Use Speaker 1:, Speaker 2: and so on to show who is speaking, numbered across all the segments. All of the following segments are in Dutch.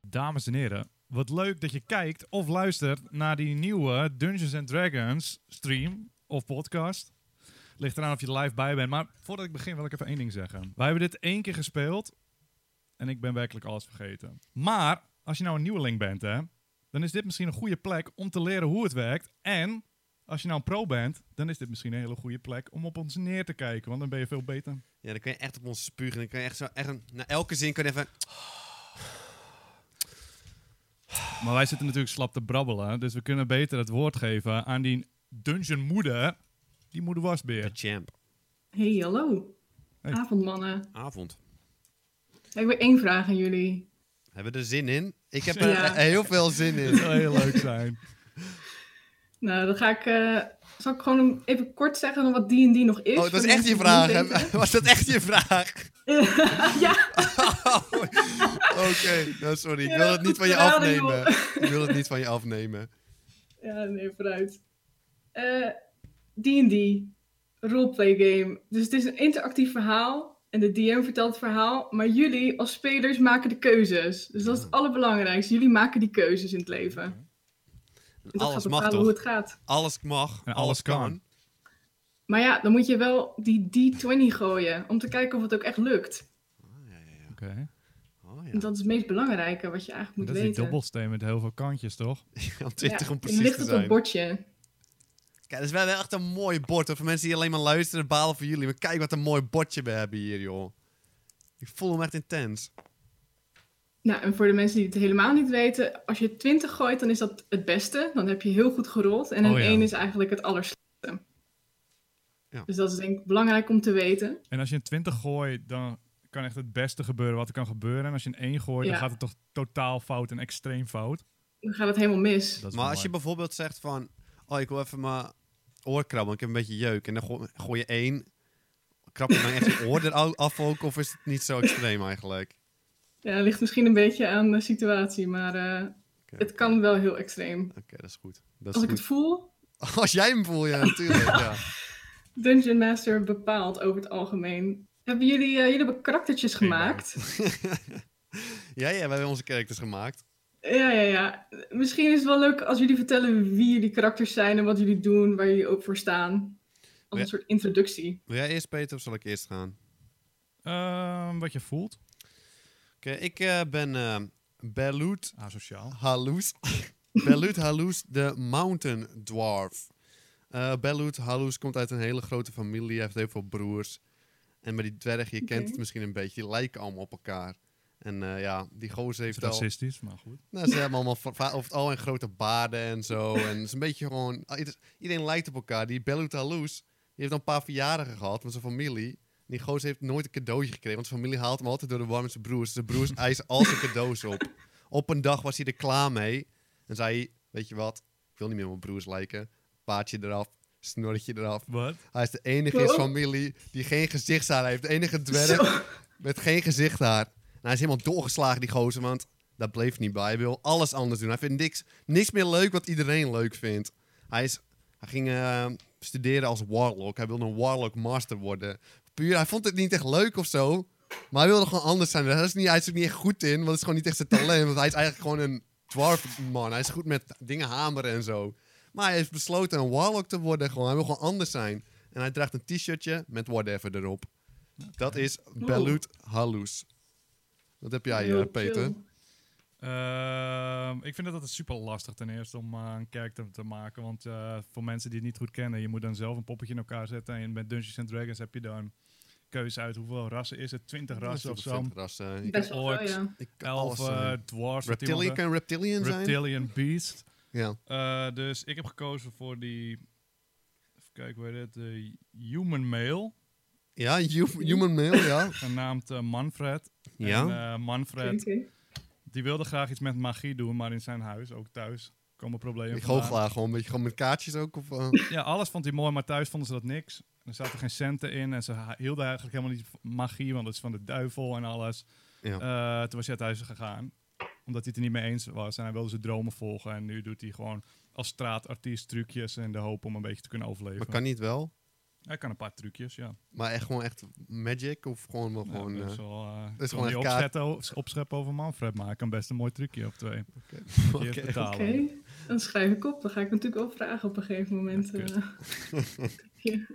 Speaker 1: Dames en heren, wat leuk dat je kijkt of luistert naar die nieuwe Dungeons and Dragons stream of podcast. Ligt eraan of je er live bij bent. Maar voordat ik begin wil ik even één ding zeggen. Wij hebben dit één keer gespeeld en ik ben werkelijk alles vergeten. Maar als je nou een nieuweling bent, hè, dan is dit misschien een goede plek om te leren hoe het werkt. En als je nou een pro bent, dan is dit misschien een hele goede plek om op ons neer te kijken. Want dan ben je veel beter.
Speaker 2: Ja, dan kun je echt op ons spugen. Dan kun je echt zo, echt een, na elke zin kun je even...
Speaker 1: Maar wij zitten natuurlijk slap te brabbelen. Dus we kunnen beter het woord geven aan die dungeonmoeder. Die moeder
Speaker 2: De
Speaker 1: wasbeer.
Speaker 2: champ.
Speaker 3: Hey, hallo.
Speaker 1: Hey.
Speaker 3: Avondmannen.
Speaker 2: Avond.
Speaker 3: Ik heb weer één vraag aan jullie.
Speaker 2: Hebben we er zin in? Ik heb er
Speaker 3: Ja.
Speaker 2: eh, heel veel zin
Speaker 1: Dat
Speaker 2: in.
Speaker 1: zou heel leuk zijn.
Speaker 3: Nou, dan ga ik... eh, zal ik gewoon even kort zeggen wat D&D nog is?
Speaker 2: Oh, dat was
Speaker 3: voor
Speaker 2: echt je
Speaker 3: mensen die
Speaker 2: vraag.
Speaker 3: het niet
Speaker 2: hè? Was dat echt je vraag?
Speaker 3: weten. ja.
Speaker 2: Oké, nou, sorry. Ik
Speaker 3: Ja,
Speaker 2: wil het niet
Speaker 3: goed
Speaker 2: van je
Speaker 3: geraden, joh.
Speaker 2: afnemen. Ik wil het niet van je afnemen.
Speaker 3: ja, nee, vooruit. Eh, D&D. Roleplay game. Dus het is een interactief verhaal. En de DM vertelt het verhaal. Maar jullie als spelers maken de keuzes. Dus dat is het allerbelangrijkste. Jullie maken die keuzes in het leven. En dat
Speaker 2: Alles
Speaker 3: gaat
Speaker 2: mag
Speaker 3: bepalen
Speaker 2: toch?
Speaker 3: hoe het gaat.
Speaker 2: Alles mag.
Speaker 1: En alles kan.
Speaker 3: Maar ja, dan moet je wel die D20 gooien. Om te kijken of het ook echt lukt.
Speaker 2: Oh, ja, ja, ja.
Speaker 1: Oké.
Speaker 2: Oh,
Speaker 3: En
Speaker 2: ja.
Speaker 3: Dat is het meest belangrijke wat je eigenlijk moet
Speaker 1: Dat is die
Speaker 3: weten.
Speaker 1: dobbelsteen met heel veel kantjes, toch?
Speaker 2: Om 20
Speaker 3: Ja,
Speaker 2: om
Speaker 3: en
Speaker 2: precies
Speaker 3: ligt
Speaker 2: te
Speaker 3: op dat
Speaker 2: zijn.
Speaker 3: bordje.
Speaker 2: Kijk, dat is wel wel echt een mooi bord. hoor. Voor mensen die alleen maar luisteren, balen voor jullie. Maar kijk wat een mooi bordje we hebben hier, joh. Ik voel hem echt intens.
Speaker 3: Nou, en voor de mensen die het helemaal niet weten, als je 20 gooit, dan is dat het beste. Dan heb je heel goed gerold. En een
Speaker 1: Oh ja.
Speaker 3: 1 is eigenlijk het allerslechtste.
Speaker 2: Ja.
Speaker 3: Dus dat is denk ik belangrijk om te weten.
Speaker 1: En als je een 20 gooit, dan kan echt het beste gebeuren wat er kan gebeuren. En als je een 1 gooit, dan
Speaker 3: Ja.
Speaker 1: gaat het toch totaal fout en extreem fout.
Speaker 3: Dan gaat het helemaal mis.
Speaker 1: Dat is
Speaker 2: maar
Speaker 1: wel
Speaker 2: als je
Speaker 1: mooi.
Speaker 2: bijvoorbeeld zegt van... Oh, ik wil even mijn oor krabben. Ik heb een beetje jeuk. En dan go- gooi je één. Krab je dan echt je oor eraf ook? Of is het niet zo extreem eigenlijk?
Speaker 3: Ja, dat ligt misschien een beetje aan de situatie, maar eh,
Speaker 2: Oké.
Speaker 3: het kan wel heel extreem.
Speaker 2: Oké, dat is goed. Dat is
Speaker 3: Als Oh, ik het
Speaker 2: goed.
Speaker 3: voel,
Speaker 2: Als jij hem voelt, ja, natuurlijk. ja.
Speaker 3: Dungeon Master bepaalt over het algemeen. Hebben jullie, eh, jullie hebben karaktertjes
Speaker 1: Geen
Speaker 3: gemaakt?
Speaker 2: ja, ja, we hebben onze characters gemaakt.
Speaker 3: Ja, ja, ja. Misschien is het wel leuk als jullie vertellen wie jullie karakters zijn en wat jullie doen, waar jullie ook voor staan. Als
Speaker 2: Ja.
Speaker 3: een soort introductie.
Speaker 2: Wil jij eerst, Peter, of zal ik eerst gaan?
Speaker 1: Ehm, wat je voelt.
Speaker 2: Oké, ik eh, ben eh Belut
Speaker 1: Asociaal.
Speaker 2: Halus. Belut Halus, de Mountain Dwarf. Eh Belut Halus komt uit een hele grote familie. Hij heeft heel veel broers. En met die dwerg, je kent
Speaker 3: Oké.
Speaker 2: het misschien een beetje, die lijken allemaal op elkaar. En eh, ja, die gozer
Speaker 1: Is
Speaker 2: heeft al...
Speaker 1: racistisch, maar goed.
Speaker 2: Nou, ze hebben allemaal va- va- over het al en grote baarden en zo. En het is een beetje gewoon... ah, ieder- Iedereen lijkt op elkaar. Die Belut Halus, die heeft al een paar verjaardagen gehad met zijn familie. En die gozer heeft nooit een cadeautje gekregen. Want zijn familie haalt hem altijd door de war met zijn broers. Zijn broers eisen al zijn cadeaus op. Op een dag was hij er klaar mee. En zei hij, weet je wat? Ik wil niet meer op mijn broers lijken. Paardje eraf, snorretje eraf.
Speaker 1: Wat?
Speaker 2: Hij is de enige in zijn
Speaker 3: Oh.
Speaker 2: familie die geen gezichtshaar heeft. De enige dwerg met geen gezichthaar. En hij is helemaal doorgeslagen, die gozer, want dat bleef niet bij. Hij wil alles anders doen. Hij vindt niks, niks meer leuk wat iedereen leuk vindt. Hij, is, hij ging eh, studeren als warlock. Hij wilde een warlock master worden. Puur, hij vond het niet echt leuk of zo. Maar hij wilde gewoon anders zijn. Daar is niet, hij is er niet echt goed in, want dat is gewoon niet echt zijn talent. Want hij is eigenlijk gewoon een dwarf man. Hij is goed met dingen hameren en zo. Maar hij heeft besloten een warlock te worden. Gewoon. Hij wil gewoon anders zijn. En hij draagt een t-shirtje met whatever erop. Dat is Belut Halus. Wat heb jij,
Speaker 3: Heel
Speaker 2: eh, Peter?
Speaker 3: chill.
Speaker 1: Ehm, ik vind dat het super lastig ten eerste om eh, een character te maken. Want eh, voor mensen die het niet goed kennen, je moet dan zelf een poppetje in elkaar zetten. En met Dungeons and Dragons heb je dan keuze uit hoeveel rassen is het? 20 rassen of zo. eh,
Speaker 2: Rassen. eh, Ik-
Speaker 3: Best wel veel,
Speaker 1: Orcs.
Speaker 3: ja.
Speaker 2: ik kan alles zijn.
Speaker 1: Elfen, dwarfs, wat
Speaker 2: Reptilian,
Speaker 1: iemand-
Speaker 2: kan reptilian zijn?
Speaker 1: reptilian beast.
Speaker 2: Ja.
Speaker 1: Eh, dus ik heb gekozen voor die. Even kijken, hoe heet het? De human male,
Speaker 2: Ja, hu- human male, ja.
Speaker 1: genaamd eh, Manfred. En, eh,
Speaker 3: Oké,
Speaker 1: Manfred,
Speaker 3: oké.
Speaker 1: die wilde graag iets met magie doen, maar in zijn huis, ook thuis, komen problemen.
Speaker 2: ik goochelaar
Speaker 1: vandaan.
Speaker 2: gewoon, een beetje gewoon met kaartjes ook. Of, eh,
Speaker 1: Ja, alles vond hij mooi, maar thuis vonden ze dat niks. Er zaten geen centen in en ze ha- hielden eigenlijk helemaal niet van magie, want dat is van de duivel en alles.
Speaker 2: ja.
Speaker 1: Eh, toen was hij uit huis gegaan, omdat hij het er niet mee eens was en hij wilde zijn dromen volgen. En nu doet hij gewoon als straatartiest trucjes in de hoop om een beetje te kunnen overleven.
Speaker 2: maar kan niet wel.
Speaker 1: Hij kan een paar trucjes, ja.
Speaker 2: Maar echt gewoon echt magic of gewoon wel gewoon...
Speaker 1: ja, dat is
Speaker 2: eh,
Speaker 1: wel, eh,
Speaker 2: is
Speaker 1: wil
Speaker 2: gewoon
Speaker 1: niet
Speaker 2: echt kaart.
Speaker 1: opschetten o- opscheppen over Manfred, maar hij kan best een mooi trucje op twee.
Speaker 2: oké.
Speaker 1: Oké.
Speaker 3: Oké, dan schrijf ik op. Dan ga ik natuurlijk wel vragen op een gegeven moment.
Speaker 1: Ja, kut.
Speaker 3: eh. Ja.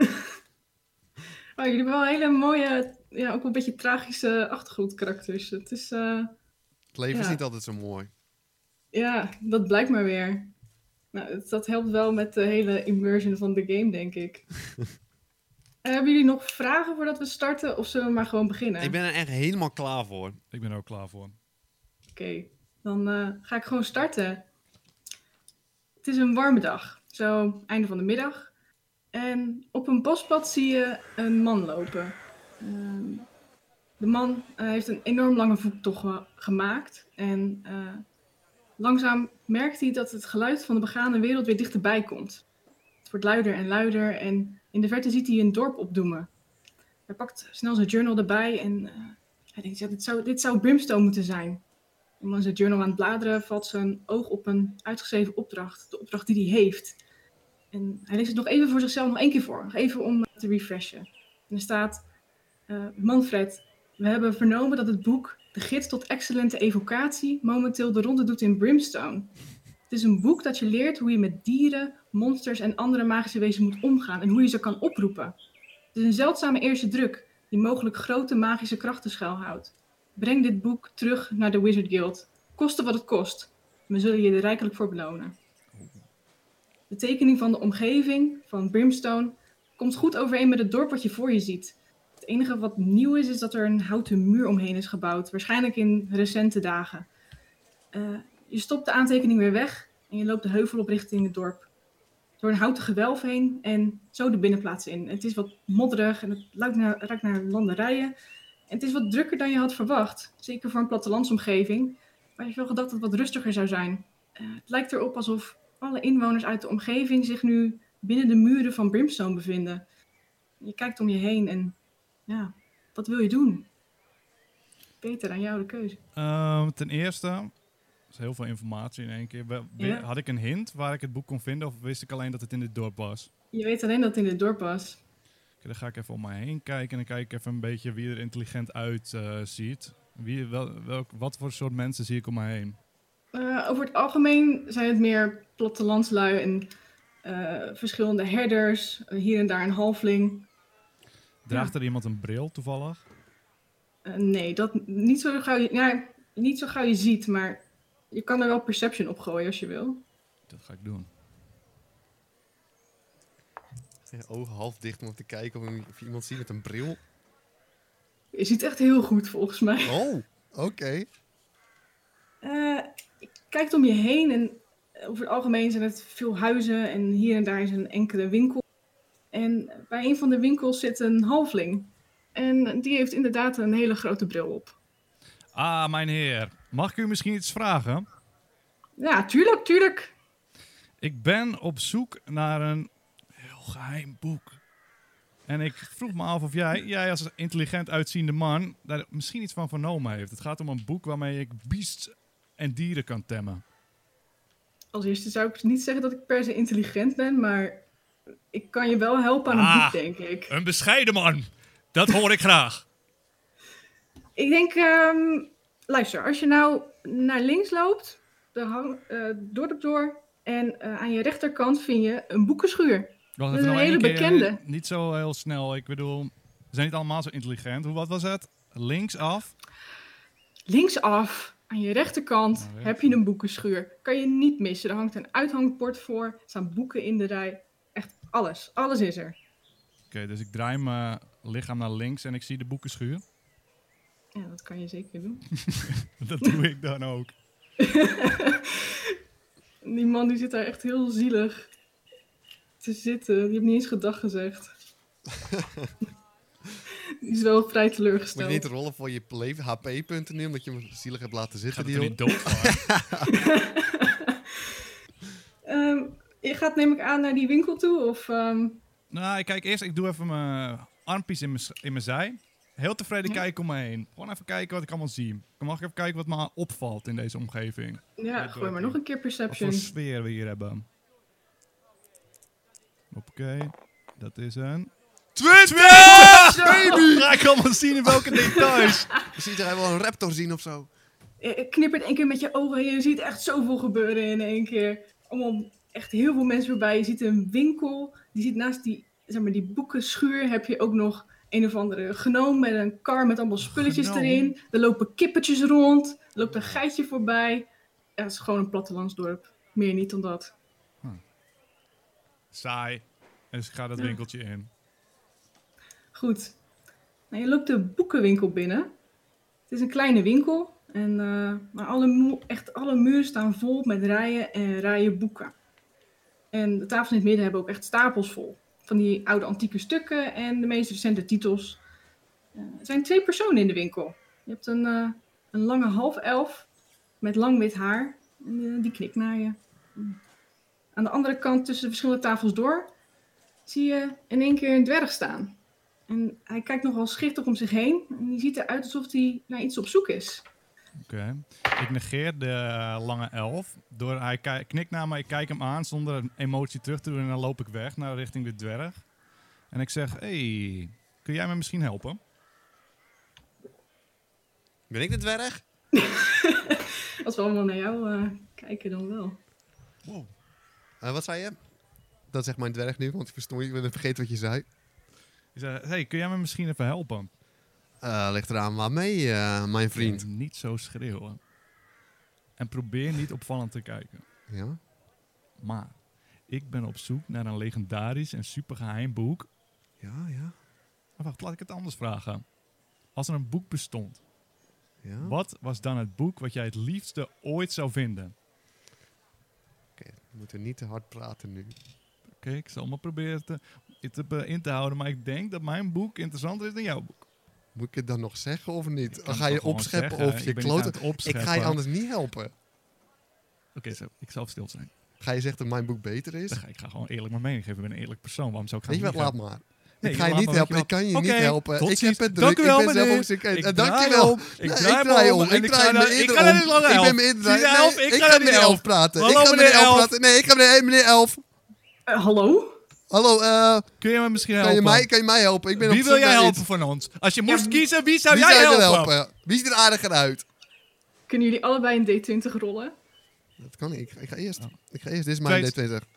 Speaker 3: Oh, jullie hebben wel hele mooie, ja, ook wel een beetje tragische achtergrondkarakters. Het is, eh,
Speaker 2: Het leven is
Speaker 3: Ja.
Speaker 2: niet altijd zo mooi.
Speaker 3: ja, dat blijkt maar weer. Nou, het- dat helpt wel met de hele immersion van de game, denk ik. Eh, hebben jullie nog vragen voordat we starten? Of zullen we maar gewoon beginnen?
Speaker 2: Ik ben er echt helemaal klaar voor.
Speaker 1: Ik ben er ook klaar voor.
Speaker 3: Oké, dan eh, ga ik gewoon starten. Het is een warme dag, zo einde van de middag. En op een bospad zie je een man lopen. Ehm, de man eh, heeft een enorm lange voettocht ge- gemaakt. En eh, langzaam merkt hij dat het geluid van de begane wereld weer dichterbij komt. Het wordt luider en luider en in de verte ziet hij een dorp opdoemen. Hij pakt snel zijn journal erbij en eh, hij denkt, ja, dit, zou, dit zou Brimstone moeten zijn. En in zijn journal aan het bladeren valt zijn oog op een uitgeschreven opdracht. De opdracht die hij heeft. En hij leest het nog even voor zichzelf, nog één keer voor. Nog even om te refreshen. En er staat... eh, Manfred, we hebben vernomen dat het boek... De Gids tot Excellente Evocatie momenteel de ronde doet in Brimstone. Het is een boek dat je leert hoe je met dieren, monsters en andere magische wezens moet omgaan. En hoe je ze kan oproepen. Het is een zeldzame eerste druk die mogelijk grote magische krachten schuilhoudt. Breng dit boek terug naar de Wizard Guild. Koste wat het kost. We zullen je er rijkelijk voor belonen. De tekening van de omgeving van Brimstone komt goed overeen met het dorp wat je voor je ziet. Het enige wat nieuw is, is dat er een houten muur omheen is gebouwd. Waarschijnlijk in recente dagen. Eh, je stopt de aantekening weer weg en je loopt de heuvel op richting het dorp. Door een houten gewelf heen en zo de binnenplaats in. Het is wat modderig en het ruikt naar, ruikt naar landerijen. En het is wat drukker dan je had verwacht, zeker voor een plattelandsomgeving, waar je wel gedacht dat het wat rustiger zou zijn. Eh, het lijkt erop alsof alle inwoners uit de omgeving zich nu binnen de muren van Brimstone bevinden. Je kijkt om je heen en ja, wat wil je doen? Peter, aan jou de keuze.
Speaker 1: Ehm, ten eerste, dat is heel veel informatie in één keer. We- we-
Speaker 3: Ja.
Speaker 1: Had ik een hint waar ik het boek kon vinden of wist ik alleen dat het in dit dorp was?
Speaker 3: Je weet alleen dat het in het dorp was.
Speaker 1: Oké, dan ga ik even om mij heen kijken en dan kijk ik even een beetje wie er intelligent uitziet. wie, wel, welk, wat voor soort mensen zie ik om mij heen?
Speaker 3: Eh, over het algemeen zijn het meer plattelandslui en eh, verschillende herders, eh, hier en daar een halfling.
Speaker 1: Draagt er iemand een bril toevallig?
Speaker 3: Eh, nee, dat niet zo gauw je, ja, niet zo gauw je ziet, maar je kan er wel perception op gooien als je wil.
Speaker 1: Dat ga ik doen.
Speaker 2: Zijn Eh, ogen half dicht om te kijken of, of je iemand ziet met een bril.
Speaker 3: Je ziet echt heel goed volgens mij.
Speaker 2: Oh, oké.
Speaker 3: Eh, je kijkt om je heen en eh, over het algemeen zijn het veel huizen en hier en daar is een enkele winkel. En bij een van de winkels zit een halfling. En die heeft inderdaad een hele grote bril op.
Speaker 1: Ah, mijn heer. Mag ik u misschien iets vragen?
Speaker 3: Ja, tuurlijk, tuurlijk.
Speaker 1: Ik ben op zoek naar een heel geheim boek. En ik vroeg me af of jij, jij als intelligent uitziende man, daar misschien iets van vernomen heeft. Het gaat om een boek waarmee ik beasts en dieren kan temmen.
Speaker 3: Als eerste zou ik niet zeggen dat ik per se intelligent ben, maar ik kan je wel helpen aan een
Speaker 1: Ah.
Speaker 3: boek, denk ik.
Speaker 1: Een bescheiden man. Dat hoor ik graag.
Speaker 3: Ik denk, ehm, luister, als je nou naar links loopt, de hang, eh, door de door, en eh, aan je rechterkant vind je een boekenschuur.
Speaker 1: Wacht,
Speaker 3: Dat
Speaker 1: even
Speaker 3: is
Speaker 1: nog
Speaker 3: een
Speaker 1: één
Speaker 3: hele
Speaker 1: keer. eh,
Speaker 3: bekende.
Speaker 1: Niet zo heel snel. Ik bedoel, ze zijn niet allemaal zo intelligent. Hoe, wat was het? Linksaf.
Speaker 3: Linksaf, aan je rechterkant,
Speaker 1: Naar
Speaker 2: Nou,
Speaker 1: rechts.
Speaker 3: heb je een boekenschuur. Kan je niet missen. Er hangt een uithangbord voor, er staan boeken in de rij. Echt alles, alles is er.
Speaker 1: Oké, dus ik draai mijn lichaam naar links en ik zie de boekenschuur.
Speaker 3: Ja, dat kan je zeker doen.
Speaker 1: Dat doe ik dan ook.
Speaker 3: Die man die zit daar echt heel zielig te zitten. Die heeft niet eens gedag gezegd. die is wel vrij
Speaker 2: Moet
Speaker 3: teleurgesteld.
Speaker 2: je niet rollen voor je leven- HP-punten nu, omdat je hem zielig hebt laten
Speaker 1: Gaat
Speaker 2: zitten.
Speaker 1: het er
Speaker 2: Die
Speaker 1: niet dood van?
Speaker 3: Ehm, je gaat neem ik aan naar die winkel toe of... ehm,
Speaker 1: nou, ik kijk eerst. Ik doe even mijn armpjes in mijn, s- in mijn zij. Heel tevreden
Speaker 3: Ja.
Speaker 1: kijken om me heen. Gewoon even kijken wat ik allemaal zie. Mag ik even kijken wat me opvalt in deze omgeving?
Speaker 3: ja,
Speaker 1: Weet
Speaker 3: gooi
Speaker 1: welke.
Speaker 3: maar nog een keer
Speaker 1: Wat voor
Speaker 3: perception.
Speaker 1: sfeer we hier hebben. Oké, dat is een
Speaker 2: 20!
Speaker 1: Baby! Ga ik allemaal zien in welke details.
Speaker 2: Ziet er hij wel een raptor zien of zo?
Speaker 3: Eh, Knippert één keer met je ogen en je ziet echt zoveel gebeuren in één keer. Allemaal echt heel veel mensen voorbij. Je ziet een winkel, die ziet naast die, zeg maar, die boekenschuur heb je ook nog een of andere genoom met een kar met allemaal spulletjes
Speaker 1: Genoom?
Speaker 3: erin. Er lopen kippetjes rond, er loopt een geitje voorbij. Ja, het is gewoon een plattelandsdorp. Meer niet dan dat.
Speaker 1: Saai. Dus ik ga dat
Speaker 3: Ja.
Speaker 1: winkeltje in.
Speaker 3: Goed. Nou, je loopt de boekenwinkel binnen. Het is een kleine winkel. En, eh, maar alle, mu- echt alle muren staan vol met rijen en rijen boeken. En de tafels in het midden hebben ook echt stapels vol. Van die oude antieke stukken en de meest recente titels. Eh, er zijn twee personen in de winkel. Je hebt een, eh, een lange half elf met lang wit haar. En, eh, die knikt naar je. Aan de andere kant tussen de verschillende tafels door... zie je in één keer een dwerg staan. En hij kijkt nogal schichtig om zich heen. En die ziet eruit alsof hij naar iets op zoek is.
Speaker 1: Oké. Ik negeer de eh, lange elf. Door, hij ki- knikt naar me, ik kijk hem aan zonder een emotie terug te doen. En dan loop ik weg naar richting de dwerg. En ik zeg, hey, kun jij me misschien helpen?
Speaker 2: Ben ik de dwerg?
Speaker 3: Als we allemaal naar jou eh, kijken, dan wel.
Speaker 2: Eh, wat zei je? Dat zegt mijn dwerg nu, want ik verstond ik ben vergeten wat je zei.
Speaker 1: Ik zeg, hey, kun jij me misschien even helpen?
Speaker 2: Eh, ligt eraan waarmee, eh, mijn vriend.
Speaker 1: En niet zo schreeuwen. En probeer niet opvallend te kijken.
Speaker 2: Ja?
Speaker 1: Maar ik ben op zoek naar een legendarisch en supergeheim boek.
Speaker 2: Ja, ja.
Speaker 1: Maar wacht, laat ik het anders vragen. Als er een boek bestond,
Speaker 2: ja.
Speaker 1: wat was dan het boek wat jij het liefste ooit zou vinden?
Speaker 2: Oké, we moeten niet te hard praten nu.
Speaker 1: Oké, ik zal maar proberen te, het te be- in te houden, maar ik denk dat mijn boek interessanter is dan jouw boek.
Speaker 2: Moet ik het dan nog zeggen of niet?
Speaker 1: Ik kan
Speaker 2: Dan ga
Speaker 1: het
Speaker 2: je
Speaker 1: toch gewoon
Speaker 2: opscheppen
Speaker 1: zeggen,
Speaker 2: of
Speaker 1: ik
Speaker 2: je
Speaker 1: ben niet aan
Speaker 2: kloten.
Speaker 1: het
Speaker 2: Ik
Speaker 1: opscheppen.
Speaker 2: ga je anders niet helpen.
Speaker 1: Oké, zo, ik zal stil zijn.
Speaker 2: Ga je zeggen dat mijn boek beter is?
Speaker 1: Dan ga ik ga gewoon eerlijk mijn mening geven. Ik ben een eerlijk persoon. Waarom zou ik gaan
Speaker 2: Weet je wat, laat
Speaker 1: liegen?
Speaker 2: maar.
Speaker 1: Nee,
Speaker 2: ik ga je
Speaker 1: laat
Speaker 2: niet
Speaker 1: maar,
Speaker 2: helpen,
Speaker 1: weet
Speaker 2: ik
Speaker 1: je
Speaker 2: kan je
Speaker 1: wel.
Speaker 2: niet
Speaker 1: Oké,
Speaker 2: helpen.
Speaker 1: tot
Speaker 2: Ik heb
Speaker 1: ziens.
Speaker 2: het druk,
Speaker 1: Dank u
Speaker 2: ik
Speaker 1: wel,
Speaker 2: ben zelf
Speaker 1: meneer.
Speaker 2: ook ziek.
Speaker 1: Ik
Speaker 2: Eh,
Speaker 1: draai
Speaker 2: Dankjewel.
Speaker 1: om. Ik
Speaker 2: Nee,
Speaker 1: draai me om en
Speaker 2: Ik
Speaker 1: ik
Speaker 2: draai
Speaker 1: ga
Speaker 2: me
Speaker 1: naar- ik
Speaker 2: eerder
Speaker 1: ga naar die
Speaker 2: om.
Speaker 1: lange
Speaker 2: Ik
Speaker 1: elf.
Speaker 2: ben me eerder
Speaker 1: Zie je elf? Ik ga
Speaker 2: met
Speaker 1: naar
Speaker 2: meneer
Speaker 1: die elf.
Speaker 2: elf praten. Ik
Speaker 1: Hallo,
Speaker 2: ga met meneer
Speaker 1: meneer
Speaker 2: elf
Speaker 1: elf.
Speaker 2: praten. Nee, ik ga met hey, meneer elf.
Speaker 3: Eh, hallo?
Speaker 2: Hallo, eh,
Speaker 1: Kun je me misschien helpen?
Speaker 2: kan je mij- kan je mij helpen? Ik ben
Speaker 1: wie
Speaker 2: op
Speaker 1: wil
Speaker 2: zoek
Speaker 1: jij
Speaker 2: naar
Speaker 1: helpen
Speaker 2: iets.
Speaker 1: van ons? Als je moest
Speaker 3: Ja,
Speaker 1: kiezen, wie zou
Speaker 2: Wie
Speaker 1: jij
Speaker 2: zou je
Speaker 1: helpen?
Speaker 2: Wie ziet er aardiger uit?
Speaker 3: Kunnen jullie allebei een D20 rollen?
Speaker 2: Dat kan ik. Ik ga eerst. Ik ga eerst. Dit is mijn
Speaker 1: Tweet.
Speaker 2: D20.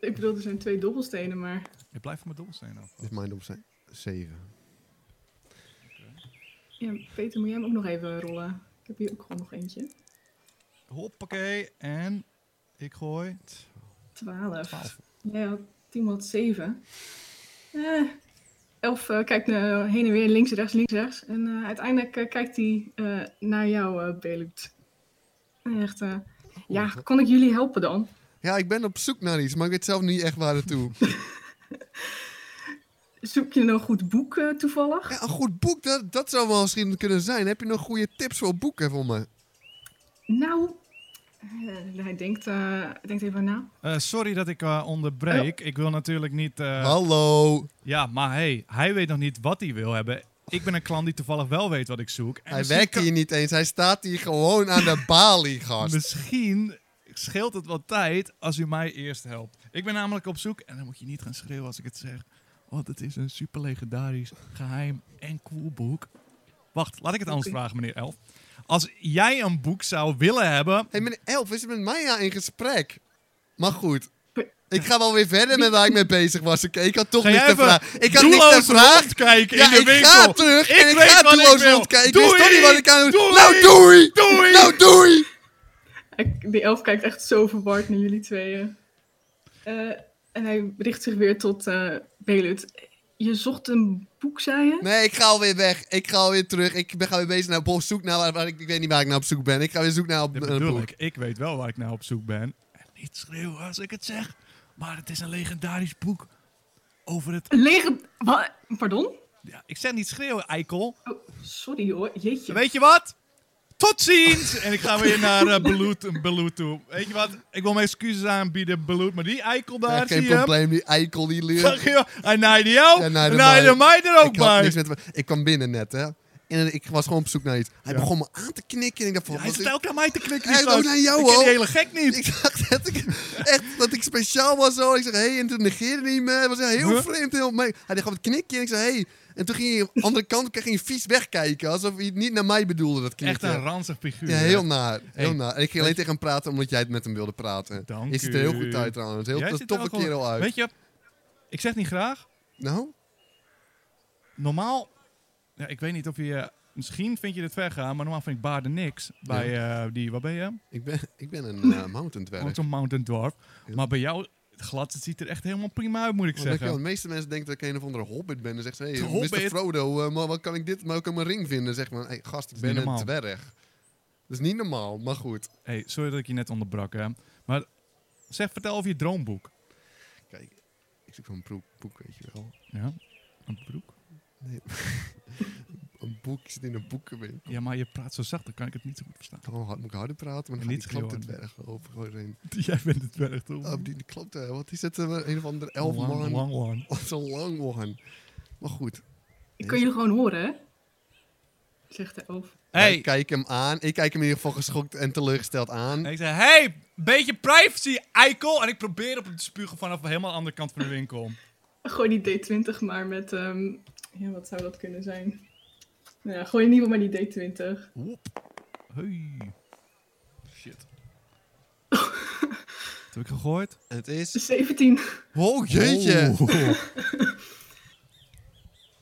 Speaker 3: Ik bedoel, er zijn twee dobbelstenen, maar...
Speaker 1: Ik blijf van mijn dobbelsteen af.
Speaker 2: Dit is mijn op zijn. 7.
Speaker 3: Ja, Peter, moet jij hem ook nog even rollen? Ik heb hier ook gewoon nog eentje.
Speaker 1: Hoppakee. En ik gooi...
Speaker 3: 12.
Speaker 1: Twaalf.
Speaker 3: Jij had 10 had 7. Eh, elf eh, kijkt eh, heen en weer, links, rechts, links, rechts. En eh, uiteindelijk eh, kijkt hij eh, naar jou, eh Belut. En Echt, eh, ja, kan ik jullie helpen dan?
Speaker 2: Ja, ik ben op zoek naar iets, maar ik weet zelf niet echt waar naartoe.
Speaker 3: Zoek je een goed boek eh, toevallig?
Speaker 2: Ja, een goed boek, dat, dat zou wel misschien kunnen zijn. Heb je nog goede tips voor boeken voor me?
Speaker 3: Nou, eh, hij denkt, eh, hij denkt even na.
Speaker 1: Eh, sorry dat ik eh, onderbreek. Ik wil natuurlijk niet... eh,
Speaker 2: Hallo.
Speaker 1: ja, maar hey, hij weet nog niet wat hij wil hebben. Ik ben een klant die toevallig wel weet wat ik zoek. En
Speaker 2: Hij
Speaker 1: misschien
Speaker 2: werkt
Speaker 1: kan-
Speaker 2: hier niet eens. Hij staat hier gewoon aan de balie, gast.
Speaker 1: Misschien scheelt het wat tijd als u mij eerst helpt. Ik ben namelijk op zoek, en dan moet je niet gaan schreeuwen als ik het zeg. Want het is een super legendarisch, geheim en cool boek. Wacht, laat ik het anders
Speaker 3: Oké.
Speaker 1: vragen, meneer Elf. Als jij een boek zou willen hebben.
Speaker 2: Hé, hey, meneer Elf is met mij ja in gesprek. Maar goed.
Speaker 3: Pe-
Speaker 2: Ik ga wel weer verder met waar ik mee bezig was. Oké, ik had toch
Speaker 1: Ga
Speaker 2: niks
Speaker 1: jij
Speaker 2: te
Speaker 1: even
Speaker 2: vragen. Ik had niks te
Speaker 1: doelloos
Speaker 2: vragen.
Speaker 1: rondkijken
Speaker 2: Ja,
Speaker 1: in de
Speaker 2: ik
Speaker 1: winkel.
Speaker 2: ga terug
Speaker 1: Ik
Speaker 2: en ik
Speaker 1: weet
Speaker 2: ga
Speaker 1: wat ik
Speaker 2: doelloos
Speaker 1: wil.
Speaker 2: rondkijken. Ik wist
Speaker 1: Doei.
Speaker 2: toch niet wat ik aan het
Speaker 1: Doei.
Speaker 2: Nou, doei!
Speaker 1: Doei.
Speaker 2: Nou, doei!
Speaker 3: Hij- Die elf kijkt echt zo verward naar jullie tweeën. Eh, en hij richt zich weer tot eh Belut. Je zocht een boek, zei je?
Speaker 2: Nee, ik ga alweer weg. Ik ga alweer terug. Ik ben ga weer bezig naar op zoek naar waar, waar ik... Ik weet niet waar ik naar op zoek ben. Ik ga weer zoek naar op,
Speaker 1: Dit
Speaker 2: naar een
Speaker 1: bedoel
Speaker 2: boek.
Speaker 1: ik. Ik weet wel waar ik naar op zoek ben. En niet schreeuwen als ik het zeg. Maar het is een legendarisch boek. Over het.
Speaker 3: Een lege... Wa- Pardon?
Speaker 1: Ja, ik zeg niet schreeuwen, eikel.
Speaker 3: Oh, sorry hoor, jeetje.
Speaker 1: Weet je wat? Tot ziens! En ik ga weer naar eh, Beloet, Beloet toe. Weet je wat? Ik wil mijn excuses aanbieden, Beloet. Maar die eikel daar,
Speaker 2: Ja, geen
Speaker 1: Ah, zie je hem?
Speaker 2: probleem, die eikel die leert.
Speaker 1: Zag je hem? Hij naaide jou,
Speaker 2: Ja,
Speaker 1: en
Speaker 2: naaide
Speaker 1: naaide mij er ook
Speaker 2: Ik had
Speaker 1: bij.
Speaker 2: niks met... Ik kwam binnen net, hè. En ik was gewoon op zoek naar iets. Hij
Speaker 1: Ja.
Speaker 2: begon me aan te knikken. En ik dacht van,
Speaker 1: Hij
Speaker 2: wat
Speaker 1: zit
Speaker 2: is-
Speaker 1: elke aan mij te knikken.
Speaker 2: Hij
Speaker 1: die
Speaker 2: is ook
Speaker 1: gast.
Speaker 2: naar jou,
Speaker 1: Ik ken die
Speaker 2: hoor.
Speaker 1: hele gek niet.
Speaker 2: Ik dacht dat ik, echt, dat ik speciaal was zo. Ik zeg, hey, en toen negeerde hij me. Het was heel
Speaker 1: Huh?
Speaker 2: vreemd. Heel, mee. hij deed gewoon het knikje en ik zei, hey. En toen ging hij de andere kant ging hij vies wegkijken. Alsof hij het niet naar mij bedoelde, dat
Speaker 1: Echt
Speaker 2: knikje.
Speaker 1: een ranzig figuur.
Speaker 2: ja,
Speaker 1: hè?
Speaker 2: heel naar. Heel
Speaker 1: Hey,
Speaker 2: naar. En ik ging alleen tegen hem praten omdat jij het met hem wilde praten.
Speaker 1: Dank
Speaker 2: je ziet er heel
Speaker 1: u.
Speaker 2: goed uit trouwens. Heel,
Speaker 1: Jij
Speaker 2: dat is een
Speaker 1: ziet er
Speaker 2: toffe
Speaker 1: ook wel-
Speaker 2: kerel uit.
Speaker 1: Weet je, ik zeg niet graag.
Speaker 2: Nou?
Speaker 1: Normaal, ja, ik weet niet of je, eh, misschien vind je dit ver gaan, maar normaal vind ik baarden niks. Bij eh, die, waar ben je?
Speaker 2: Ik ben, ik ben een eh mountain dwerg.
Speaker 1: Mountain, Mountain Dwarf.
Speaker 2: Ja.
Speaker 1: Maar bij jou, het glad, het ziet er echt helemaal prima uit, moet ik
Speaker 2: Want weet je wel,
Speaker 1: zeggen.
Speaker 2: de meeste mensen denken dat ik een of andere hobbit ben. En zeggen ze,
Speaker 1: De
Speaker 2: hey, Mr.
Speaker 1: hobbit?
Speaker 2: Frodo, eh, maar wat kan ik dit, maar ook aan mijn ring vinden? Zeg maar, hey, gast, ik
Speaker 1: is niet
Speaker 2: ben een
Speaker 1: normaal.
Speaker 2: dwerg. Dat is niet normaal, maar goed.
Speaker 1: Hey, sorry dat ik je net onderbrak, hè. Maar zeg, vertel over je droomboek.
Speaker 2: Kijk, ik zoek zo'n broek, boek, weet je wel.
Speaker 1: Ja, een broek.
Speaker 2: Een boek, ik zit in een boekenwinkel.
Speaker 1: Ja, maar je praat zo zacht, dan kan ik het niet zo goed verstaan.
Speaker 2: Oh, hard, moet ik harder praten, maar
Speaker 1: En
Speaker 2: dan
Speaker 1: niet
Speaker 2: gaat die klote
Speaker 1: schreeuwen.
Speaker 2: dwerg over. Gooi erin.
Speaker 1: Jij bent het werk, toch?
Speaker 2: Oh, die, die klote, wat is het? eh, Een of ander elf
Speaker 1: Lang,
Speaker 2: man.
Speaker 1: lang, lang.
Speaker 2: Wat een lang one. Maar goed.
Speaker 3: Ik kan jullie gewoon horen, hè? Zegt de elf.
Speaker 2: Ik
Speaker 1: Hey,
Speaker 2: kijk hem aan. Ik kijk hem in ieder geval geschokt en teleurgesteld aan.
Speaker 1: En ik zei, hey, beetje privacy, eikel. En ik probeer op hem te spugen vanaf helemaal de andere kant van de winkel.
Speaker 3: Gooi die D20 maar met... ehm, ja, wat zou dat kunnen zijn? Nou ja, gooi in ieder geval maar die D20.
Speaker 1: Whoop. Hey. Shit. Wat heb ik gegooid?
Speaker 2: Het is...
Speaker 3: 17.
Speaker 2: Wow, jeetje.
Speaker 1: Oh.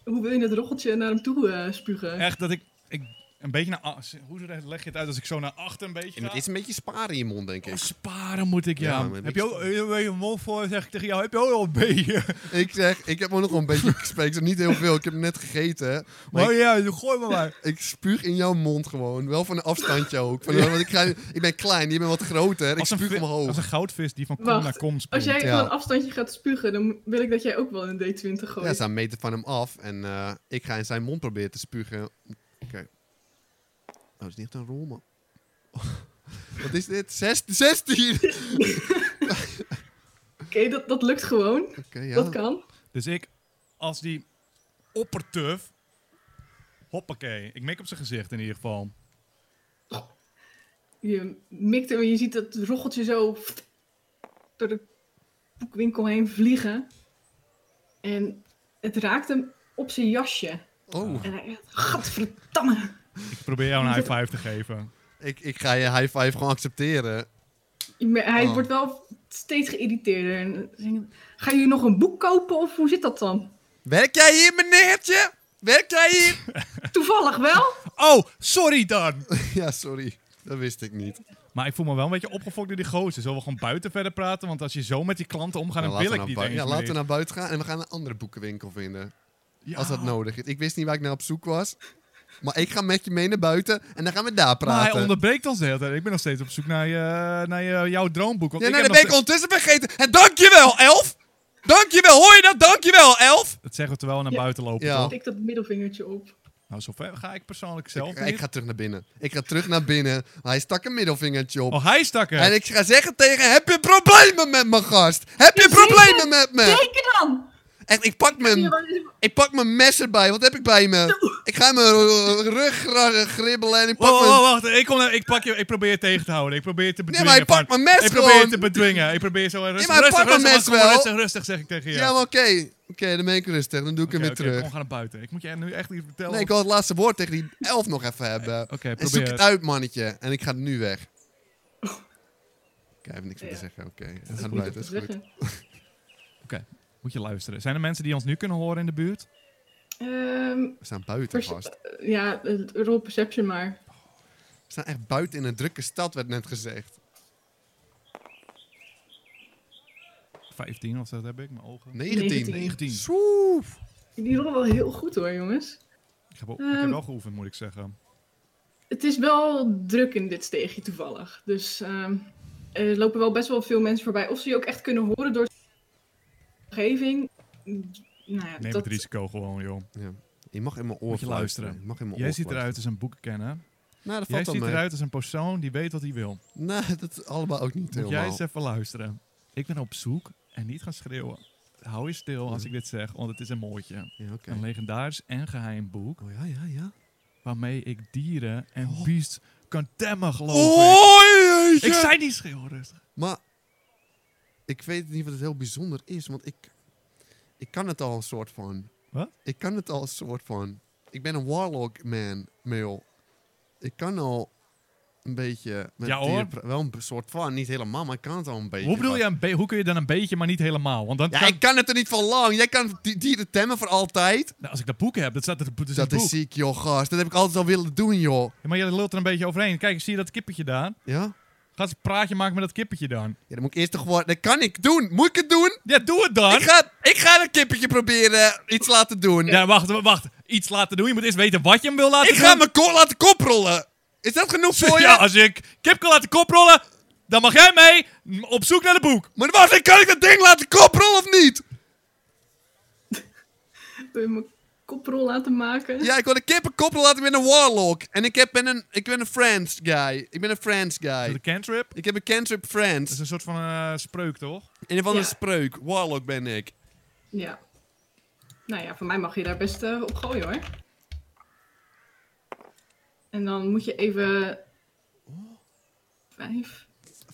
Speaker 3: Hoe wil je dat rocheltje naar hem toe eh, spugen?
Speaker 1: Echt dat ik, ik een beetje naar... a- Hoe leg je het uit als ik zo naar achter een beetje
Speaker 2: En het
Speaker 1: ga?
Speaker 2: is een beetje sparen in je mond, denk
Speaker 1: Oh,
Speaker 2: ik.
Speaker 1: sparen moet ik, ja.
Speaker 2: Ja, maar
Speaker 1: heb
Speaker 2: niks
Speaker 1: je ook eh, een mond voor, zeg ik tegen jou, heb je ook al een beetje?
Speaker 2: Ik zeg, ik heb ook nog wel een beetje gespeeld. Niet heel veel, ik heb net gegeten. Maar
Speaker 1: Oh ja, gooi maar maar.
Speaker 2: ik, ik spuug in jouw mond gewoon. Wel van een afstandje ook. Van, Want ik, ga, ik ben klein, je bent wat groter. Ik
Speaker 1: Als een,
Speaker 2: spuug
Speaker 1: vi-
Speaker 2: omhoog.
Speaker 1: als een goudvis die van kom
Speaker 3: Wacht,
Speaker 1: naar kom springt.
Speaker 3: Als jij
Speaker 2: Ja.
Speaker 3: van een afstandje gaat spugen, dan wil ik dat jij ook wel een D20 gooit.
Speaker 2: Ja, ze gaan meten van hem af. En eh, ik ga in zijn mond proberen te spugen. Oké. Oh, dat is niet echt een rol, man. Wat is dit? Zes, 16! Oké,
Speaker 3: Oké, dat, dat lukt gewoon. Dat
Speaker 2: ja.
Speaker 3: kan.
Speaker 1: Dus ik, als die oppertuf. Hoppakee. Ik mik op zijn gezicht in ieder geval.
Speaker 3: Je mikt hem en je ziet dat rocheltje zo door de boekwinkel heen vliegen. En het raakt hem op zijn jasje.
Speaker 2: Oh,
Speaker 3: En hij echt, gadverdamme.
Speaker 1: Ik probeer jou een high five te geven.
Speaker 2: ik, ik ga je high five gewoon accepteren.
Speaker 3: Je mer- Hij
Speaker 2: Oh.
Speaker 3: wordt wel steeds geïrriteerder. En zegt, Ga je nog een boek kopen of hoe zit dat dan?
Speaker 2: Werk jij hier, meneertje? Werk jij hier?
Speaker 3: Toevallig wel?
Speaker 1: Oh, sorry dan!
Speaker 2: ja, sorry. Dat wist ik niet.
Speaker 1: Maar ik voel me wel een beetje opgefokt door die gozer. Zullen we gewoon buiten verder praten? Want als je zo met die klanten omgaat, dan
Speaker 2: Nou, laten
Speaker 1: wil
Speaker 2: we
Speaker 1: ik
Speaker 2: naar
Speaker 1: niet
Speaker 2: bui-
Speaker 1: eens
Speaker 2: Ja,
Speaker 1: meer.
Speaker 2: laten we naar buiten gaan en we gaan een andere boekenwinkel vinden.
Speaker 1: Ja,
Speaker 2: Als dat nodig is. Ik wist niet waar ik naar op zoek was. Maar ik ga met je mee naar buiten en dan gaan we daar
Speaker 1: Maar hij
Speaker 2: praten.
Speaker 1: onderbreekt ons de hele tijd. Ik ben nog steeds op zoek naar, je, naar je, jouw droomboek. Want
Speaker 2: Ja,
Speaker 1: ik
Speaker 2: nee,
Speaker 1: heb
Speaker 2: dat ben ik
Speaker 1: nog ste-
Speaker 2: ondertussen vergeten. En dankjewel, Elf! Dankjewel, hoor je dat? Dankjewel, Elf!
Speaker 1: Dat zeggen we terwijl we naar
Speaker 3: Ja.
Speaker 1: buiten lopen,
Speaker 2: Ja.
Speaker 1: toch?
Speaker 3: Tik dat middelvingertje op.
Speaker 1: Nou, zover ga ik persoonlijk zelf
Speaker 2: Ik, ik
Speaker 1: niet.
Speaker 2: ga terug naar binnen. Ik ga terug naar binnen. Hij stak een middelvingertje op.
Speaker 1: Oh, hij stak er.
Speaker 2: En ik ga zeggen tegen heb je problemen met mijn gast? Heb je problemen met me?
Speaker 3: Zeker dan!
Speaker 2: Echt, ik pak
Speaker 3: Zie je
Speaker 2: mijn,
Speaker 3: wel eens-
Speaker 2: ik pak mijn mes erbij. Wat heb ik bij me? Ik ga mijn eh, rug gra- gribbelen en ik pak
Speaker 1: Wow,
Speaker 2: mijn...
Speaker 1: wow, wacht, ik, kom, naar- ik, pak je, ik probeer je tegen te houden. Ik probeer je te
Speaker 2: maar
Speaker 1: bedwingen.
Speaker 2: hij pakt
Speaker 1: van-
Speaker 2: mijn mes
Speaker 1: Ik probeer je
Speaker 2: gewoon.
Speaker 1: te bedwingen. Ik probeer zo rustig,
Speaker 2: maar hij
Speaker 1: rustig,
Speaker 2: pakt mijn
Speaker 1: rustig,
Speaker 2: mes
Speaker 1: maar gewoon
Speaker 2: wel.
Speaker 1: rustig, rustig, zeg ik tegen je.
Speaker 2: Ja, maar oké. Oké, dan ben ik rustig. Dan doe ik
Speaker 1: Oké,
Speaker 2: hem
Speaker 1: oké,
Speaker 2: weer terug.
Speaker 1: Kom, ga naar buiten. Ik moet je nu echt niet vertellen.
Speaker 2: Nee, ik wil het laatste woord tegen die elf nog even hebben.
Speaker 1: Eh, Oké,
Speaker 2: en
Speaker 1: probeer
Speaker 2: zoek
Speaker 1: het.
Speaker 2: het uit, mannetje. En ik ga nu weg. Kijk, hij heeft niks meer te
Speaker 3: Ja.
Speaker 2: zeggen. Oké,
Speaker 3: Dat
Speaker 2: dat
Speaker 3: is
Speaker 2: gaat
Speaker 3: niet
Speaker 2: buiten.
Speaker 3: om te
Speaker 2: Dat is goed.
Speaker 3: zeggen.
Speaker 1: Moet je luisteren. Zijn er mensen die ons nu kunnen horen in de buurt?
Speaker 3: Ehm,
Speaker 2: We staan buiten
Speaker 3: pers-
Speaker 2: vast.
Speaker 3: ja, eh, roll perception maar.
Speaker 2: We staan echt buiten in een drukke stad, werd net gezegd.
Speaker 1: 15 of zo, dat heb ik. Mijn ogen.
Speaker 2: 19.
Speaker 3: 19.
Speaker 1: 19.
Speaker 2: Soef.
Speaker 3: Die rollen wel heel goed hoor, jongens.
Speaker 1: Ik heb, wel- ik heb
Speaker 3: Ehm.
Speaker 1: wel geoefend, moet ik zeggen.
Speaker 3: Het is wel druk in dit steegje toevallig. Dus ehm, er lopen wel best wel veel mensen voorbij. Of ze je ook echt kunnen horen door de omgeving. Mm, Nou ja,
Speaker 1: Neem
Speaker 3: dat,
Speaker 1: het risico gewoon, joh.
Speaker 2: Ja. Je mag in mijn oor
Speaker 1: Moet je
Speaker 2: fluisteren.
Speaker 1: luisteren.
Speaker 2: Je mag in mijn
Speaker 1: Jij
Speaker 2: oor
Speaker 1: ziet
Speaker 2: fluisteren.
Speaker 1: eruit als een boekenkenner.
Speaker 2: Nou, dat
Speaker 1: Jij
Speaker 2: valt al
Speaker 1: ziet
Speaker 2: mee.
Speaker 1: eruit als een persoon die weet wat hij wil.
Speaker 2: Nou, dat allemaal ook niet
Speaker 1: Moet jij
Speaker 2: helemaal.
Speaker 1: eens even luisteren. Ik ben op zoek en niet gaan schreeuwen. Hou je stil als ik dit zeg, want het is een mooitje.
Speaker 2: Ja, oké.
Speaker 1: Een legendarisch en geheim boek.
Speaker 2: Oh ja, ja, ja.
Speaker 1: waarmee ik dieren en beest kan temmen, geloof ik.
Speaker 2: Oh, jeetje!
Speaker 1: Ik zei niet schreeuwen rustig.
Speaker 2: Maar ik weet niet wat het heel bijzonder is, want ik, ik kan het al een soort van.
Speaker 1: Wat?
Speaker 2: Ik kan het al een soort van. Ik ben een warlock man, Mil. Ik kan al een beetje met
Speaker 1: Ja, hoor.
Speaker 2: dieren pra- wel een b- soort van, niet helemaal, maar ik kan het al een beetje.
Speaker 1: Hoe bedoel
Speaker 2: Maar-
Speaker 1: je een be- Hoe kun je dan een beetje, maar niet helemaal? Want dan
Speaker 2: Ja,
Speaker 1: kan-
Speaker 2: ik kan het er niet van lang. Jij kan die dieren temmen voor altijd.
Speaker 1: Nou, als ik dat boek heb, dat staat er dus in het
Speaker 2: dat
Speaker 1: boek.
Speaker 2: is ziek, joh, gast. Dat heb ik altijd al willen doen, joh.
Speaker 1: Ja, maar je lult er een beetje overheen. Kijk, zie je dat kippetje daar?
Speaker 2: Ja?
Speaker 1: Ga eens een praatje maken met dat kippetje dan.
Speaker 2: Ja, dan moet ik eerst toch gewoon... Dat kan ik doen. Moet ik het doen?
Speaker 1: Ja, doe het dan!
Speaker 2: Ik ga, ik ga een kippetje proberen iets laten doen.
Speaker 1: Ja, wacht, wacht. Iets laten doen. Je moet eerst weten wat je hem wil laten
Speaker 2: Ik
Speaker 1: doen.
Speaker 2: ga mijn kop laten koprollen. Is dat genoeg voor je?
Speaker 1: Ja, als ik kip kan laten koprollen, dan mag jij mee m- op zoek naar de boek.
Speaker 2: Maar wacht, ik- kan ik dat ding laten koprollen of niet?
Speaker 3: Wil je mijn koprol laten maken?
Speaker 2: Ja, ik wil de kip een koprol laten met een warlock. En ik, heb, ben een, ik ben een Friends guy. Ik ben een Friends
Speaker 1: De
Speaker 2: guy.
Speaker 1: cantrip.
Speaker 2: Ik heb een cantrip
Speaker 1: Dat
Speaker 2: Friends.
Speaker 1: is een soort van eh, spreuk, toch?
Speaker 2: Een of andere
Speaker 3: Ja.
Speaker 2: spreuk. Warlock ben ik.
Speaker 3: Ja. Nou ja, voor mij mag je daar best eh, op gooien hoor. En dan moet je even.
Speaker 1: Oh.
Speaker 3: 5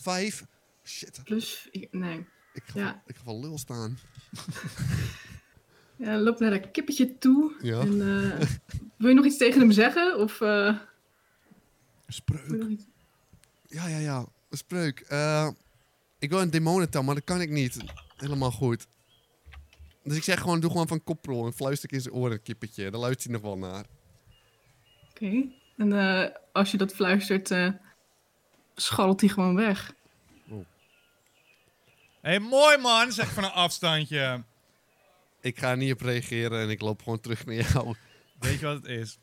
Speaker 2: Vijf. Shit.
Speaker 3: plus. vier- Nee.
Speaker 2: Ik ga,
Speaker 3: Ja.
Speaker 2: ik ga van lul staan.
Speaker 3: Ja, loop naar dat kippetje toe.
Speaker 2: Ja.
Speaker 3: En, eh, wil je nog iets tegen hem zeggen? Of. eh, wil je
Speaker 2: Spreuk.
Speaker 3: nog iets-
Speaker 2: Ja, ja, ja. Een spreuk. Eh, ik wil een demonental, maar dat kan ik niet. Helemaal goed. Dus ik zeg gewoon, doe gewoon van koprol. En fluister ik in zijn oren, kippetje. Daar luistert hij nog wel naar.
Speaker 3: Oké. En eh, als je dat fluistert, eh scharrelt hij gewoon weg.
Speaker 1: Hé, hey, mooi man, zeg van een afstandje.
Speaker 2: Ik ga er niet op reageren en ik loop gewoon terug naar jou.
Speaker 1: Weet je wat het is?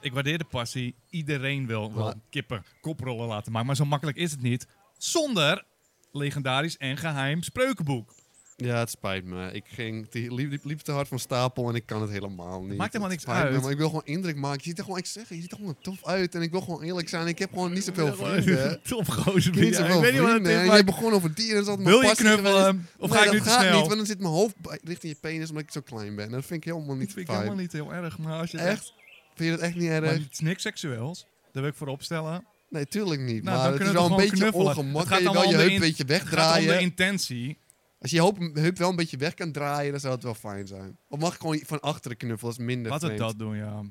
Speaker 1: Ik waardeer de passie. Iedereen wil wel
Speaker 2: Wat?
Speaker 1: kippen koprollen laten maken, maar zo makkelijk is het niet. Zonder legendarisch en geheim spreukenboek.
Speaker 2: Ja, het spijt me. Ik ging te, liep, liep, liep te hard van stapel en ik kan het helemaal niet.
Speaker 1: maakt helemaal
Speaker 2: Het
Speaker 1: niks
Speaker 2: spijt me,
Speaker 1: uit.
Speaker 2: maar ik wil gewoon indruk maken. Je ziet er gewoon, ik zeg, het, je ziet er gewoon tof uit. En ik wil gewoon eerlijk zijn. Ik heb gewoon niet zoveel vrienden.
Speaker 1: Top gozer.
Speaker 2: Ik heb niet
Speaker 1: Ja,
Speaker 2: zoveel
Speaker 1: ik weet niet wat het
Speaker 2: vrienden.
Speaker 1: is,
Speaker 2: En
Speaker 1: maar
Speaker 2: jij begon over dieren. Dat is altijd
Speaker 1: Wil
Speaker 2: mijn
Speaker 1: je
Speaker 2: passie geweest.
Speaker 1: knuffelen? Of
Speaker 2: nee,
Speaker 1: ga ik nu
Speaker 2: dat
Speaker 1: te
Speaker 2: gaat
Speaker 1: snel?
Speaker 2: niet, want dan zit mijn hoofd bij- richting je penis omdat ik zo klein ben. Dat vind ik helemaal
Speaker 1: Dat
Speaker 2: niet
Speaker 1: vind ik
Speaker 2: fijn.
Speaker 1: helemaal niet heel erg, maar als je het
Speaker 2: Echt? Vind je dat echt niet
Speaker 1: Maar
Speaker 2: erg?
Speaker 1: het is niks seksueels. Daar wil ik voor opstellen.
Speaker 2: Nee, tuurlijk niet.
Speaker 1: Nou,
Speaker 2: maar
Speaker 1: dan
Speaker 2: het is
Speaker 1: kunnen we
Speaker 2: wel
Speaker 1: toch
Speaker 2: een
Speaker 1: gewoon
Speaker 2: beetje
Speaker 1: knuffelen. Het
Speaker 2: ongemak.
Speaker 1: gaat
Speaker 2: Je
Speaker 1: allemaal
Speaker 2: wel je
Speaker 1: om de
Speaker 2: heup een
Speaker 1: in-
Speaker 2: beetje
Speaker 1: Het gaat om de
Speaker 2: wegdraaien.
Speaker 1: intentie.
Speaker 2: Als je je hoop- heup wel een beetje weg kan draaien, dan zou het wel fijn zijn. Of mag ik gewoon van achteren knuffelen, dat is minder
Speaker 1: Laten we
Speaker 2: vreemd.
Speaker 1: dat doen, ja.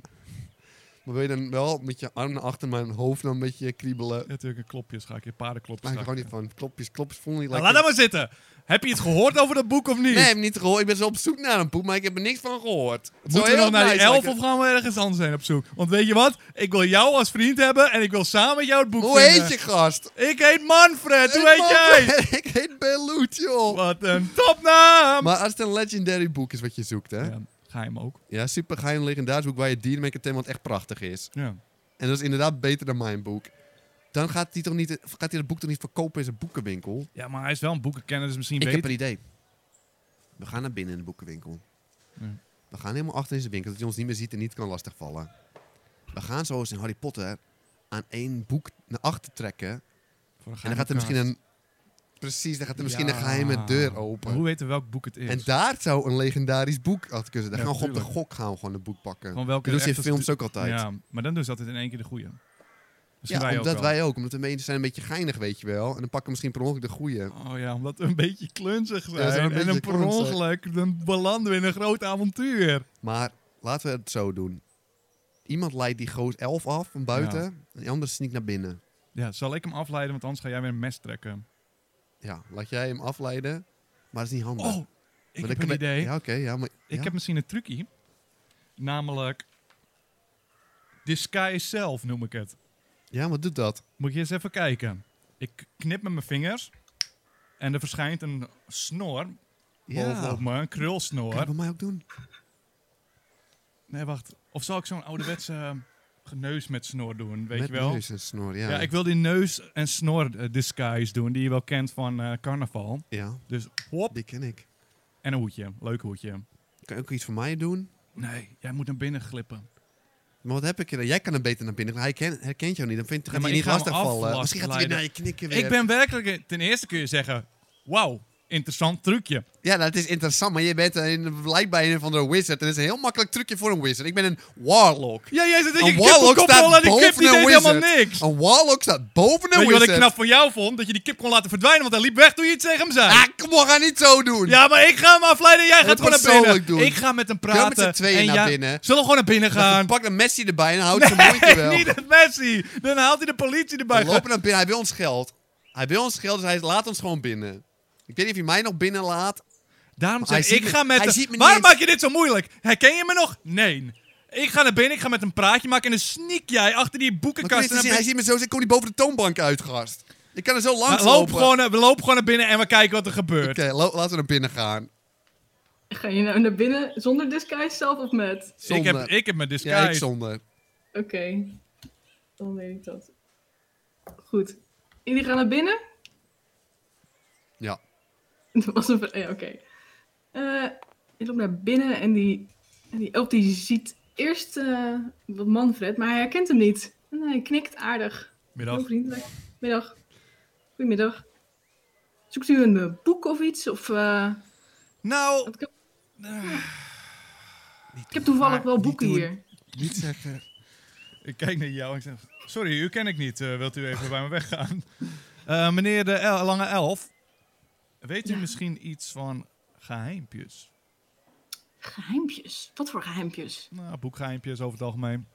Speaker 2: Maar wil je dan wel met je arm naar achter mijn hoofd dan een beetje kriebelen?
Speaker 1: Natuurlijk, een klopjes ga ik je paardenklopjes
Speaker 2: Maar ik hou
Speaker 1: zakken.
Speaker 2: niet van. Klopjes, klopjes voelen niet
Speaker 1: Nou,
Speaker 2: lekker.
Speaker 1: laat dat maar zitten. Heb je iets gehoord over dat boek of niet?
Speaker 2: Nee, ik heb niet gehoord. Ik ben zo op zoek naar een poep, maar ik heb er niks van gehoord. Het zou
Speaker 1: Moeten we
Speaker 2: heel
Speaker 1: nog naar die
Speaker 2: nice
Speaker 1: elf
Speaker 2: lijken.
Speaker 1: of gaan we ergens anders zijn op zoek? Want weet je wat? Ik wil jou als vriend hebben en ik wil samen met jou het boek
Speaker 2: Hoe
Speaker 1: vinden.
Speaker 2: heet je gast?
Speaker 1: Ik heet Manfred, hoe
Speaker 2: Ik
Speaker 1: heet jij?
Speaker 2: mag- ik heet Beloet, joh.
Speaker 1: Wat een topnaam!
Speaker 2: Maar als het een legendary boek is wat je zoekt, hè?
Speaker 1: Ja, geheim ook.
Speaker 2: Ja, super geheim legendarisch boek waar je dieren mee kan temmen wat echt prachtig is.
Speaker 1: Ja.
Speaker 2: En dat is inderdaad beter dan mijn boek. Dan gaat hij toch niet, gaat hij dat boek toch niet verkopen in zijn boekenwinkel?
Speaker 1: ja, maar hij is wel een boekenkenner, dus misschien
Speaker 2: Ik
Speaker 1: weet
Speaker 2: heb een idee. We gaan naar binnen in de boekenwinkel.
Speaker 1: Ja.
Speaker 2: We gaan helemaal achter in zijn winkel, dat hij ons niet meer ziet en niet kan lastigvallen. We gaan zoals in Harry Potter aan één boek naar achter trekken.
Speaker 1: Voor een
Speaker 2: en dan gaat
Speaker 1: geheime
Speaker 2: er misschien
Speaker 1: kaart.
Speaker 2: een... Precies, dan gaat er misschien
Speaker 1: Ja.
Speaker 2: een geheime deur
Speaker 1: Maar
Speaker 2: open.
Speaker 1: Hoe weten we welk boek het is?
Speaker 2: En daar zou een legendarisch boek achter kunnen zitten. Dan
Speaker 1: Ja,
Speaker 2: gaan we gewoon op de
Speaker 1: tuurlijk.
Speaker 2: gok gaan we gewoon een boek pakken.
Speaker 1: Gewoon welke
Speaker 2: Dat doen ze in
Speaker 1: echte
Speaker 2: films
Speaker 1: stu-
Speaker 2: ook altijd.
Speaker 1: Ja, maar dan doen ze altijd in één keer de goeie. Misschien
Speaker 2: Ja,
Speaker 1: wij
Speaker 2: omdat
Speaker 1: ook wel.
Speaker 2: wij ook. Omdat de mensen zijn een beetje geinig, weet je wel. En dan pakken we misschien per ongeluk de goeie.
Speaker 1: Oh ja, omdat we een beetje klunzig zijn.
Speaker 2: zijn een
Speaker 1: en
Speaker 2: beetje
Speaker 1: een per
Speaker 2: klunzig.
Speaker 1: ongeluk, dan belanden we in een groot avontuur.
Speaker 2: Maar laten we het zo doen. Iemand leidt die goos elf af van buiten. En die andere sneakt naar binnen.
Speaker 1: Ja, zal ik hem afleiden, want anders ga jij weer een mes trekken.
Speaker 2: Ja, laat jij hem afleiden. Maar dat is niet handig.
Speaker 1: Oh,
Speaker 2: Maar
Speaker 1: ik
Speaker 2: dan
Speaker 1: heb
Speaker 2: kan
Speaker 1: een
Speaker 2: je-
Speaker 1: idee.
Speaker 2: Ja, oké. ja, maar...
Speaker 1: Ik
Speaker 2: ja?
Speaker 1: heb misschien een trucje. Namelijk... Disguise zelf noem ik het.
Speaker 2: ja, maar doe dat.
Speaker 1: Moet je eens even kijken. Ik knip met mijn vingers. En er verschijnt een snor Oh,
Speaker 2: Ja.
Speaker 1: bovenop me. Een
Speaker 2: Kan je
Speaker 1: krulsnor.
Speaker 2: bij mij ook doen?
Speaker 1: Nee, wacht. Of zal ik zo'n ouderwetse eh, neus met snor doen, weet
Speaker 2: Met
Speaker 1: je wel?
Speaker 2: neus en snor, ja.
Speaker 1: Ja, ik wil die neus- en snor-disguise doen, die je wel kent van eh, carnaval.
Speaker 2: Ja,
Speaker 1: Dus hop,
Speaker 2: die ken ik.
Speaker 1: en een hoedje. Leuk hoedje.
Speaker 2: Kan je ook iets voor mij doen?
Speaker 1: Nee, jij moet naar binnen glippen.
Speaker 2: Maar wat heb ik er? Jij kan hem beter naar binnen. Hij herken- herkent jou niet. Dan vindt,
Speaker 1: Ja,
Speaker 2: gaat
Speaker 1: maar
Speaker 2: hij
Speaker 1: ik
Speaker 2: niet
Speaker 1: ga hem
Speaker 2: lastig vallen.
Speaker 1: aflasten
Speaker 2: Misschien gaat hij weer
Speaker 1: leiden.
Speaker 2: naar je knikken weer.
Speaker 1: Ik ben werkelijk... Ten eerste kun je zeggen, wauw, interessant trucje.
Speaker 2: Ja, dat is interessant, maar je bent een, blijkbaar een van de wizard. Dat is een heel makkelijk trucje voor een wizard. Ik ben een warlock.
Speaker 1: Ja, jij zit dat
Speaker 2: Een
Speaker 1: je kip
Speaker 2: warlock
Speaker 1: kon koppelen
Speaker 2: staat
Speaker 1: en die kip
Speaker 2: boven
Speaker 1: die
Speaker 2: een
Speaker 1: deed helemaal
Speaker 2: wizard.
Speaker 1: niks.
Speaker 2: Een warlock staat boven een
Speaker 1: Weet je wat
Speaker 2: wizard.
Speaker 1: ik knap van jou vond? Dat je die kip kon laten verdwijnen, want hij liep weg toen je iets tegen hem zei.
Speaker 2: Ah, kom op, ga niet zo doen.
Speaker 1: Ja, maar ik ga hem afleiden. Jij gaat
Speaker 2: Dat
Speaker 1: gewoon naar
Speaker 2: persoonlijk
Speaker 1: binnen. Ik
Speaker 2: doen.
Speaker 1: ga met hem
Speaker 2: met
Speaker 1: praten.
Speaker 2: z'n tweeën
Speaker 1: en
Speaker 2: naar
Speaker 1: ja-
Speaker 2: binnen.
Speaker 1: Zullen we gewoon naar binnen gaan?
Speaker 2: Pak een Messi erbij en houdt zijn moeite wel.
Speaker 1: niet het Messi. Dan haalt hij de politie erbij.
Speaker 2: We lopen naar binnen, hij wil ons geld. Hij wil ons geld, dus hij laat ons gewoon binnen. Ik weet niet of hij mij nog binnen laat.
Speaker 1: Daarom
Speaker 2: hij
Speaker 1: zeg
Speaker 2: ziet
Speaker 1: ik, ik
Speaker 2: me-
Speaker 1: ga met
Speaker 2: hij
Speaker 1: hem...
Speaker 2: ziet me niet
Speaker 1: Waarom
Speaker 2: eens.
Speaker 1: maak je dit zo moeilijk? Herken je me nog? Nee. Ik ga naar binnen, ik ga met hem praatje maken en dan sneak jij achter die
Speaker 2: Maar kun je
Speaker 1: boekenkast
Speaker 2: eens
Speaker 1: naar
Speaker 2: zien, hij
Speaker 1: binnen.
Speaker 2: ziet me zo, ik kom niet boven de toonbank uit, gast. Ik kan er zo langs
Speaker 1: Maar Nou, loop
Speaker 2: lopen.
Speaker 1: gewoon, naar- we lopen gewoon naar binnen en we kijken wat er gebeurt.
Speaker 2: Oké, lo- laten we naar binnen gaan.
Speaker 3: Ga je nou naar binnen zonder disguise zelf of met?
Speaker 1: Ik,
Speaker 2: Zonder.
Speaker 1: heb, ik heb mijn disguise.
Speaker 2: eh, Ja, ik zonder.
Speaker 3: Oké. Dan weet ik dat. Goed. Jullie gaan naar binnen?
Speaker 2: Ja.
Speaker 3: Dat was een... ver- Ja, oké. Eh, ik loop naar binnen en die, en die elf die ziet eerst eh, wat Manfred, maar hij herkent hem niet. En hij knikt aardig.
Speaker 1: Middag.
Speaker 3: Heel vriendelijk. Middag. Goedemiddag. Zoekt u een eh, boek of iets? Of, eh,
Speaker 1: Nou,
Speaker 3: want ik, heb... ik heb toevallig wel boeken
Speaker 2: doen.
Speaker 3: hier.
Speaker 2: Niet zeggen.
Speaker 1: ik kijk naar jou en ik zeg... Sorry, u ken ik niet. Eh, wilt u even bij me weggaan? Eh, meneer de El- Lange Elf, weet u
Speaker 3: Ja.
Speaker 1: misschien iets van geheimpjes?
Speaker 3: Geheimpjes? Wat voor geheimpjes?
Speaker 1: Nou, boekgeheimpjes over het algemeen.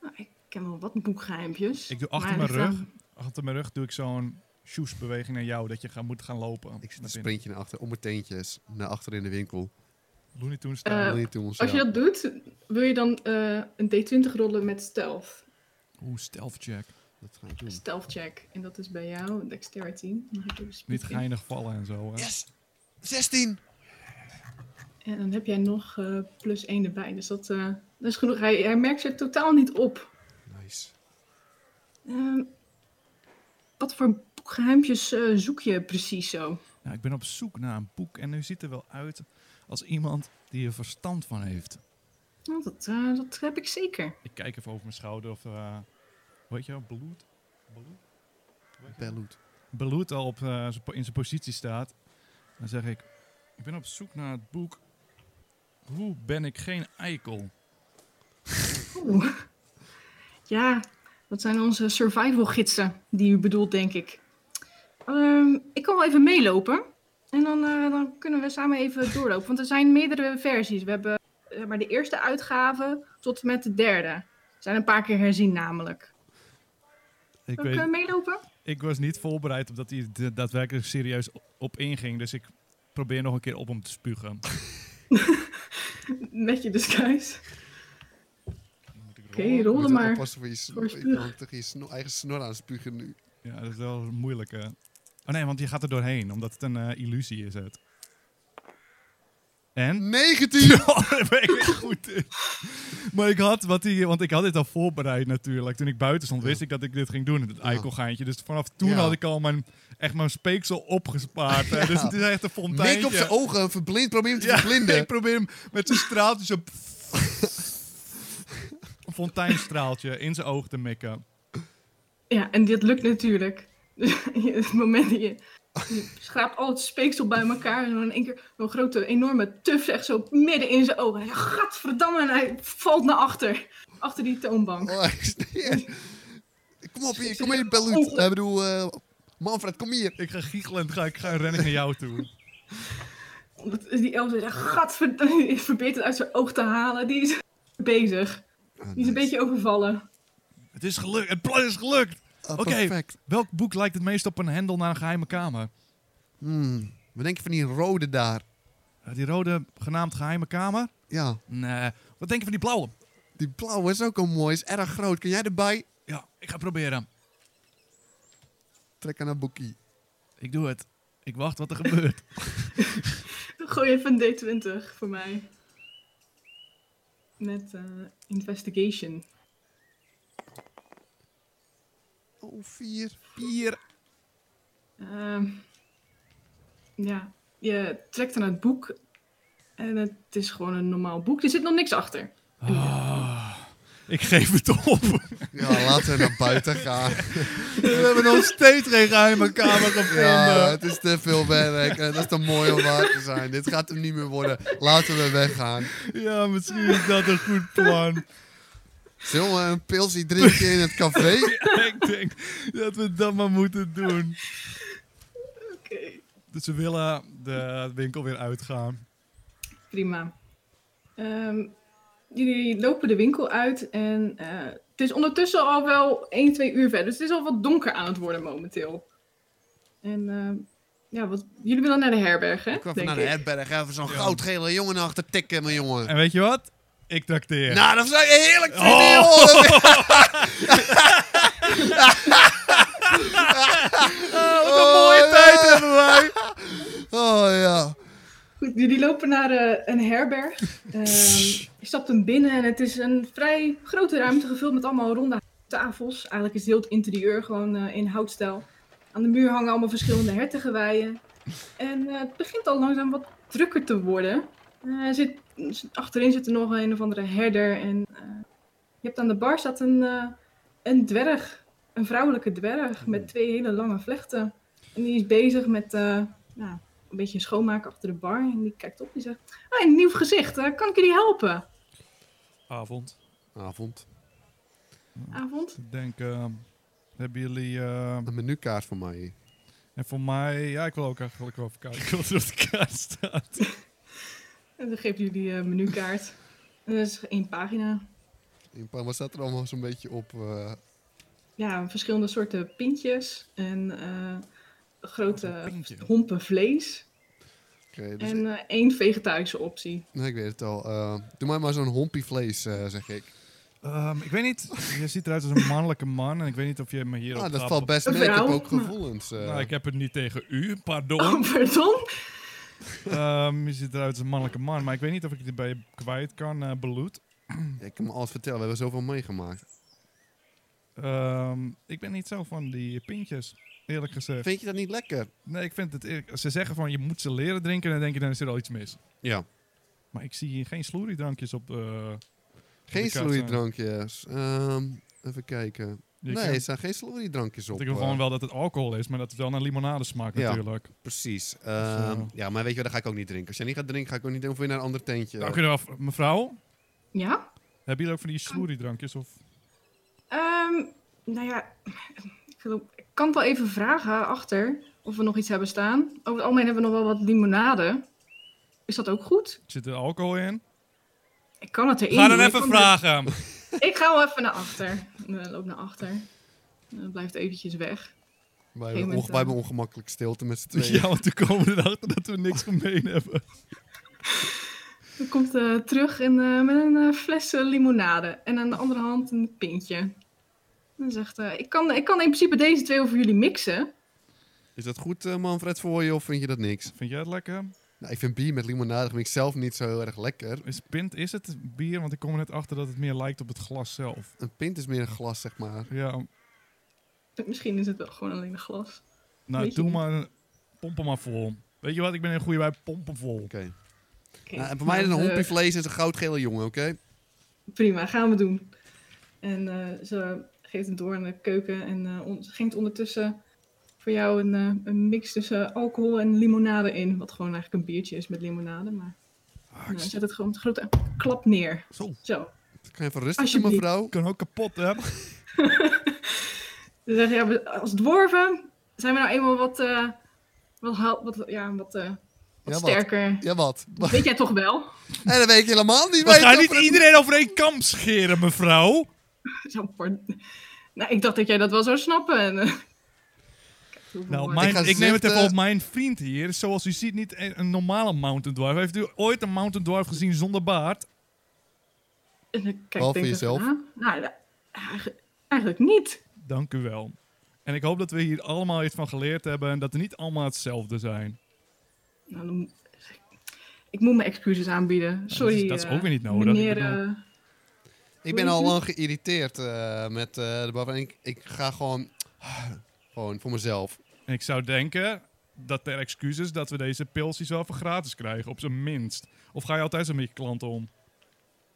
Speaker 3: Nou, ik ken wel wat boekgeheimpjes.
Speaker 1: Ik doe achter
Speaker 3: maar
Speaker 1: mijn rug,
Speaker 3: ligt aan-
Speaker 1: achter mijn rug doe ik zo'n shoesbeweging naar jou, dat je gaan, moet gaan lopen.
Speaker 2: Ik zit
Speaker 1: naar
Speaker 2: een
Speaker 1: binnen.
Speaker 2: sprintje naar achter, om mijn teentjes. Naar achter in de winkel.
Speaker 1: Looney Tunes
Speaker 3: Eh,
Speaker 1: style.
Speaker 2: Wil je toen ons
Speaker 3: Als je
Speaker 2: helpen?
Speaker 3: dat doet, wil je dan eh, een D20 rollen met stealth.
Speaker 1: Oeh, stealth check.
Speaker 2: Dat ga ik doen.
Speaker 3: Stealth check. En dat is bij jou dexterity. Mag ik even
Speaker 1: Hm. Niet
Speaker 3: spieken?
Speaker 1: geinig vallen en zo. hè.
Speaker 2: Yes! 16!
Speaker 3: En dan heb jij nog eh, plus 1 erbij. Dus dat, eh, dat is genoeg. Hij, hij merkt zich totaal niet op.
Speaker 2: Nice.
Speaker 3: Ehm, wat voor geheimpjes eh, zoek je precies zo?
Speaker 1: Nou, ik ben op zoek naar een boek en u ziet er wel uit als iemand die er verstand van heeft.
Speaker 3: Nou, dat, eh, dat heb ik zeker.
Speaker 1: Ik kijk even over mijn schouder of, eh hoe heet je, wel, Bloed? Bloed?
Speaker 2: Belloed.
Speaker 1: Beloed al op, eh, z'n po- in zijn positie staat. Dan zeg ik, ik ben op zoek naar het boek Hoe ben ik geen eikel?
Speaker 3: Oeh. Ja, dat zijn onze survival gidsen die u bedoelt, denk ik. Ehm, ik kan wel even meelopen. En dan, eh, dan kunnen we samen even doorlopen. Want er zijn meerdere versies. We hebben eh, maar de eerste uitgave tot en met de derde. Zijn een paar keer herzien namelijk.
Speaker 1: Ik,
Speaker 3: Kan ik eh,
Speaker 1: weet,
Speaker 3: meelopen?
Speaker 1: ik was niet voorbereid op dat hij er daadwerkelijk serieus op inging. Dus ik probeer nog een keer op hem te spugen.
Speaker 3: Met je disguise. Oké,
Speaker 2: Ik
Speaker 3: rollen
Speaker 2: moet
Speaker 3: maar.
Speaker 2: oppassen voor je snor. Ik
Speaker 3: spuug.
Speaker 2: kan tegen je snor- eigen snor aan spugen nu.
Speaker 1: Ja, dat is wel moeilijk. hè. Oh nee, want je gaat er doorheen, omdat het een eh, illusie is. Het. En?
Speaker 2: 19!
Speaker 1: Oh, dat weet ik niet goed. is. Maar ik had, wat die, want ik had dit al voorbereid natuurlijk. Toen ik buiten stond, wist ik dat ik dit ging doen. Het eikelgeintje. Dus vanaf toen
Speaker 2: Ja.
Speaker 1: had ik al mijn, echt mijn speeksel opgespaard. hè. Dus het is echt een fonteintje.
Speaker 2: Make op zijn ogen, verblind, probeer hem te
Speaker 1: Ja,
Speaker 2: verblinden.
Speaker 1: ik probeer hem met zijn straaltje zo... een fonteinstraaltje in zijn oog te mikken.
Speaker 3: Ja, en dit lukt natuurlijk. het moment dat je, je schraapt al het speeksel bij elkaar en dan in één keer een grote, enorme tuf echt zo midden in zijn ogen. Hij zegt, gadverdamme, en hij valt naar achter. Achter die toonbank.
Speaker 2: Oh, hij is- Kom op hier, kom hier, Belloed. Ik bedoel, eh, Manfred, kom hier.
Speaker 1: Ik ga giechelend, ga, ik ga rennen naar jou toe.
Speaker 3: Omdat die elf zegt, gadverdamme, hij probeert het uit zijn oog te halen. Die is bezig. Die is een beetje overvallen.
Speaker 1: Het is gelukt, het plan is gelukt.
Speaker 2: Ah,
Speaker 1: Oké.
Speaker 2: Perfect.
Speaker 1: Welk boek lijkt het meest op een hendel naar een geheime kamer?
Speaker 2: Hmm, Wat denk je van die rode daar?
Speaker 1: Eh, Die rode, genaamd geheime kamer?
Speaker 2: Ja,
Speaker 1: Nee. Wat denk je van die blauwe?
Speaker 2: die blauwe is ook al mooi. Is erg groot. Kun jij erbij?
Speaker 1: Ja, ik ga proberen.
Speaker 2: Trek aan een boekie.
Speaker 1: Ik doe het. Ik wacht wat er gebeurt.
Speaker 3: Dan gooi even een D20 voor mij. Met eh, investigation.
Speaker 2: Oh, vier.
Speaker 1: Hier.
Speaker 3: Ehm, ja, je trekt dan het boek. En het is gewoon een normaal boek. Er zit nog niks achter.
Speaker 1: Ah. Ik geef het op.
Speaker 2: Ja, laten we naar buiten gaan.
Speaker 4: We hebben nog steeds geen geheime kamer gevonden.
Speaker 2: Ja, het is te veel werk. Eh, Dat is te mooi om waar te zijn. Dit gaat hem niet meer worden. Laten we weggaan.
Speaker 4: Ja, misschien is dat een goed plan.
Speaker 2: Zullen we een pilsie drinken in het café?
Speaker 4: ik denk dat we dat maar moeten doen.
Speaker 3: Oké,
Speaker 1: Dus ze willen de winkel weer uitgaan.
Speaker 3: prima. Ehm, jullie lopen de winkel uit en eh, het is ondertussen al wel 1, 2 uur verder. Dus het is al wat donker aan het worden momenteel. En ehm, ja, wat, jullie willen naar de herberg, hè?
Speaker 2: Ik kwam
Speaker 3: denk
Speaker 2: naar de
Speaker 3: ik.
Speaker 2: herberg even zo'n
Speaker 1: Ja.
Speaker 2: goudgele jongen achter tikken, mijn jongen.
Speaker 1: En weet je wat? Ik trakteer.
Speaker 2: Nou, dat zou je heerlijk vinden,
Speaker 1: Oh.
Speaker 2: joh.
Speaker 1: wat een mooie
Speaker 2: Oh,
Speaker 1: tijd
Speaker 2: ja.
Speaker 1: hebben wij.
Speaker 2: Oh ja.
Speaker 3: Goed, jullie lopen naar eh, een herberg. Ehm, je stapt hem binnen en het is een vrij grote ruimte gevuld met allemaal ronde tafels. Eigenlijk is heel het interieur gewoon eh, in houtstijl. Aan de muur hangen allemaal verschillende hertengeweien. En eh, het begint al langzaam wat drukker te worden. Eh, er zit, achterin zit er nog een of andere herder. En eh, je hebt aan de bar staat een, eh, een dwerg. Een vrouwelijke dwerg met twee hele lange vlechten. En die is bezig met... eh, nou, een beetje schoonmaken achter de bar. En die kijkt op en zegt: Ah, een nieuw gezicht, eh, kan ik jullie helpen?
Speaker 1: Avond.
Speaker 2: Avond.
Speaker 3: Avond.
Speaker 1: Ik denk, ehm, hebben jullie... ehm,
Speaker 2: Een menukaart voor mij.
Speaker 1: en voor mij... Ja, ik wil ook eigenlijk wel even kijken wat er op de kaart staat.
Speaker 3: En dan geeft jullie eh menukaart. En dat is één pagina.
Speaker 2: In Parma staat er allemaal zo'n beetje op. eh,
Speaker 3: Ja, verschillende soorten pintjes en eh, grote
Speaker 2: eh,
Speaker 1: Een pintje.
Speaker 3: hompen vlees.
Speaker 2: Oké, dus
Speaker 3: En eh, één vegetarische optie.
Speaker 2: nee, ik weet het al. Eh, doe mij maar zo'n hompie vlees, eh, zeg ik.
Speaker 1: Ehm, ik weet niet. Je ziet eruit als een mannelijke man. En ik weet niet of je me hier
Speaker 2: Ah,
Speaker 1: op
Speaker 2: dat
Speaker 1: gaat
Speaker 2: valt
Speaker 1: be-
Speaker 2: best
Speaker 3: Een
Speaker 2: mee. Ik heb
Speaker 3: vrouw?
Speaker 2: ook gevoelens. eh.
Speaker 1: Nou, ik heb het niet tegen u, pardon.
Speaker 3: Oh, pardon.
Speaker 1: Ehm, je ziet eruit als een mannelijke man, maar ik weet niet of ik dit bij je kwijt kan, eh Beloed.
Speaker 2: Ik kan me alles vertellen. We hebben zoveel meegemaakt.
Speaker 1: Ehm, ik ben niet zo van die pintjes, eerlijk gezegd.
Speaker 2: Vind je dat niet lekker?
Speaker 1: Nee, ik vind het eerlijk- Als ze zeggen van je moet ze leren drinken, dan denk je dan is er al iets mis.
Speaker 2: Ja.
Speaker 1: Maar ik zie hier geen sloeriedrankjes op. eh
Speaker 2: Geen
Speaker 1: kaart staan.
Speaker 2: sloeidrankjes. Ehm, even kijken.
Speaker 1: eh. je
Speaker 2: nee,
Speaker 1: kan-
Speaker 2: er staan geen sloeidrankjes op.
Speaker 1: ik wil
Speaker 2: eh.
Speaker 1: gewoon wel dat het alcohol is, maar dat het wel naar limonade smaakt
Speaker 2: Ja.
Speaker 1: natuurlijk.
Speaker 2: Precies.
Speaker 1: eh,
Speaker 2: Ehm, ja, maar weet je wat, dat ga ik ook niet drinken. Als jij niet gaat drinken, ga ik ook niet doen voor je naar een ander tentje.
Speaker 1: Nou, kunnen we af, mevrouw,
Speaker 3: Ja?
Speaker 1: hebben jullie ook van die sloeriedrankjes? Of...
Speaker 3: Ehm, nou ja, ik, geloof- ik kan het wel even vragen achter of we nog iets hebben staan. Over het algemeen hebben we nog wel wat limonade. Is dat ook goed?
Speaker 1: Zit er alcohol in?
Speaker 3: Ik kan het erin.
Speaker 1: Ga dan
Speaker 3: doen, ik
Speaker 1: even
Speaker 3: kan het-
Speaker 1: vragen.
Speaker 3: Ik ga wel even naar achter. Eh, loop naar achter. Eh, blijft eventjes weg.
Speaker 2: Wij
Speaker 3: Geen
Speaker 2: hebben, onge-
Speaker 3: moment,
Speaker 2: wij hebben ongemakkelijk stilte met z'n tweeën.
Speaker 1: Ja, want toen komen we erachter dat we niks gemeen hebben.
Speaker 3: Dan komt eh, terug en, eh, met een eh, fles eh, limonade. En aan de andere hand een pintje. Dan zegt eh, ik, kan, ik kan in principe deze twee over jullie mixen.
Speaker 2: Is dat goed, eh, Manfred, voor je of vind je dat niks?
Speaker 1: Vind jij het lekker?
Speaker 2: Nou, ik vind bier met limonade vind ik zelf niet zo heel erg lekker.
Speaker 1: Is pint is het bier? Want ik kom er net achter dat het meer lijkt op het glas zelf.
Speaker 2: Een pint is meer een glas, zeg maar.
Speaker 1: Ja,
Speaker 3: Misschien is het wel gewoon alleen een glas.
Speaker 1: nou
Speaker 3: Weet je
Speaker 1: doe
Speaker 3: niet.
Speaker 1: maar, een- pomp hem maar vol. Weet je wat, ik ben een goede bij pompen vol.
Speaker 2: Oké.
Speaker 3: Oké.
Speaker 2: Nou, en bij mij is een
Speaker 3: Nou, eh,
Speaker 2: hompie vlees en een goudgele jongen, oké?
Speaker 3: Prima, gaan we doen. En eh, ze geeft het door naar de keuken en eh on- ze schenkt ondertussen voor jou een, eh, een mix tussen alcohol en limonade in. Wat gewoon eigenlijk een biertje is met limonade, maar nou, zet het gewoon met een grote klap neer.
Speaker 1: Zo.
Speaker 3: Zo.
Speaker 2: Kan je even rustig doen,
Speaker 3: Alsjeblieft.
Speaker 2: mevrouw?
Speaker 1: Kan ook kapot, hè?
Speaker 3: Ze zeggen, ja, we- als dwarven zijn we nou eenmaal wat, eh, wat, hou- wat, ja, wat, eh, wat
Speaker 2: wat?
Speaker 3: sterker.
Speaker 2: Ja, wat?
Speaker 3: Dat Weet jij toch wel?
Speaker 2: En dat weet ik helemaal niet.
Speaker 1: We
Speaker 2: weet
Speaker 1: gaan
Speaker 2: je,
Speaker 1: niet
Speaker 2: Manfred.
Speaker 1: iedereen over één kam scheren, mevrouw.
Speaker 3: Zo, pardon. nou, ik dacht dat jij dat wel zou snappen. En, eh, kijk, hoeveel
Speaker 1: Nou,
Speaker 3: woorden.
Speaker 1: mijn-
Speaker 2: Ik ga
Speaker 1: ik, neem het even
Speaker 2: zitten.
Speaker 1: op mijn vriend hier. Zoals u ziet, niet een, een normale mountain dwarf. Heeft u ooit een mountain dwarf gezien zonder baard?
Speaker 3: En dan kijk,
Speaker 2: Behalve
Speaker 3: denk ik,
Speaker 2: jezelf.
Speaker 3: ah, nou, ja, eigenlijk, eigenlijk niet.
Speaker 1: Dank u wel. En ik hoop dat we hier allemaal iets van geleerd hebben en dat we niet allemaal hetzelfde zijn.
Speaker 3: Nou, dan- ik moet mijn excuses aanbieden. Sorry.
Speaker 1: dat is
Speaker 3: eh,
Speaker 1: ook weer niet nodig. Ik
Speaker 3: Meneer,
Speaker 1: bedoel-
Speaker 3: eh,
Speaker 2: Ik ben al lang geïrriteerd eh, met eh, de bar. En ik, ik ga gewoon... gewoon voor mezelf.
Speaker 1: En ik zou denken dat ter excuses dat we deze pilsies wel voor gratis krijgen, op zijn minst. Of ga je altijd zo met je klanten om?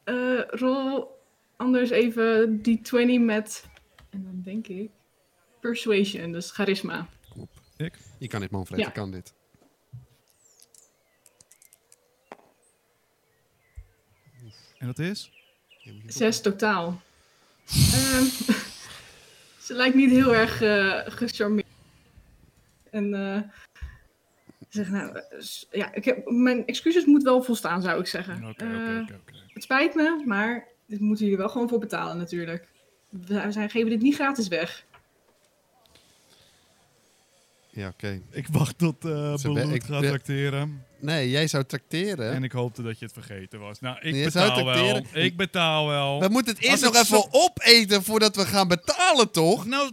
Speaker 3: eh, rol eh, anders even die 20 met. En dan denk ik. Persuasion, dus charisma.
Speaker 2: Je kan dit, Manfred.
Speaker 3: Ja.
Speaker 2: Je kan dit.
Speaker 1: En dat is?
Speaker 3: Zes totaal. Ehm, ze lijkt niet heel erg eh, gecharmeerd. En eh, ze zegt, nou, s- ja, ik heb, mijn excuses moet wel volstaan, zou ik zeggen.
Speaker 1: Oké,
Speaker 3: Eh,
Speaker 1: oké, oké, oké.
Speaker 3: Het spijt me, maar dit moeten jullie wel gewoon voor betalen natuurlijk. We zijn, geven dit niet gratis weg.
Speaker 2: Ja, oké.
Speaker 1: Ik wacht tot eh
Speaker 2: Ze
Speaker 1: Beloed
Speaker 2: be- ik-
Speaker 1: gaat
Speaker 2: ja.
Speaker 1: tracteren.
Speaker 2: Nee, jij zou tracteren.
Speaker 1: En ik hoopte dat je het vergeten was. Nou, ik
Speaker 2: Je zou
Speaker 1: betaal wel.
Speaker 2: tracteren?
Speaker 1: Ik betaal wel.
Speaker 2: We moeten het eerst
Speaker 1: Als
Speaker 2: nog
Speaker 1: ik
Speaker 2: even
Speaker 1: zo-
Speaker 2: opeten voordat we gaan betalen, toch?
Speaker 1: Nou,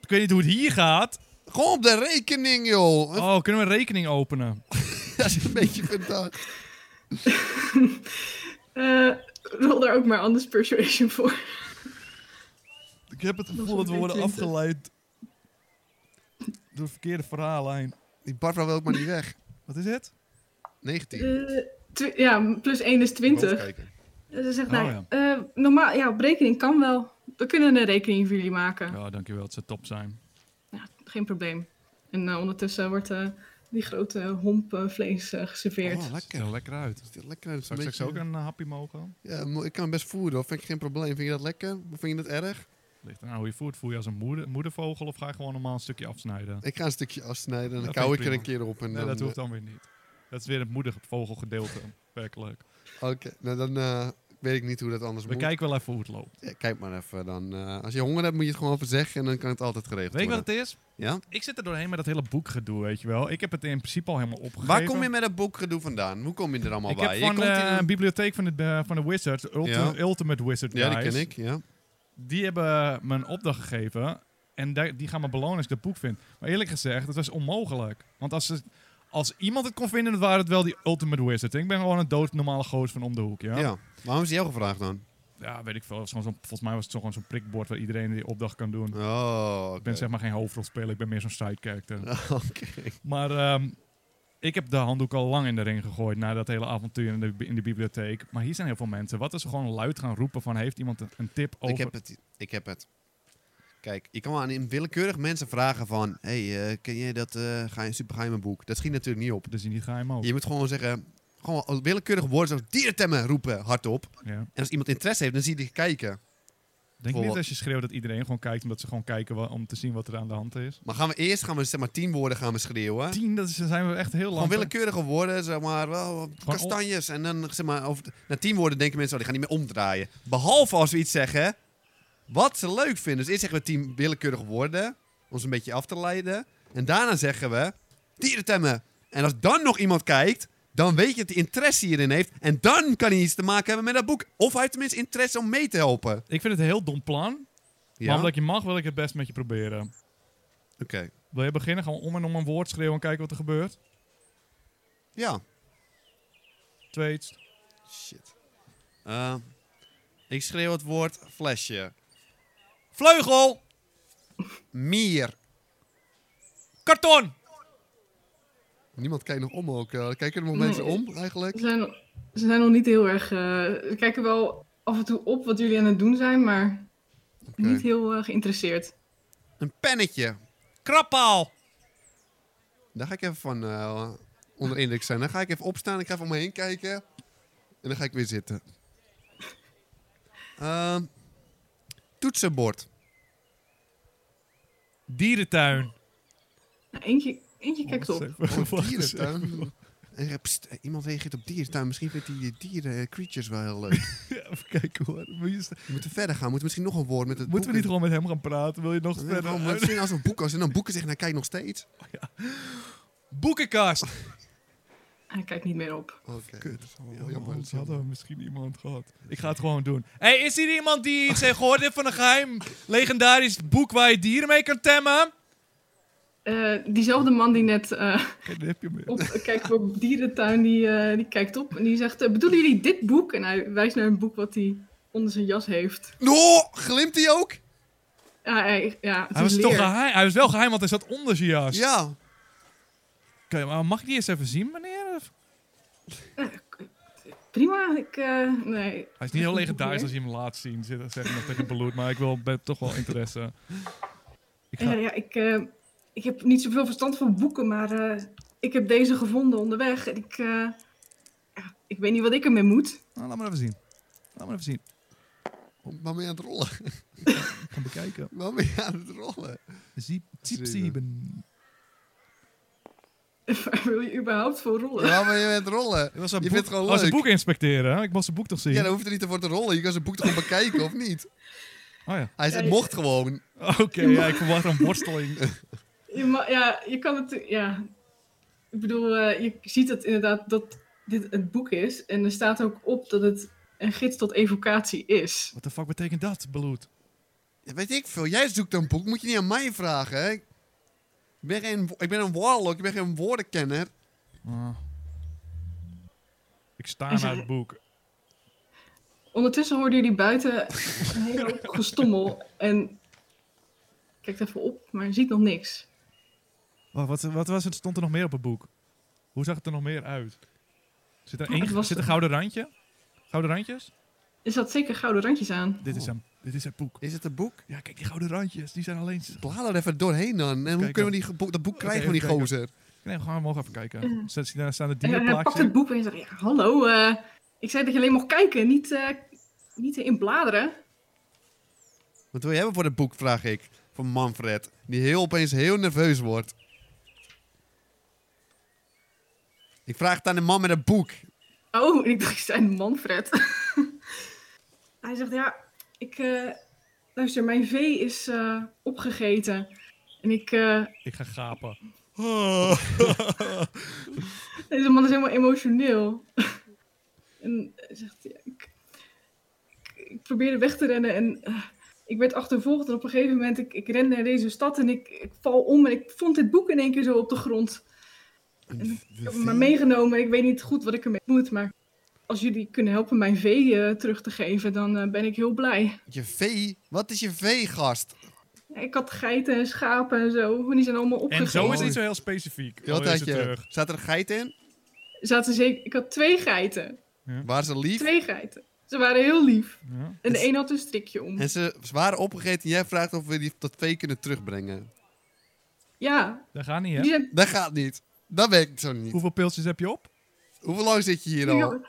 Speaker 1: ik weet niet hoe het hier gaat.
Speaker 2: Gewoon op de rekening, joh.
Speaker 1: Oh, kunnen we een rekening openen?
Speaker 2: Dat is een beetje verdacht.
Speaker 3: Eh, rol daar ook maar anders persuasion voor.
Speaker 1: Ik heb het
Speaker 3: gevoel dat we worden
Speaker 1: afgeleid door de verkeerde verhaallijn.
Speaker 2: Die Barbara wil ook maar niet weg.
Speaker 1: Wat is het?
Speaker 2: 19.
Speaker 3: Eh, tw- ja, plus 1 is 20.
Speaker 2: Bovenkijken.
Speaker 3: En Ze zegt,
Speaker 1: Oh,
Speaker 3: nou,
Speaker 1: ja.
Speaker 3: eh, normaal, ja, op rekening kan wel. We kunnen een rekening voor jullie maken.
Speaker 1: Ja, dankjewel. Het zou top zijn.
Speaker 3: Ja, geen probleem. En eh, ondertussen wordt eh, die grote homp eh, vlees eh, geserveerd.
Speaker 2: Oh,
Speaker 1: Ziet er
Speaker 2: lekker.
Speaker 1: lekker uit.
Speaker 2: Ziet er Lekker uit.
Speaker 1: Zou ik
Speaker 2: Een
Speaker 1: straks ook
Speaker 2: beetje-
Speaker 1: een eh, happy mogen?
Speaker 2: Ja, mo- ik kan best voeren, hoor. Vind ik geen probleem. Vind je dat lekker? Of Vind je dat erg?
Speaker 1: Ligt er nou hoe je voert. Voel je als een moeder, moedervogel of ga je gewoon normaal een stukje afsnijden?
Speaker 2: Ik ga een stukje afsnijden en dan
Speaker 1: Dat
Speaker 2: kou
Speaker 1: vind
Speaker 2: ik
Speaker 1: ik
Speaker 2: er een
Speaker 1: prima.
Speaker 2: keer op. En
Speaker 1: Nee,
Speaker 2: dan, eh,
Speaker 1: dat hoeft dan weer niet. Dat is weer het moedervogelgedeelte. Werkelijk.
Speaker 2: eh, Oké, nou dan eh, weet ik niet hoe dat anders
Speaker 1: We
Speaker 2: moet.
Speaker 1: kijken wel even hoe het loopt.
Speaker 2: Ja, kijk maar even. Dan, eh, als je honger hebt, moet je het gewoon even zeggen en dan kan het altijd geregeld
Speaker 1: Weet je wat
Speaker 2: worden.
Speaker 1: het is?
Speaker 2: Ja?
Speaker 1: Ik zit er doorheen met dat hele boekgedoe, weet je wel. Ik heb het in principe al helemaal opgegeven.
Speaker 2: Waar kom je met dat boekgedoe vandaan? Hoe kom je er allemaal
Speaker 1: Ik
Speaker 2: bij?
Speaker 1: heb
Speaker 2: Je
Speaker 1: van
Speaker 2: komt
Speaker 1: de
Speaker 2: hier-
Speaker 1: bibliotheek van de, eh, van de Wizards, Ulti-
Speaker 2: Ja.
Speaker 1: Ultimate Wizard
Speaker 2: Ja, die
Speaker 1: Guys.
Speaker 2: ken ik. Ja.
Speaker 1: Die hebben me een opdracht gegeven en daar- die gaan me belonen als ik dat boek vind. Maar eerlijk gezegd, het was onmogelijk. Want als, ze- als iemand het kon vinden, dan waren het wel die Ultimate Wizards. Ik ben gewoon een doodnormale goos van om de hoek, ja?
Speaker 2: Ja. Waarom is die jou gevraagd dan?
Speaker 1: Ja, weet ik veel. Zo'n- zo'n- volgens mij was het zo- gewoon zo'n prikbord waar iedereen die opdracht kan doen.
Speaker 2: Oh, oké.
Speaker 1: Ik ben zeg maar geen hoofdrolspeler, ik ben meer zo'n side character.
Speaker 2: Oké.
Speaker 1: Maar ehm, ik heb de handdoek al lang in de ring gegooid na dat hele avontuur in de, in de bibliotheek. Maar hier zijn heel veel mensen. Wat als we gewoon luid gaan roepen van heeft iemand een, een tip over...
Speaker 2: Ik heb het. Ik heb het. Kijk, je kan aan een willekeurig mensen vragen van... hey, eh, ken jij dat eh geheim, supergeheime boek? Dat schiet natuurlijk niet op.
Speaker 1: Dus die niet geheim ook.
Speaker 2: Je moet gewoon zeggen... Gewoon willekeurig woorden zoals diertemmen roepen hardop.
Speaker 1: Ja.
Speaker 2: En als iemand interesse heeft, dan zie je die kijken.
Speaker 1: Denk je
Speaker 2: Voor-
Speaker 1: niet dat als je schreeuwt dat iedereen gewoon kijkt omdat ze gewoon kijken wa- om te zien wat er aan de hand is?
Speaker 2: Maar gaan we eerst gaan we, zeg maar, tien woorden gaan we schreeuwen.
Speaker 1: Tien, dat is, dan zijn we echt heel lang.
Speaker 2: Gewoon willekeurige woorden, zeg maar, wel, kastanjes. En dan, zeg maar, over, na tien woorden denken mensen, oh, die gaan niet meer omdraaien. Behalve als we iets zeggen wat ze leuk vinden. Dus eerst zeggen we tien willekeurige woorden, om ons een beetje af te leiden. En daarna zeggen we, dierentemmen. En als dan nog iemand kijkt, dan weet je dat hij interesse hierin heeft. En dan kan hij iets te maken hebben met dat boek. Of hij heeft tenminste interesse om mee te helpen.
Speaker 1: Ik vind het een heel dom plan.
Speaker 2: Ja,
Speaker 1: Maar
Speaker 2: oké.
Speaker 1: omdat je mag, wil ik het best met je proberen. Wil je beginnen? Gewoon om en om een woord schreeuwen en kijken wat er gebeurt.
Speaker 2: Ja,
Speaker 1: Tweets.
Speaker 2: shit. Eh, ik schreeuw het woord flesje. Vleugel! Mier.
Speaker 1: Karton!
Speaker 2: Niemand kijkt nog om ook. eh, kijken er nog
Speaker 3: Nee.
Speaker 2: mensen om eigenlijk?
Speaker 3: Ze zijn, ze zijn nog niet heel erg. eh, ze kijken wel af en toe op wat jullie aan het doen zijn, maar
Speaker 2: Oké.
Speaker 3: niet heel eh, geïnteresseerd.
Speaker 2: Een pennetje.
Speaker 1: Krappaal!
Speaker 2: Daar ga ik even van eh, onder indruk zijn. Dan ga ik even opstaan. Ik ga even om me heen kijken. En dan ga ik weer zitten. Ehm, toetsenbord.
Speaker 1: Dierentuin.
Speaker 3: Nou, eentje, eentje kijkt op.
Speaker 2: Oh, dierentuin. En, eh, pst, eh, iemand reageert op dierentuin. Misschien vindt hij die dieren, eh, creatures wel heel leuk.
Speaker 1: Even kijken hoor. Moet je-
Speaker 2: We moeten verder gaan. We moeten misschien nog een woord met het
Speaker 1: Moeten we
Speaker 2: boek
Speaker 1: niet gewoon met hem gaan praten? Wil je nog
Speaker 2: Nee,
Speaker 1: verder?
Speaker 2: gewoon, maar misschien als we boeken, als we dan boeken zeggen, dan kijk nog steeds. Oh,
Speaker 1: Boekenkast!
Speaker 3: Hij kijkt niet meer op.
Speaker 2: Oké.
Speaker 1: Kut.
Speaker 2: heel jammer.
Speaker 1: Anders hadden we misschien iemand gehad. Ik ga het gewoon doen. hey, is hier iemand die iets heeft gehoord heeft van een geheim legendarisch boek waar je dieren mee kan temmen?
Speaker 3: Eh, diezelfde man die net eh,
Speaker 1: Geen nipje meer.
Speaker 3: op kijkt voor dierentuin, die, eh, die kijkt op en die zegt: eh, Bedoelen jullie dit boek? En hij wijst naar een boek wat hij onder zijn jas heeft.
Speaker 2: Oh, glimt hij ook?
Speaker 3: Ja, hij, ja, het
Speaker 1: Hij was,
Speaker 3: is leer.
Speaker 1: toch geheim. hij was wel geheim, want hij zat onder zijn jas.
Speaker 2: Ja.
Speaker 1: Oké, maar mag ik die eens even zien, meneer? Of-
Speaker 3: Eh, prima. Ik, eh, nee.
Speaker 1: Hij is niet heel legendarisch als je hem laat zien. Zit- Zeg ik nog tegen Beloed, maar ik wil ben toch wel interesse. Ik
Speaker 3: Ja,
Speaker 1: ga,
Speaker 3: ja, ik, eh, ik heb niet zoveel verstand van boeken, maar eh, ik heb deze gevonden onderweg. En ik, eh, ja, ik weet niet wat ik ermee moet.
Speaker 1: nou, laat maar even zien. Laat maar even zien.
Speaker 2: Waar ben je aan het rollen?
Speaker 1: Ik ga bekijken.
Speaker 2: Waar ben je aan het rollen?
Speaker 1: Ziep, ziep,
Speaker 2: Zeven.
Speaker 1: sieben.
Speaker 3: Waar wil je überhaupt voor rollen?
Speaker 2: Waar ben je aan het rollen?
Speaker 1: Ik was een
Speaker 2: Je
Speaker 1: boek,
Speaker 2: vindt het gewoon
Speaker 1: was een
Speaker 2: leuk.
Speaker 1: boek inspecteren. hè? Ik was zijn boek toch zien.
Speaker 2: Ja, daar hoeft er niet voor te rollen. Je kan zijn boek toch gewoon bekijken, of niet?
Speaker 1: Oh ja.
Speaker 2: Hij zei,
Speaker 3: Ja,
Speaker 2: het
Speaker 3: je-
Speaker 2: mocht gewoon.
Speaker 1: Oh, Oké, ja, ik verwacht een worsteling.
Speaker 3: Je ma- ja, je kan het. Ja. Ik bedoel, eh, je ziet dat inderdaad dat dit een boek is. En er staat ook op dat het een gids tot evocatie is.
Speaker 1: Wat de fuck betekent dat, Beloed?
Speaker 2: Ja, weet ik veel. Jij zoekt een boek. Moet je niet aan mij vragen, hè? Ik ben, geen, ik ben een warlock. Ik ben geen woordenkenner.
Speaker 1: Ah. Ik sta
Speaker 3: Hij zei-
Speaker 1: naar het boek.
Speaker 3: Ondertussen hoorden jullie buiten een hele hoop gestommel. En kijkt even op, maar je ziet nog niks.
Speaker 1: Wa- wat, wat was het? Stond er nog meer op het boek? Hoe zag het er nog meer uit? Zit er,
Speaker 3: Ja, Oh, het
Speaker 1: één,
Speaker 3: was-
Speaker 1: zit er gouden randje? Gouden randjes?
Speaker 3: Er zat zeker gouden randjes aan.
Speaker 1: Dit is hem. Dit is het boek.
Speaker 2: Is het een boek?
Speaker 1: Ja, kijk, die gouden randjes. Die zijn alleen... s-
Speaker 2: Blader even doorheen dan. En hoe
Speaker 1: Kijken.
Speaker 2: kunnen we die gebo- dat boek
Speaker 1: Oké,
Speaker 2: krijgen van die
Speaker 1: even
Speaker 2: gozer?
Speaker 1: Nee, gewoon omhoog even kijken. Zet- Daar staan de
Speaker 3: Mhm. En hij- hij pakt het
Speaker 1: dierplaatjes.
Speaker 3: boek en zegt: ja, Hallo, eh, ik zei dat je alleen mocht kijken, niet, eh niet in bladeren.
Speaker 2: Wat wil je hebben voor dat boek, vraag ik. Van Manfred. Die heel opeens heel nerveus wordt. Ik vraag het aan de man met een boek.
Speaker 3: Oh, en ik dacht, ik zei Manfred. Hij zegt, ja, ik... eh, luister, mijn vee is eh, opgegeten. En ik... eh,
Speaker 1: Ik ga gapen.
Speaker 3: deze man is helemaal emotioneel. en hij zegt, ja, ik, ik, ik probeerde weg te rennen en... eh, ik werd achtervolgd en op een gegeven moment... Ik, ik ren naar deze stad en ik, ik val om en ik vond dit boek in één keer zo op de grond. Ik heb hem maar meegenomen. Ik weet niet goed wat ik ermee moet, maar... Als jullie kunnen helpen mijn vee eh, terug te geven, dan eh, ben ik heel blij.
Speaker 2: Je vee? Wat is je vee, gast?
Speaker 3: Ja, Ik had geiten en schapen en zo. En die zijn allemaal
Speaker 1: En
Speaker 3: opgegeten.
Speaker 1: zo is het niet zo heel specifiek.
Speaker 2: Wat
Speaker 1: Al is
Speaker 2: had
Speaker 1: het
Speaker 2: je?
Speaker 1: terug.
Speaker 2: Zat er een geit in?
Speaker 3: Zaten zeker... Ik had twee geiten.
Speaker 2: Waren ze lief?
Speaker 3: Twee geiten. Ze waren heel lief.
Speaker 1: Ja.
Speaker 3: En
Speaker 2: Dus-
Speaker 3: de een had een strikje om.
Speaker 2: En ze, ze waren opgegeten en jij vraagt of we die, dat vee kunnen terugbrengen.
Speaker 3: Ja,
Speaker 1: Dat gaat niet,
Speaker 3: die
Speaker 1: hè?
Speaker 3: zijn...
Speaker 2: Dat gaat niet. Dat werkt zo niet.
Speaker 1: Hoeveel pilsjes heb je op?
Speaker 2: Hoeveel lang zit je hier al?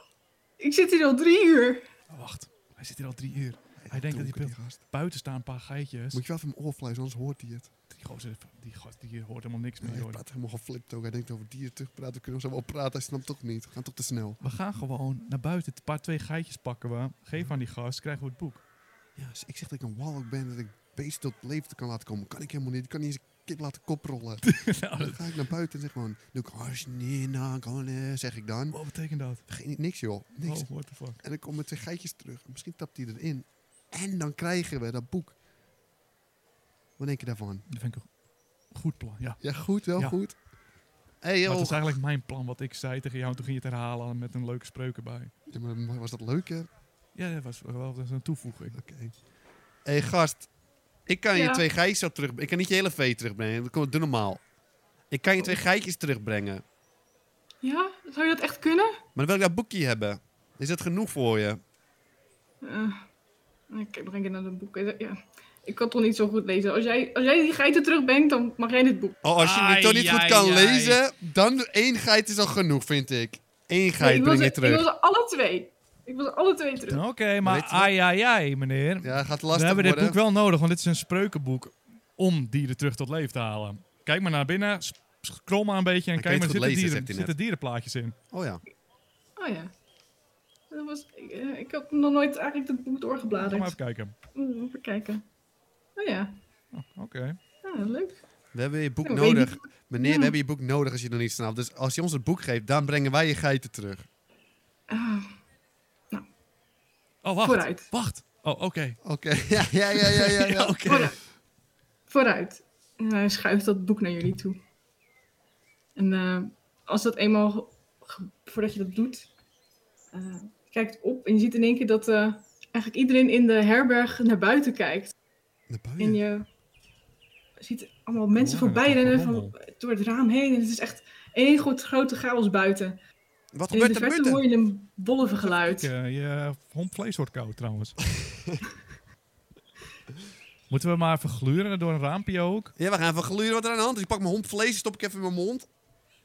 Speaker 3: Ik zit hier al drie uur.
Speaker 1: Oh, wacht. Hij zit hier al drie uur. Hij denkt dat die
Speaker 2: Donker,
Speaker 1: pil...
Speaker 2: gast.
Speaker 1: Buiten staan een paar geitjes.
Speaker 2: Moet je wel even hem oorfluizen, anders hoort hij het.
Speaker 1: Die gozer, die gast, die hoort helemaal niks meer.
Speaker 2: Hij
Speaker 1: Joh.
Speaker 2: praat helemaal geflipt ook. Hij denkt over dieren terugpraten. We kunnen zo wel praten. Hij snapt toch niet. We gaan toch te snel.
Speaker 1: We gaan gewoon naar buiten. Een paar twee geitjes pakken we. Geef aan die gast, krijgen we het boek.
Speaker 2: Ja, dus ik zeg dat ik een warlock ben, dat ik beesten tot leven kan laten komen. Kan ik helemaal niet. Ik kan niet eens een kip laten koprollen. dan ga ik naar buiten en zeg gewoon... Doe ik hars, nee, nou, gewoon, eh, zeg ik dan.
Speaker 1: Wat betekent dat?
Speaker 2: Geen, niks joh, niks.
Speaker 1: Oh, what the fuck.
Speaker 2: En dan komen twee geitjes terug. Misschien tapt hij erin. En dan krijgen we dat boek. Wat denk je daarvan?
Speaker 1: Dat vind ik een goed plan, ja.
Speaker 2: Ja, goed, wel
Speaker 1: Ja.
Speaker 2: goed. hey,
Speaker 1: Maar
Speaker 2: joh.
Speaker 1: het is eigenlijk mijn plan wat ik zei tegen jou. en Toen ging je het herhalen met een leuke spreuk erbij.
Speaker 2: Ja, maar was dat leuk, hè? Oké.
Speaker 1: Ja, dat was wel dat is een toevoeging.
Speaker 2: Hé, hey, gast. Ik kan je
Speaker 3: Ja.
Speaker 2: twee geitjes zo terugbrengen. Ik kan niet je hele vee terugbrengen. Dat komt doe normaal. Ik kan je
Speaker 3: Oh.
Speaker 2: twee geitjes terugbrengen.
Speaker 3: Ja, zou je dat echt kunnen?
Speaker 2: Maar dan wil ik dat boekje hebben. Is dat genoeg voor je?
Speaker 3: Eh, ik kijk nog een keer naar dat boek. Eh, Ja, ik kan toch niet zo goed lezen. Als jij, als jij die geiten terugbrengt, dan mag jij dit boek.
Speaker 2: Oh, als je het toch niet goed
Speaker 1: Ai,
Speaker 2: kan
Speaker 1: ai, ai.
Speaker 2: lezen, dan één geit is al genoeg, vind ik. Eén
Speaker 3: Nee,
Speaker 2: geit
Speaker 3: ik, wil
Speaker 2: breng
Speaker 3: ze,
Speaker 2: je
Speaker 3: ik wil
Speaker 2: terug.
Speaker 3: ze alle twee. Ik wil ze alle twee terug.
Speaker 1: Oké,
Speaker 2: Weet
Speaker 1: maar
Speaker 2: je wat?
Speaker 1: ai, ai, ai, meneer.
Speaker 2: Ja, gaat
Speaker 1: we
Speaker 2: lastig
Speaker 1: hebben dit
Speaker 2: worden.
Speaker 1: boek wel nodig, want dit is een spreukenboek om dieren terug tot leven te halen. Kijk maar naar binnen, s- scroll maar een beetje en
Speaker 2: Dan kan je
Speaker 1: kijk maar,
Speaker 2: het goed
Speaker 1: zitten,
Speaker 2: lezen,
Speaker 1: dieren,
Speaker 2: zegt hij
Speaker 1: zitten dierenplaatjes in.
Speaker 2: Oh ja.
Speaker 3: Oh ja. Dat was, ik, eh, ik had nog nooit eigenlijk dat boek
Speaker 1: Kom maar even
Speaker 3: doorgebladerd.
Speaker 1: kijken.
Speaker 3: Mm, Even kijken. Oh ja.
Speaker 1: Oh, Oké.
Speaker 3: Ah, leuk.
Speaker 2: We hebben je boek
Speaker 3: Ja, weet
Speaker 2: nodig. Meneer,
Speaker 3: Ja.
Speaker 2: we hebben je boek nodig als je het nog niet snapt. Dus als je ons het boek geeft, dan brengen wij je geiten terug.
Speaker 3: Ah,
Speaker 1: Oh, wacht.
Speaker 3: Vooruit.
Speaker 1: Wacht. Oh, oké.
Speaker 2: Oké, ja, ja, ja, ja, ja. ja.
Speaker 1: oké.
Speaker 3: vooruit. Vooruit. En hij schuift dat boek naar jullie toe. En eh, als dat eenmaal, ge- ge- voordat je dat doet, eh, je kijkt op en je ziet in één keer dat eh, eigenlijk iedereen in de herberg naar buiten kijkt.
Speaker 2: Naar
Speaker 3: En
Speaker 2: buiten.
Speaker 3: je ziet allemaal mensen
Speaker 1: Hoor, en
Speaker 3: voorbij
Speaker 1: dat
Speaker 3: rennen
Speaker 1: gerommel.
Speaker 3: van, door het raam heen. En het is echt één groot, grote chaos buiten.
Speaker 2: Wat
Speaker 3: En in
Speaker 2: gebeurt
Speaker 3: de
Speaker 2: er
Speaker 3: verte
Speaker 2: mutten?
Speaker 3: hoor je een bolle geluid.
Speaker 1: Eh, je hompvlees wordt koud trouwens. Moeten we maar even gluren door een raampje ook?
Speaker 2: Ja, we gaan even gluren wat er aan de hand is. Ik pak mijn hond vlees, stop ik even in mijn mond.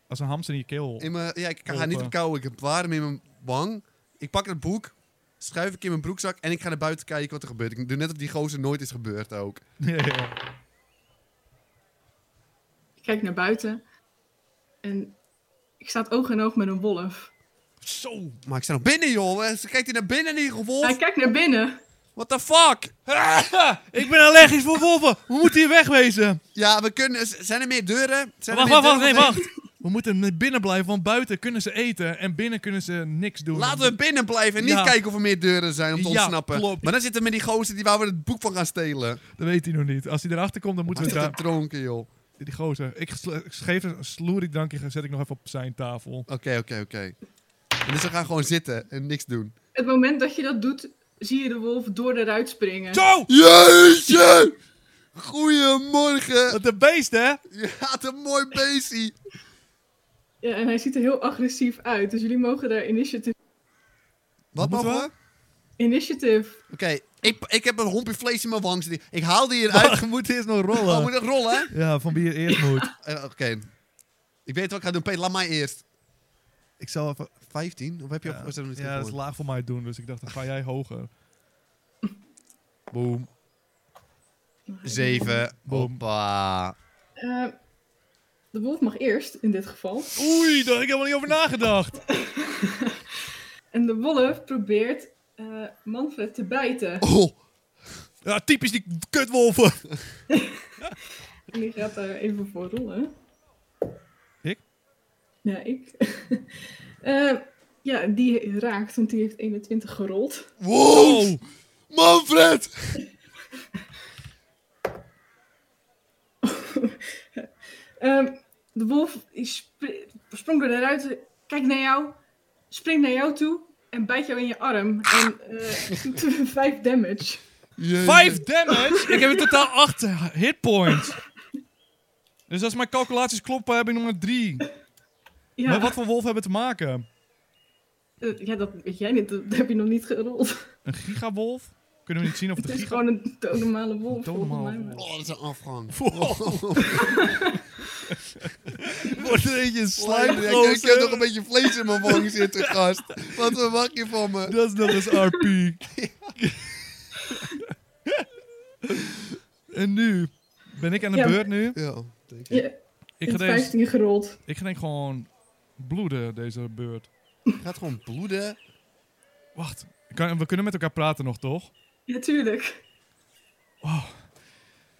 Speaker 1: Als een hamster in je keel.
Speaker 2: In mijn, ja, ik ga niet
Speaker 1: Opa.
Speaker 2: op kou. Ik heb warm in mijn wang. Ik pak het boek, schuif ik in mijn broekzak en ik ga naar buiten kijken wat er gebeurt. Ik doe net of die gozer nooit is gebeurd ook.
Speaker 1: Ja, ja.
Speaker 3: Ik kijk naar buiten. En ik sta oog in oog met een wolf.
Speaker 1: Zo!
Speaker 2: Maar ik sta nog binnen, joh. Eh, Ze kijkt hier naar binnen in ieder geval.
Speaker 3: Hij kijkt naar binnen.
Speaker 2: What the fuck?
Speaker 4: Ik ben allergisch voor wolven. We moeten hier wegwezen.
Speaker 2: Ja, we kunnen... z- Zijn er meer deuren? Zijn er
Speaker 4: Wacht,
Speaker 2: meer
Speaker 4: wacht, wacht. Nee,
Speaker 2: deuren?
Speaker 4: wacht.
Speaker 1: We moeten binnen blijven, want buiten kunnen ze eten en binnen kunnen ze niks doen.
Speaker 2: Laten we binnen blijven en niet
Speaker 4: Ja.
Speaker 2: kijken of er meer deuren zijn om te
Speaker 4: Ja,
Speaker 2: ontsnappen.
Speaker 4: klopt.
Speaker 2: Maar dan zitten we met die gozer die waar we het boek van gaan stelen.
Speaker 1: Dat weet hij nog niet. Als hij erachter komt, dan moeten we...
Speaker 2: Hartstikke
Speaker 1: daar-
Speaker 2: dronken, joe. Oké,
Speaker 1: Die gozer. Ik sl- ik geef een sloerig drankje, zet ik nog even op zijn tafel.
Speaker 2: oké, oké. En Dus we gaan gewoon zitten en niks doen.
Speaker 3: Het moment dat je dat doet, zie je de wolf door de ruit springen.
Speaker 4: Zo!
Speaker 2: Jeetje! Goedemorgen!
Speaker 4: Dat de beest, hè?
Speaker 2: Je had een mooi beestie.
Speaker 3: Ja, en hij ziet er heel agressief uit. Dus jullie mogen daar initiative.
Speaker 2: Wat
Speaker 1: Moeten
Speaker 2: mogen we?
Speaker 1: we?
Speaker 2: Oké,
Speaker 3: Initiative.
Speaker 2: ik, ik heb een hompje vlees in mijn wang zitten. Ik haal die eruit.
Speaker 1: Je moet eerst nog
Speaker 2: Oh,
Speaker 1: rollen.
Speaker 2: moet ik rollen, hè?
Speaker 1: Ja, van wie het eerst moet.
Speaker 2: Eh, Oké. Ik weet wat ik ga doen. Peter, laat mij eerst.
Speaker 1: Ik zal even...
Speaker 2: 15? Of heb je...
Speaker 1: Ja,
Speaker 2: al- of zijn er nog niet
Speaker 1: ja, dat is
Speaker 2: gehoord?
Speaker 1: laag voor mij doen, dus ik dacht, dan ga jij hoger.
Speaker 2: Boom. Zeven.
Speaker 1: Boom.
Speaker 2: Hoppa.
Speaker 3: Eh, de wolf mag eerst, in dit geval.
Speaker 1: Oei, daar heb ik helemaal niet over nagedacht.
Speaker 3: En de wolf probeert eh, Manfred te bijten.
Speaker 2: Oh,
Speaker 1: Ja, typisch die kutwolven.
Speaker 3: En die gaat daar even voor rollen.
Speaker 1: Ik?
Speaker 3: Ja, ik. Eh, ja, die raakt, want die heeft 21 gerold.
Speaker 2: wow. Oh. Manfred.
Speaker 3: Ehm, de wolf die spri- sprong door de ruiten, kijkt naar jou, springt naar jou toe en bijt jou in je arm. En eh, doet 5 damage.
Speaker 2: Jeetje.
Speaker 4: Vijf damage. Ik heb in totaal acht hitpoints.
Speaker 1: Dus als mijn calculaties kloppen, heb ik nog maar drie.
Speaker 3: Ja,
Speaker 1: Maar wat voor wolven hebben we te maken?
Speaker 3: eh, ja, dat weet jij niet, dat heb je nog niet gerold.
Speaker 1: Een gigawolf? Kunnen we niet zien of het
Speaker 3: Het
Speaker 1: een
Speaker 3: is
Speaker 1: giga...
Speaker 3: gewoon een doodnormale wolf.
Speaker 1: Doodnormale
Speaker 3: volgens mij.
Speaker 1: wolf.
Speaker 2: Oh, dat is een afgang. Oh.
Speaker 4: Wordt een beetje een
Speaker 2: Ja, ik heb nog
Speaker 4: slijmgozer.
Speaker 2: een beetje vlees in mijn wang zitten, gast. Wat verwacht je van me?
Speaker 1: Dat is nog eens RP. en nu? Ben ik aan de
Speaker 3: Ja.
Speaker 1: beurt nu?
Speaker 2: Ja, denk ik.
Speaker 3: Ja,
Speaker 1: Ik
Speaker 3: ik
Speaker 1: ga,
Speaker 3: heb
Speaker 1: deze,
Speaker 3: 15 gerold.
Speaker 1: ik ga denk gewoon bloeden, deze beurt.
Speaker 2: Gaat gewoon bloeden.
Speaker 1: Wacht, kan- we kunnen met elkaar praten nog, toch?
Speaker 3: Ja, tuurlijk.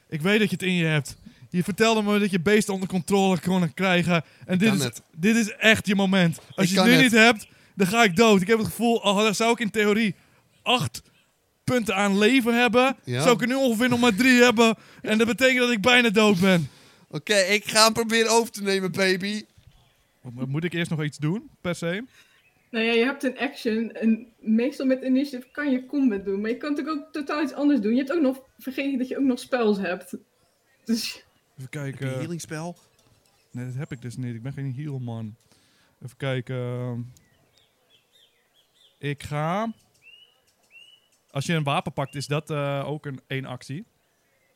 Speaker 1: Ik weet dat je het in je hebt. Je vertelde me dat je beesten onder controle kon krijgen. En dit
Speaker 2: kan
Speaker 1: is,
Speaker 2: het.
Speaker 1: dit is echt je moment. Als
Speaker 2: Ik
Speaker 1: je
Speaker 2: kan
Speaker 1: het nu
Speaker 2: het.
Speaker 1: niet hebt, dan ga ik dood. Ik heb het gevoel, al zou ik in theorie acht punten aan leven hebben,
Speaker 2: Ja.
Speaker 1: zou ik er nu ongeveer nog maar drie hebben. En dat betekent dat ik bijna dood ben.
Speaker 2: Oké, ik ga hem proberen over te nemen, baby.
Speaker 1: Mo- Moet ik eerst nog iets doen, per se?
Speaker 3: Nou ja, je hebt een action. En meestal met initiative kan je combat doen. Maar je kan natuurlijk ook totaal iets anders doen. Je hebt ook nog vergeten dat je ook nog spells hebt. Dus
Speaker 1: Even
Speaker 2: Een
Speaker 1: kijken.
Speaker 2: healingspel.
Speaker 1: Nee, dat heb ik dus niet. Ik ben geen healman. Even kijken. Ik ga... Als je een wapen pakt, is dat eh, ook een één actie.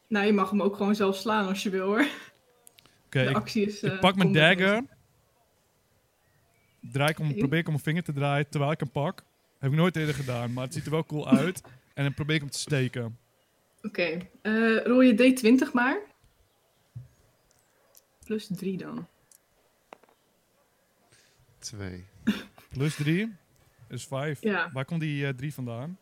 Speaker 3: nou, je mag hem ook gewoon zelf slaan als je wil hoor.
Speaker 1: Oké,
Speaker 3: De
Speaker 1: ik,
Speaker 3: actie is.
Speaker 1: ik
Speaker 3: eh,
Speaker 1: pak mijn
Speaker 3: combat.
Speaker 1: dagger. Draai ik om,
Speaker 3: Oké.
Speaker 1: probeer ik om mijn vinger te draaien terwijl ik hem pak. Heb ik nooit eerder gedaan, maar het ziet er wel cool uit. En dan probeer ik hem te steken.
Speaker 3: Oké, eh, rol je D20 maar. Plus 3 dan.
Speaker 2: Twee.
Speaker 1: Plus 3 is 5.
Speaker 3: Ja.
Speaker 1: Waar komt die 3 vandaan?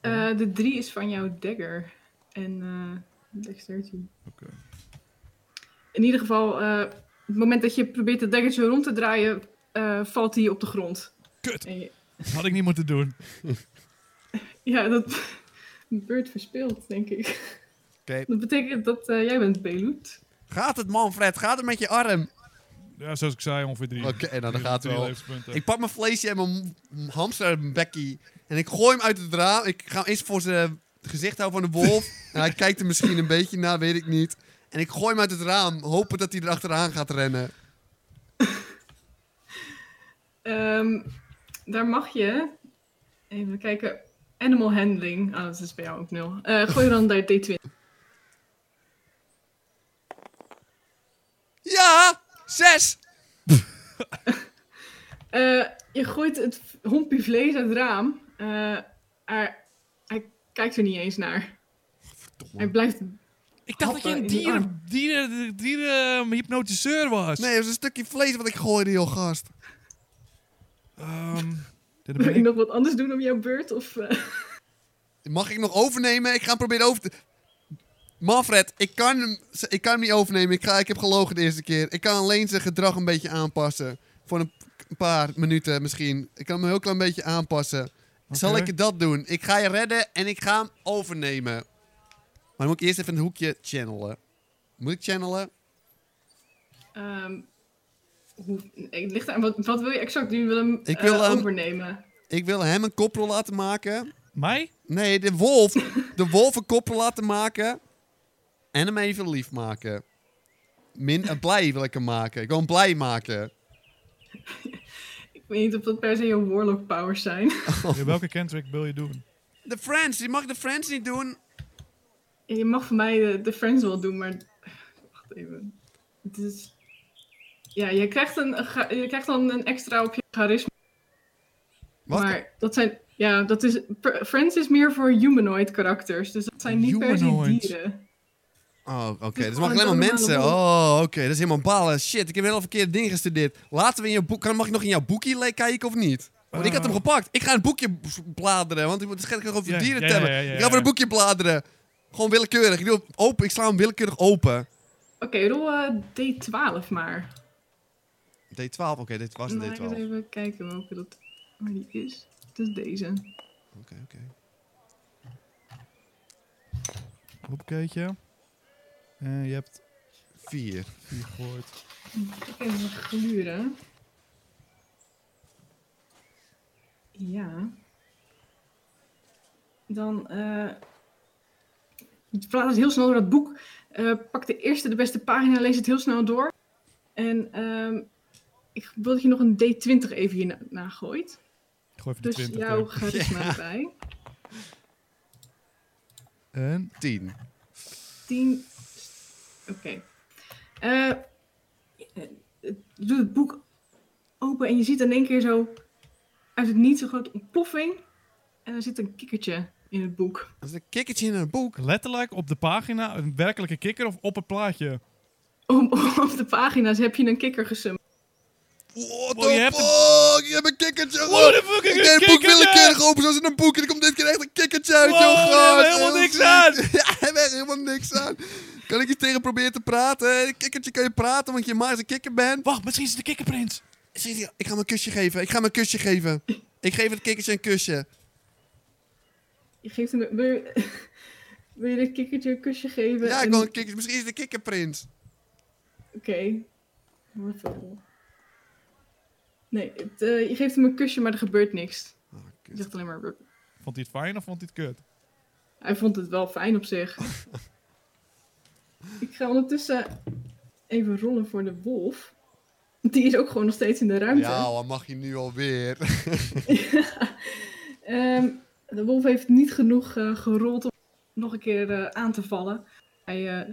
Speaker 3: Eh, de 3 is van jouw dagger. En eh dexterity.
Speaker 1: Oké.
Speaker 3: In ieder geval, eh, het moment dat je probeert de dagger zo rond te draaien, eh, valt hij op de grond.
Speaker 1: Kut.
Speaker 3: En je-
Speaker 1: Had ik niet moeten doen.
Speaker 3: Ja, dat beurt verspeeld, denk ik.
Speaker 2: Oké.
Speaker 3: Dat betekent dat eh, jij bent Beloet.
Speaker 2: Gaat het, Manfred? Gaat het met je arm?
Speaker 1: Ja, zoals ik zei, ongeveer 3.
Speaker 2: Oké, nou, dan gaat het wel.
Speaker 1: Levenspunten.
Speaker 2: Ik pak mijn vleesje en mijn hamsterbekkie. En ik gooi hem uit het raam. Ik ga hem eerst voor zijn gezicht houden van de wolf. en hij kijkt er misschien een beetje naar, weet ik niet. En ik gooi hem uit het raam, hopen dat hij erachteraan gaat rennen.
Speaker 3: Ehm, daar mag je. Even kijken. Animal handling. Ah, dat is bij jou ook nul. Eh, gooi dan daar D20.
Speaker 2: Ja! Zes!
Speaker 3: Eh, je gooit het v- hompje vlees uit het raam. Eh, hij, hij kijkt er niet eens naar. Hij blijft.
Speaker 1: Ik dacht dat je een
Speaker 3: Happen in die
Speaker 1: dieren,
Speaker 3: arm.
Speaker 1: dieren, dieren hypnotiseur was.
Speaker 2: Nee, dat is een stukje vlees wat ik gooide, joh, gast.
Speaker 1: Ehm, dit
Speaker 3: Wil
Speaker 1: ben
Speaker 3: je
Speaker 1: ik.
Speaker 3: nog wat anders doen op jouw beurt? Of, eh,
Speaker 2: Mag ik nog overnemen? Ik ga hem proberen over te... Manfred, ik kan hem, ik kan hem niet overnemen. Ik, ga, ik heb gelogen de eerste keer. Ik kan alleen zijn gedrag een beetje aanpassen. Voor een, een paar minuten misschien. Ik kan hem een heel klein beetje aanpassen. Zal
Speaker 1: Oké.
Speaker 2: ik dat doen? Ik ga je redden en ik ga hem overnemen. Maar dan moet ik eerst even een hoekje channelen. Moet ik channelen?
Speaker 3: ehm, hoe, ik ligt aan, wat, wat wil je exact doen? Je wil hem
Speaker 2: Ik
Speaker 3: ik
Speaker 2: wil hem-
Speaker 3: overnemen.
Speaker 2: Ik wil hem een koprol laten maken.
Speaker 1: Mij?
Speaker 2: Nee, de wolf. de wolf een koprol laten maken. En hem even lief maken. Min en blij wil ik hem maken. Ik wil hem blij maken.
Speaker 3: Ik weet niet of dat per se je warlock powers zijn.
Speaker 1: Ja, welke cantrick wil je doen?
Speaker 2: De Friends, je mag de Friends niet doen.
Speaker 3: je mag voor mij de, de friends wel doen, maar. Wacht even. Het is. Ja, je krijgt, een, een ga- je krijgt dan een extra op je charisma.
Speaker 2: Wat?
Speaker 3: Maar dat zijn. Ja, dat is. per- Friends is meer voor humanoid karakters. Dus dat zijn niet per se
Speaker 1: Humanoids.
Speaker 3: dieren.
Speaker 2: Oh, oké.
Speaker 3: is
Speaker 2: Dus
Speaker 3: gewoon
Speaker 2: mag alleen maar
Speaker 3: een
Speaker 2: mensen.
Speaker 3: normale
Speaker 2: Oh, oké. Dat is helemaal balen. Shit, ik heb heel verkeerde dingen gestudeerd. Laten we in je boek... Kan, mag ik nog in jouw boekje le- kijken of niet? Want ik had hem
Speaker 1: Eh.
Speaker 2: gepakt. Ik ga in het boekje b- bladeren. Want ik moet het gewoon over
Speaker 1: Ja,
Speaker 2: dieren
Speaker 1: ja,
Speaker 2: te
Speaker 1: ja,
Speaker 2: hebben.
Speaker 1: ja, ja,
Speaker 2: ik ga voor het
Speaker 1: ja.
Speaker 2: boekje bladeren. Gewoon willekeurig. Ik, doe hem open. ik sla hem willekeurig open.
Speaker 3: Oké, rol eh, D12 maar.
Speaker 2: D12, oké. dit was
Speaker 3: Dan
Speaker 2: een
Speaker 3: ga ik
Speaker 2: D12.
Speaker 3: eens
Speaker 2: Oké,
Speaker 3: even kijken welke dat. Waar die is. Het is deze.
Speaker 2: oké.
Speaker 1: Hopkeetje. Eh je hebt
Speaker 2: Vier.
Speaker 1: vier gehoord.
Speaker 3: Ik ga even gluren. Ja. Dan. eh je plaatst heel snel door dat boek. Eh, pak de eerste, de beste pagina, lees het heel snel door. En ehm, ik wil dat je nog een D20 even hierna na gooit.
Speaker 1: Ik gooi even
Speaker 3: Dus
Speaker 1: die 20
Speaker 3: jouw
Speaker 1: er.
Speaker 3: charisma erbij.
Speaker 1: En?
Speaker 2: Tien.
Speaker 3: 10. Oké. Eh, eh, doe het boek open en je ziet in één keer zo uit het niet zo grote ontploffing. En er zit een kikkertje in het boek.
Speaker 2: Dat is een kikkertje in een boek.
Speaker 1: Letterlijk op de pagina een werkelijke kikker of op het plaatje?
Speaker 3: Om, op de pagina's heb je een kikker gesumd.
Speaker 2: What
Speaker 1: Wow, je
Speaker 2: the
Speaker 1: hebt een-
Speaker 2: fuck? Je hebt een kikkertje.
Speaker 1: What the fuck,
Speaker 2: Ik
Speaker 1: een
Speaker 2: deed het boek
Speaker 1: kikker?
Speaker 2: willekeurig open zoals in een boek. En er komt dit keer echt een kikkertje uit.
Speaker 1: Wow,
Speaker 2: joh,
Speaker 1: daar hebben
Speaker 2: gast.
Speaker 1: we helemaal
Speaker 2: Heel
Speaker 1: niks
Speaker 2: ziek.
Speaker 1: aan.
Speaker 2: Ja, we hebben helemaal niks aan. Kan ik je tegen proberen te praten? Een Kikkertje kan je praten, want je maar een kikker bent.
Speaker 1: Wacht, misschien is het de kikkerprins.
Speaker 2: Zie je, Ik ga hem een kusje geven. Ik ga hem een kusje geven. Ik geef het kikkertje een kusje.
Speaker 3: Je geeft hem. een- Wil je, wil je dat kikkertje een kusje geven?
Speaker 2: Ja, ik
Speaker 3: En-
Speaker 2: wil een kikkertje. Misschien is het de kikkerprins.
Speaker 3: Oké. Wat een vogel. Nee, het, eh, je geeft hem een kusje, maar er gebeurt niks.
Speaker 2: Ah, kut.
Speaker 3: Je zegt alleen maar. "Rup."
Speaker 1: Vond hij het fijn of vond hij het kut?
Speaker 3: Hij vond het wel fijn op zich. ik ga ondertussen even rollen voor de wolf. Want Die is ook gewoon nog steeds in de ruimte.
Speaker 2: Ja, wat mag je nu alweer?
Speaker 3: Ehm, de wolf heeft niet genoeg eh, gerold om nog een keer eh, aan te vallen. Hij eh,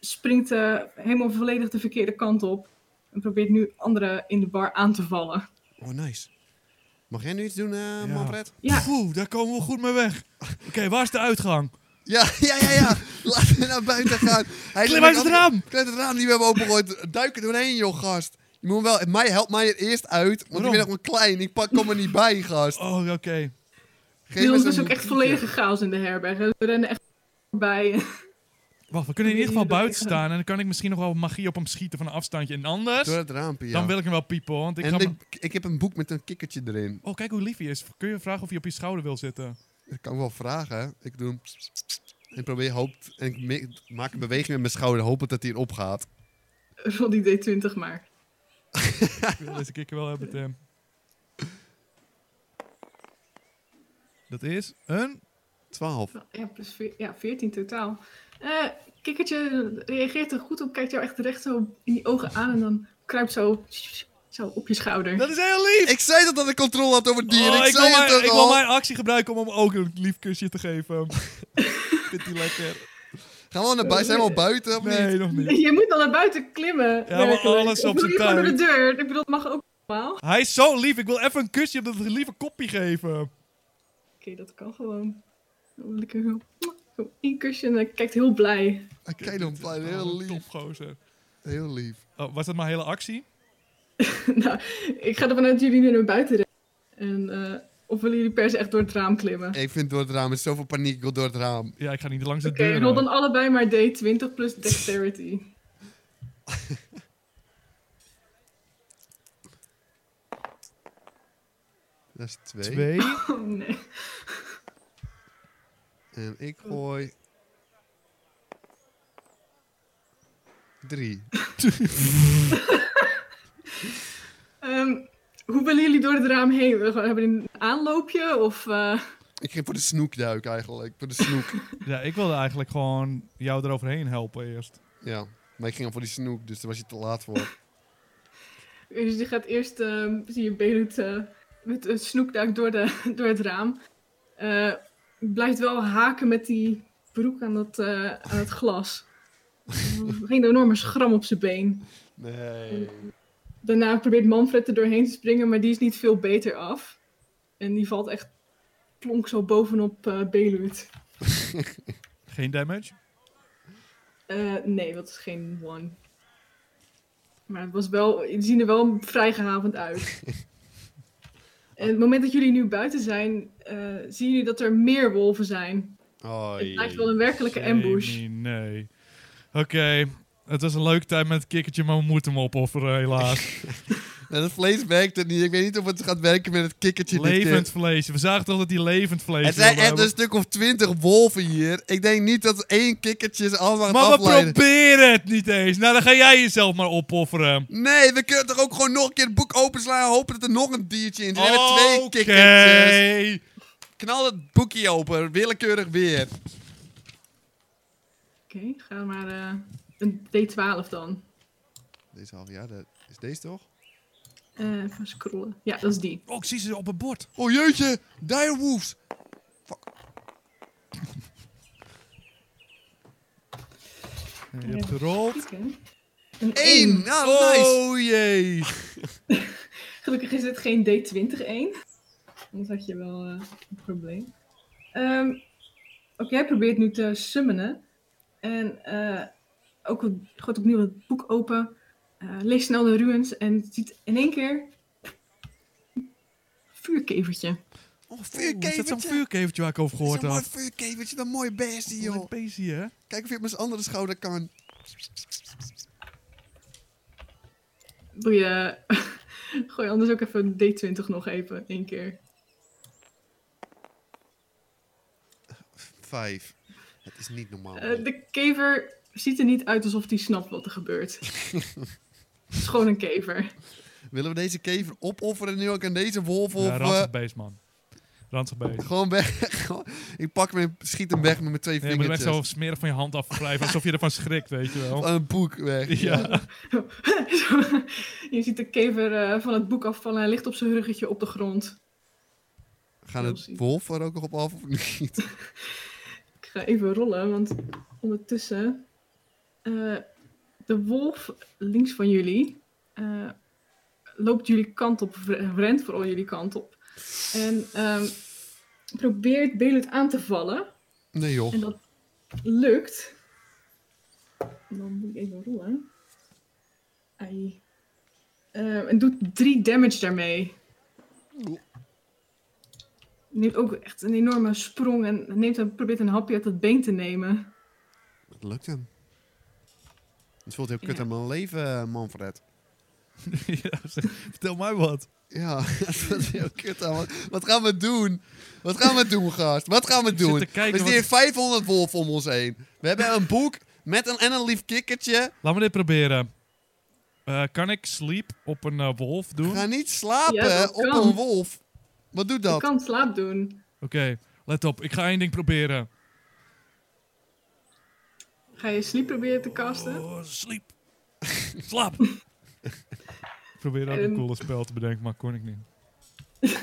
Speaker 3: springt eh, helemaal volledig de verkeerde kant op. En probeert nu anderen in de bar aan te vallen.
Speaker 2: Oh, nice. Mag jij nu iets doen, eh Manfred?
Speaker 3: Ja,
Speaker 1: Oeh, daar komen we goed mee weg. Oké, waar is de uitgang?
Speaker 2: Ja, ja, ja, ja. Laten we naar buiten gaan. Hij is
Speaker 1: Klim uit het
Speaker 2: met-
Speaker 1: raam.
Speaker 2: Klim uit het raam die we hebben opengegooid. Duik er doorheen, joh, gast. Je moet wel... Mij helpt mij er eerst uit, want
Speaker 1: Waarom?
Speaker 2: ik ben nog maar klein. Ik pak, kom er niet bij, gast.
Speaker 1: Oh, oké.
Speaker 2: Geef
Speaker 3: Niels
Speaker 2: me
Speaker 3: is
Speaker 2: zo'n
Speaker 3: ook echt
Speaker 2: boekje.
Speaker 3: volledige chaos in de herberg. hè. We rennen echt voorbij.
Speaker 1: Wacht, we kunnen in
Speaker 3: Ik
Speaker 1: ieder geval
Speaker 3: weet niet
Speaker 1: buiten
Speaker 3: of ik-
Speaker 1: staan. En dan kan ik misschien nog wel magie op hem schieten van een afstandje. En anders,
Speaker 2: Door het raampje, ja.
Speaker 1: dan wil ik hem wel piepen. Want ik
Speaker 2: en
Speaker 1: ga
Speaker 2: ik,
Speaker 1: hem-
Speaker 2: ik heb een boek met een kikkertje erin.
Speaker 1: Oh, kijk hoe lief hij is. Kun je vragen of hij op je schouder wil zitten?
Speaker 2: Dat kan ik wel vragen, hè. Ik doe hem... En probeer hoop... En ik me- maak een beweging met mijn schouder, hopend dat hij erop gaat.
Speaker 3: Rol die D20 maar.
Speaker 1: Ik wil deze kikker wel hebben, Tim. Dat is een...
Speaker 2: 12.
Speaker 3: Ja, plus veer- ja, 14 totaal. Eh, kikkertje reageert er goed op, kijkt jou echt recht zo in die ogen aan en dan kruipt zo Zo, op je schouder.
Speaker 1: Dat is heel lief.
Speaker 2: Ik zei dat dat ik controle had over dieren.
Speaker 1: Oh,
Speaker 2: ik, zei
Speaker 1: wil
Speaker 2: het
Speaker 1: mijn,
Speaker 2: toch
Speaker 1: ik wil
Speaker 2: al.
Speaker 1: mijn actie gebruiken om hem ook een lief kusje te geven. Vindt hij lekker?
Speaker 2: Gaan we al naar buiten? Zijn we al buiten of niet?
Speaker 1: Nee, nog niet.
Speaker 3: Je moet dan naar buiten klimmen.
Speaker 1: maar
Speaker 3: werkelijk.
Speaker 1: alles
Speaker 3: Of
Speaker 1: op
Speaker 3: doe
Speaker 1: zijn
Speaker 3: je gewoon door
Speaker 1: tuin.
Speaker 3: de deur. Ik bedoel, dat mag ook normaal. Oké,
Speaker 1: Hij is zo lief. Ik wil even een kusje op dat lieve kopje geven.
Speaker 3: dat kan gewoon. Dan wil ik er zo- zo één kusje en hij kijkt heel blij.
Speaker 2: Ah, Kijk dan, blij. heel lief.
Speaker 1: Top, gozer.
Speaker 2: Heel lief.
Speaker 1: Oh, was dat mijn hele actie?
Speaker 3: nou, ik ga ervan uit dat jullie nu naar buiten rennen. En, eh, of willen jullie per se echt door het raam klimmen?
Speaker 2: Ik vind door het raam, er is zoveel paniek, ik wil door het raam.
Speaker 1: Ja, ik ga niet langs de
Speaker 3: Oké,
Speaker 1: deur.
Speaker 3: rol dan allebei maar D20 plus dexterity.
Speaker 2: Dat is twee.
Speaker 1: Twee.
Speaker 3: Oh nee.
Speaker 2: En ik gooi... Drie.
Speaker 3: Ehm, hoe willen jullie door het raam heen? Willen we gewoon- Hebben jullie een aanloopje? Of, eh,
Speaker 2: Ik ging voor de snoekduik eigenlijk. Voor de snoek.
Speaker 1: Ja, ik wilde eigenlijk gewoon jou eroverheen helpen eerst.
Speaker 2: ja. Maar ik ging al voor die snoek, dus daar was je te laat voor.
Speaker 3: dus je gaat eerst, ehm, zie je Belut eh, met een snoekduik door, de, door het raam. Eh, blijft wel haken met die broek aan, dat, eh, aan het glas. Er ging een enorme schram op zijn been.
Speaker 2: Nee.
Speaker 3: Daarna probeert Manfred er doorheen te springen, maar die is niet veel beter af. En die valt echt plonk zo bovenop eh Belut.
Speaker 1: Geen damage?
Speaker 3: Eh, nee, dat is geen one. Maar het was wel, het zien er wel vrij gehavend uit. en het moment dat jullie nu buiten zijn, eh, zien jullie dat er meer wolven zijn.
Speaker 2: Oh,
Speaker 3: het lijkt
Speaker 2: jee.
Speaker 3: wel een werkelijke ambush.
Speaker 1: Nee, nee. Oké, het was een leuke tijd met het kikkertje, maar we moeten hem opofferen, helaas.
Speaker 2: En het vlees werkt het niet. Ik weet niet of het gaat werken met het kikkertje. dit keer.
Speaker 1: levend vlees. We zagen toch dat hij levend vlees
Speaker 2: Het zijn
Speaker 1: wilde
Speaker 2: echt een
Speaker 1: hebben?
Speaker 2: stuk of twintig wolven hier. Ik denk niet dat één kikkertje ze allemaal gaat
Speaker 1: Maar we
Speaker 2: afleiden.
Speaker 1: proberen het niet eens. Nou, dan ga jij jezelf maar opofferen.
Speaker 2: Nee, we kunnen toch ook gewoon nog een keer het boek openslaan en hopen dat er nog een diertje in zit. We hebben twee
Speaker 1: Oké.
Speaker 2: kikkertjes. Knal het boekje open, willekeurig weer.
Speaker 3: Oké, ga maar eh, een D12 dan.
Speaker 2: Deze half jaar, dat is deze toch?
Speaker 3: Eh, even scrollen. Ja, dat is die.
Speaker 1: Oh, ik zie ze op het bord.
Speaker 2: Oh jeetje, direwolves.
Speaker 1: Je hebt gerold.
Speaker 3: Oké. Een één.
Speaker 2: Eén, nou nice.
Speaker 1: Oh jee.
Speaker 3: Gelukkig is dit geen D20-1. Anders had je wel eh, een probleem. Ehm, Oké, hij probeert nu te summonen. En eh, ook een- gooit opnieuw het boek open. eh, leest snel de ruins en ziet in één keer... een vuurkevertje.
Speaker 2: Oh,
Speaker 1: Oeh, Is dat zo'n
Speaker 2: vuurkevertje.
Speaker 1: vuurkevertje waar ik over gehoord
Speaker 2: Zo'n mooi
Speaker 1: had? Oh,
Speaker 2: vuurkevertje, dat mooie bestie
Speaker 1: Een
Speaker 2: joh.
Speaker 1: beestje, hè?
Speaker 2: Kijk of je op mijn andere schouder kan.
Speaker 3: Doe je... Gooi anders ook even een D20 nog even, één keer.
Speaker 2: Vijf. Het is niet normaal.
Speaker 3: Eh, de kever ziet er niet uit alsof hij snapt wat er gebeurt. Het is gewoon een kever.
Speaker 2: Willen we deze kever opofferen nu ook aan deze wolf? Of
Speaker 1: Ja,
Speaker 2: eh,
Speaker 1: ranzig beest, man. Ranzig beest.
Speaker 2: gewoon weg? ik pak hem en schiet hem weg met mijn twee
Speaker 1: Nee, je moet hem echt
Speaker 2: vingertjes.
Speaker 1: zo smerig van je hand afwrijven, alsof je ervan schrikt, weet je wel.
Speaker 2: Aan een boek weg.
Speaker 1: Ja.
Speaker 3: je ziet de kever eh, van het boek afvallen. Hij ligt op zijn ruggetje op de grond.
Speaker 2: Gaan
Speaker 3: Heel
Speaker 2: het
Speaker 3: ziek.
Speaker 2: wolf er ook nog op af of niet?
Speaker 3: Ik ga even rollen, want ondertussen... eh, de wolf links van jullie... eh, loopt jullie kant op, re- rent vooral jullie kant op. En ehm, probeert Belut aan te vallen.
Speaker 2: Nee joh.
Speaker 3: En dat lukt. Dan moet ik even rollen. Ai. Eh, en doet 3 damage daarmee. Neemt ook echt een enorme sprong en neemt een, probeert een hapje uit dat been te nemen.
Speaker 2: Het lukt hem. Het voelt heel kut
Speaker 3: Ja.
Speaker 2: aan mijn leven, eh, Manfred.
Speaker 1: Ja, zeg, Vertel mij wat.
Speaker 2: Ja, het voelt heel kut aan. Wat, wat gaan we doen? Wat gaan we doen, gast? Wat gaan we
Speaker 1: zit
Speaker 2: doen?
Speaker 1: te kijken
Speaker 2: we
Speaker 1: wat-
Speaker 2: zitten hier 500 wolven om ons heen. We hebben een boek met een, en een lief kikkertje.
Speaker 1: Laat me dit proberen. Eh, kan ik sleep op een eh, wolf doen?
Speaker 2: Ga
Speaker 1: Oké,
Speaker 2: niet slapen
Speaker 3: Ja, dat
Speaker 2: op
Speaker 3: kan.
Speaker 2: een wolf. Wat doet
Speaker 3: Je
Speaker 2: dat?
Speaker 3: kan slaap doen.
Speaker 1: let op. Ik ga één ding proberen.
Speaker 3: Ga je sleep proberen te casten?
Speaker 1: Oh, sleep. Slaap. probeerde ook een
Speaker 3: Ehm.
Speaker 1: coole spel te bedenken, maar kon ik niet.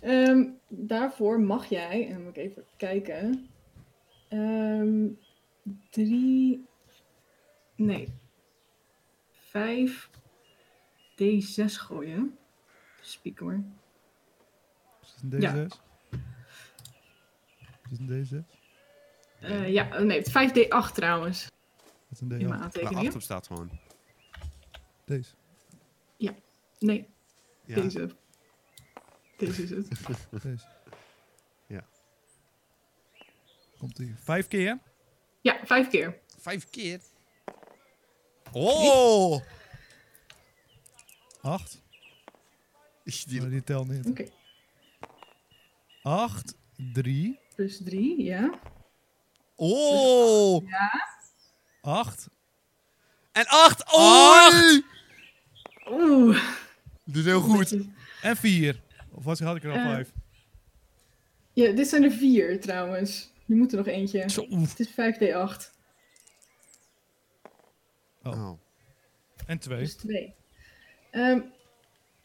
Speaker 3: Ehm, daarvoor mag jij, en moet ik even kijken. Ehm, drie. Nee. Vijf D6 gooien. Spiek hoor.
Speaker 1: Is het een D6?
Speaker 3: Ja.
Speaker 1: Is het een D6?
Speaker 3: Eh, ja, nee, het 5D8 trouwens.
Speaker 1: Is het een
Speaker 3: In
Speaker 1: D8?
Speaker 3: mijn
Speaker 2: Waar
Speaker 3: aantekeningen.
Speaker 2: 8 op Nou, staat gewoon.
Speaker 1: Deze.
Speaker 3: Nee,
Speaker 2: Ja.
Speaker 3: deze. Deze is het.
Speaker 1: Deze.
Speaker 2: Ja.
Speaker 1: Komt hier. Vijf keer?
Speaker 3: Ja, vijf keer.
Speaker 2: Vijf keer. Oh!
Speaker 1: Acht?
Speaker 2: Die-
Speaker 1: Maar die telt niet.
Speaker 3: Oké.
Speaker 1: Acht, drie,
Speaker 3: Plus drie, ja.
Speaker 2: Oh!
Speaker 1: acht.
Speaker 2: En acht! Oh!
Speaker 3: Oeh.
Speaker 2: Doet heel goed.
Speaker 3: netjes.
Speaker 1: En vier. Of was, had ik er al
Speaker 3: Eh.
Speaker 1: vijf?
Speaker 3: Ja, dit zijn er vier trouwens. Je moet er nog eentje.
Speaker 1: Zo.
Speaker 3: Het is 5D8.
Speaker 2: Oh.
Speaker 1: En twee.
Speaker 3: Dus twee. Ehm,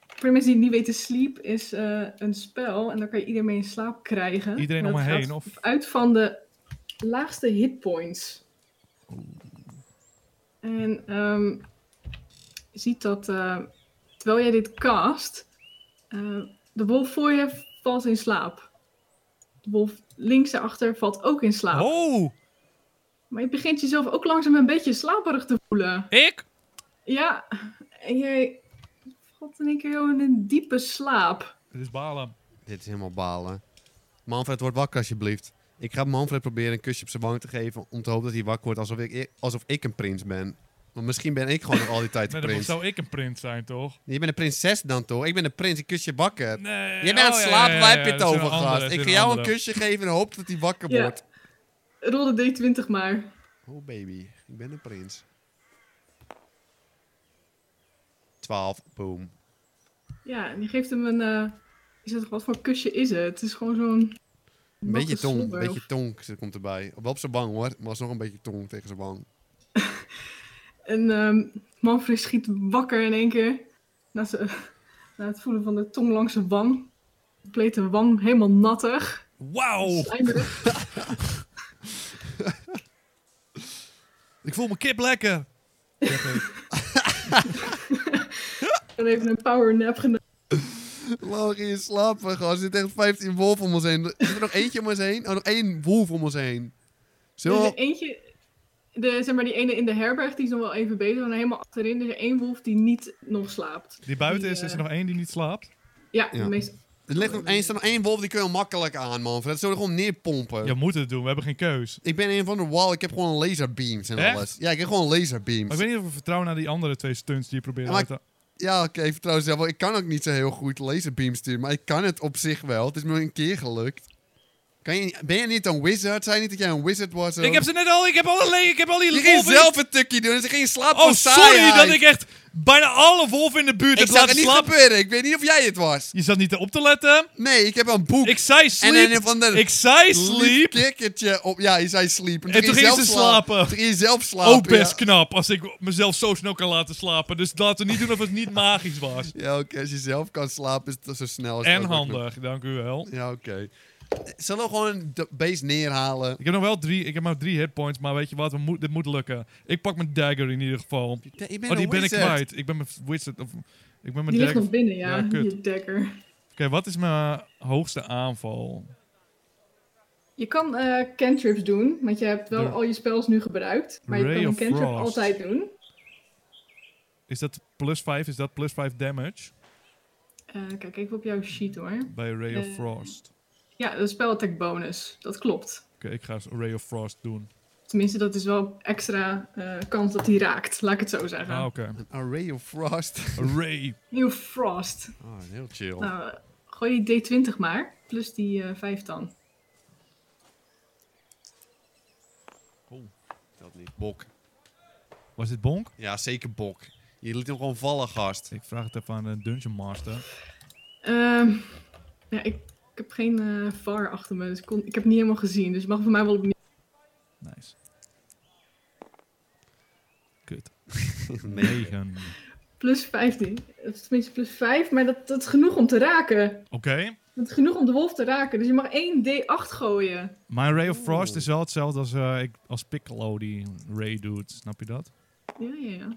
Speaker 3: voor de mensen die het niet weten, Sleep is eh, een spel. En daar kan je iedereen mee in slaap krijgen.
Speaker 1: Iedereen
Speaker 3: En
Speaker 1: om
Speaker 3: dat
Speaker 1: me
Speaker 3: gaat
Speaker 1: heen, of?
Speaker 3: Uit van de laagste hitpoints. En ehm, je ziet dat eh, terwijl jij dit cast, eh, de wolf voor je valt in slaap. De wolf links daarachter valt ook in slaap.
Speaker 1: Oh!
Speaker 3: Maar je begint jezelf ook langzaam een beetje slaperig te voelen.
Speaker 1: Ik?
Speaker 3: Ja, en jij valt in één keer heel in een diepe slaap.
Speaker 1: Dit is balen.
Speaker 2: Dit is helemaal balen. Manfred, word wakker alsjeblieft. Ik ga Manfred proberen een kusje op zijn wang te geven om te hopen dat hij wakker wordt alsof ik, alsof ik een prins ben. Want misschien ben ik gewoon nog al die tijd
Speaker 1: Nee,
Speaker 2: een
Speaker 1: dan
Speaker 2: prins.
Speaker 1: zou ik een prins zijn, toch?
Speaker 2: Je bent een prinses dan toch? Ik ben een prins, ik kus je wakker.
Speaker 1: Nee.
Speaker 2: Je bent aan
Speaker 1: oh,
Speaker 2: het
Speaker 1: ja,
Speaker 2: slapen,
Speaker 1: ja, ja,
Speaker 2: waar heb
Speaker 1: ja,
Speaker 2: je
Speaker 1: dit
Speaker 2: het
Speaker 1: is
Speaker 2: over
Speaker 1: een
Speaker 2: gehad?
Speaker 1: andere, dit is
Speaker 2: Ik ga jou een
Speaker 1: andere.
Speaker 2: kusje geven en hoop dat hij wakker
Speaker 3: Ja.
Speaker 2: wordt.
Speaker 3: Rol de D20 maar.
Speaker 2: Oh baby, ik ben een prins. 12, boom.
Speaker 3: Ja, en je geeft hem een... eh, is het, wat voor kusje is het? Het is gewoon zo'n...
Speaker 2: Een beetje tong, een
Speaker 3: slobber of-
Speaker 2: beetje tong ze- komt erbij. Wel op zijn wang hoor, maar alsnog een beetje tong tegen zijn wang.
Speaker 3: En ehm Manfred schiet wakker in één keer. Na, ze- na het voelen van de tong langs zijn wang. Pleet de wang helemaal nattig.
Speaker 1: Wauw!
Speaker 3: Slijmerig.
Speaker 1: Ik voel mijn kip lekker. Zeg ik.
Speaker 3: En even een power nap genomen.
Speaker 2: Laura in slapen, gast. Er zitten echt 15 wolven om ons heen. Er Zit er nog eentje om ons heen? Oh, nog één wolf om ons heen.
Speaker 3: Er is
Speaker 2: Zo.
Speaker 3: er eentje, de, zeg maar die ene in de herberg, die is nog wel even bezig. En helemaal achterin er is er één wolf die niet nog slaapt.
Speaker 1: Die buiten is,
Speaker 3: Die,
Speaker 1: is er
Speaker 3: eh,
Speaker 1: nog één die niet slaapt.
Speaker 3: Ja,
Speaker 2: Ja.
Speaker 3: de meest...
Speaker 2: Er ligt nog één, staat nog één wolf, die kun je heel makkelijk aan, man. Dat zullen we gewoon neerpompen.
Speaker 1: Je moet het doen, we hebben geen keus.
Speaker 2: Ik ben een van de wall, ik heb gewoon laserbeams en
Speaker 1: Echt?
Speaker 2: alles. Ja, ik heb gewoon laserbeams.
Speaker 1: Maar ik weet niet of we vertrouwen naar die andere twee stunts die je probeert
Speaker 2: Ja, maar
Speaker 1: uit te...
Speaker 2: Ja, oké, ik vertrouw zelf wel. Ik kan ook niet zo heel goed laserbeams sturen, maar ik kan het op zich wel. Het is me een keer gelukt. Kan je, ben je niet een wizard? Zei je niet dat jij een wizard was?
Speaker 1: Ik heb ze net al, ik heb al, alleen, ik heb al die
Speaker 2: Je ging
Speaker 1: wolven-
Speaker 2: zelf een tukkie doen, dus ik ging slapen
Speaker 1: Oh,
Speaker 2: van
Speaker 1: sorry
Speaker 2: saaiheid.
Speaker 1: dat ik echt bijna alle wolven in de buurt
Speaker 2: Ik
Speaker 1: heb
Speaker 2: zag het
Speaker 1: laten
Speaker 2: niet
Speaker 1: slapen.
Speaker 2: gebeuren. Ik weet niet of jij het was.
Speaker 1: Je zat niet op te letten.
Speaker 2: Nee, ik heb een boek.
Speaker 1: Ik zei sleep.
Speaker 2: een of ander
Speaker 1: ik zei
Speaker 2: Sleep
Speaker 1: sleep.
Speaker 2: kikkertje op. Ja, je zei sleep.
Speaker 1: En toen ging ze
Speaker 2: je zelf sla-
Speaker 1: slapen.
Speaker 2: Toen ging je zelf slapen.
Speaker 1: Ook Oh, best
Speaker 2: ja.
Speaker 1: knap als ik mezelf zo snel kan laten slapen. Dus laten we niet doen of het niet magisch was.
Speaker 2: Ja, oké. Als je zelf kan slapen, is het zo snel als het
Speaker 1: En
Speaker 2: ook nog-
Speaker 1: handig, dank u wel.
Speaker 2: Ja, oké. Zullen we gewoon de base neerhalen?
Speaker 1: Ik heb nog wel drie, ik heb maar drie hitpoints, maar weet je wat, we moet, dit moet lukken. Ik pak mijn dagger in ieder geval.
Speaker 2: Ik ben
Speaker 1: Oh, die ben ik kwijt. Ik ben mijn wizard, of ik ben mijn
Speaker 3: Die ligt
Speaker 1: dagger.
Speaker 3: nog
Speaker 1: Oké,
Speaker 3: binnen, ja,
Speaker 1: Ja, kut.
Speaker 3: je dekker.
Speaker 1: wat is mijn hoogste aanval?
Speaker 3: Je kan eh cantrips doen, want je hebt wel
Speaker 1: De-
Speaker 3: al je spels nu gebruikt. Maar
Speaker 1: Ray
Speaker 3: je kan een
Speaker 1: of
Speaker 3: cantrip
Speaker 1: Frost.
Speaker 3: altijd doen.
Speaker 1: Is dat plus 5? Is dat plus 5 damage?
Speaker 3: Eh, kijk even op jouw sheet hoor.
Speaker 1: Bij Ray of
Speaker 3: Eh.
Speaker 1: Frost.
Speaker 3: Ja, de spelattack bonus. Dat klopt.
Speaker 1: Oké, ik ga Ray of Frost doen.
Speaker 3: Tenminste, dat is wel extra eh, kans dat hij raakt. Laat ik het zo zeggen.
Speaker 1: Ah, oké.
Speaker 2: Array of Frost.
Speaker 1: Ray.
Speaker 3: Nieuw Frost.
Speaker 2: Oh, heel chill.
Speaker 3: Nou, eh, gooi die D20 maar. Plus die eh 5 dan.
Speaker 2: Dat niet. Bok.
Speaker 1: Was dit bonk?
Speaker 2: Ja, zeker bok. Je liet hem gewoon vallen, gast.
Speaker 1: Ik vraag het even aan de Dungeon Master.
Speaker 3: Ehm, ja, ik, ik heb geen eh, VAR achter me, dus ik, kon, ik heb het niet helemaal gezien. Dus je mag voor mij wel opnieuw.
Speaker 1: Nice. Kut.
Speaker 2: Nee.
Speaker 1: 9.
Speaker 3: Plus 15. Of tenminste, plus 5. Maar dat, dat is genoeg om te raken.
Speaker 1: Oké.
Speaker 3: Dat is genoeg om de wolf te raken. Dus je mag 1 D8 gooien.
Speaker 1: Mijn Ray of Frost
Speaker 2: Oeh.
Speaker 1: is wel hetzelfde als, eh, ik, als Piccolo die Ray doet. Snap je dat?
Speaker 3: Ja, ja, ja.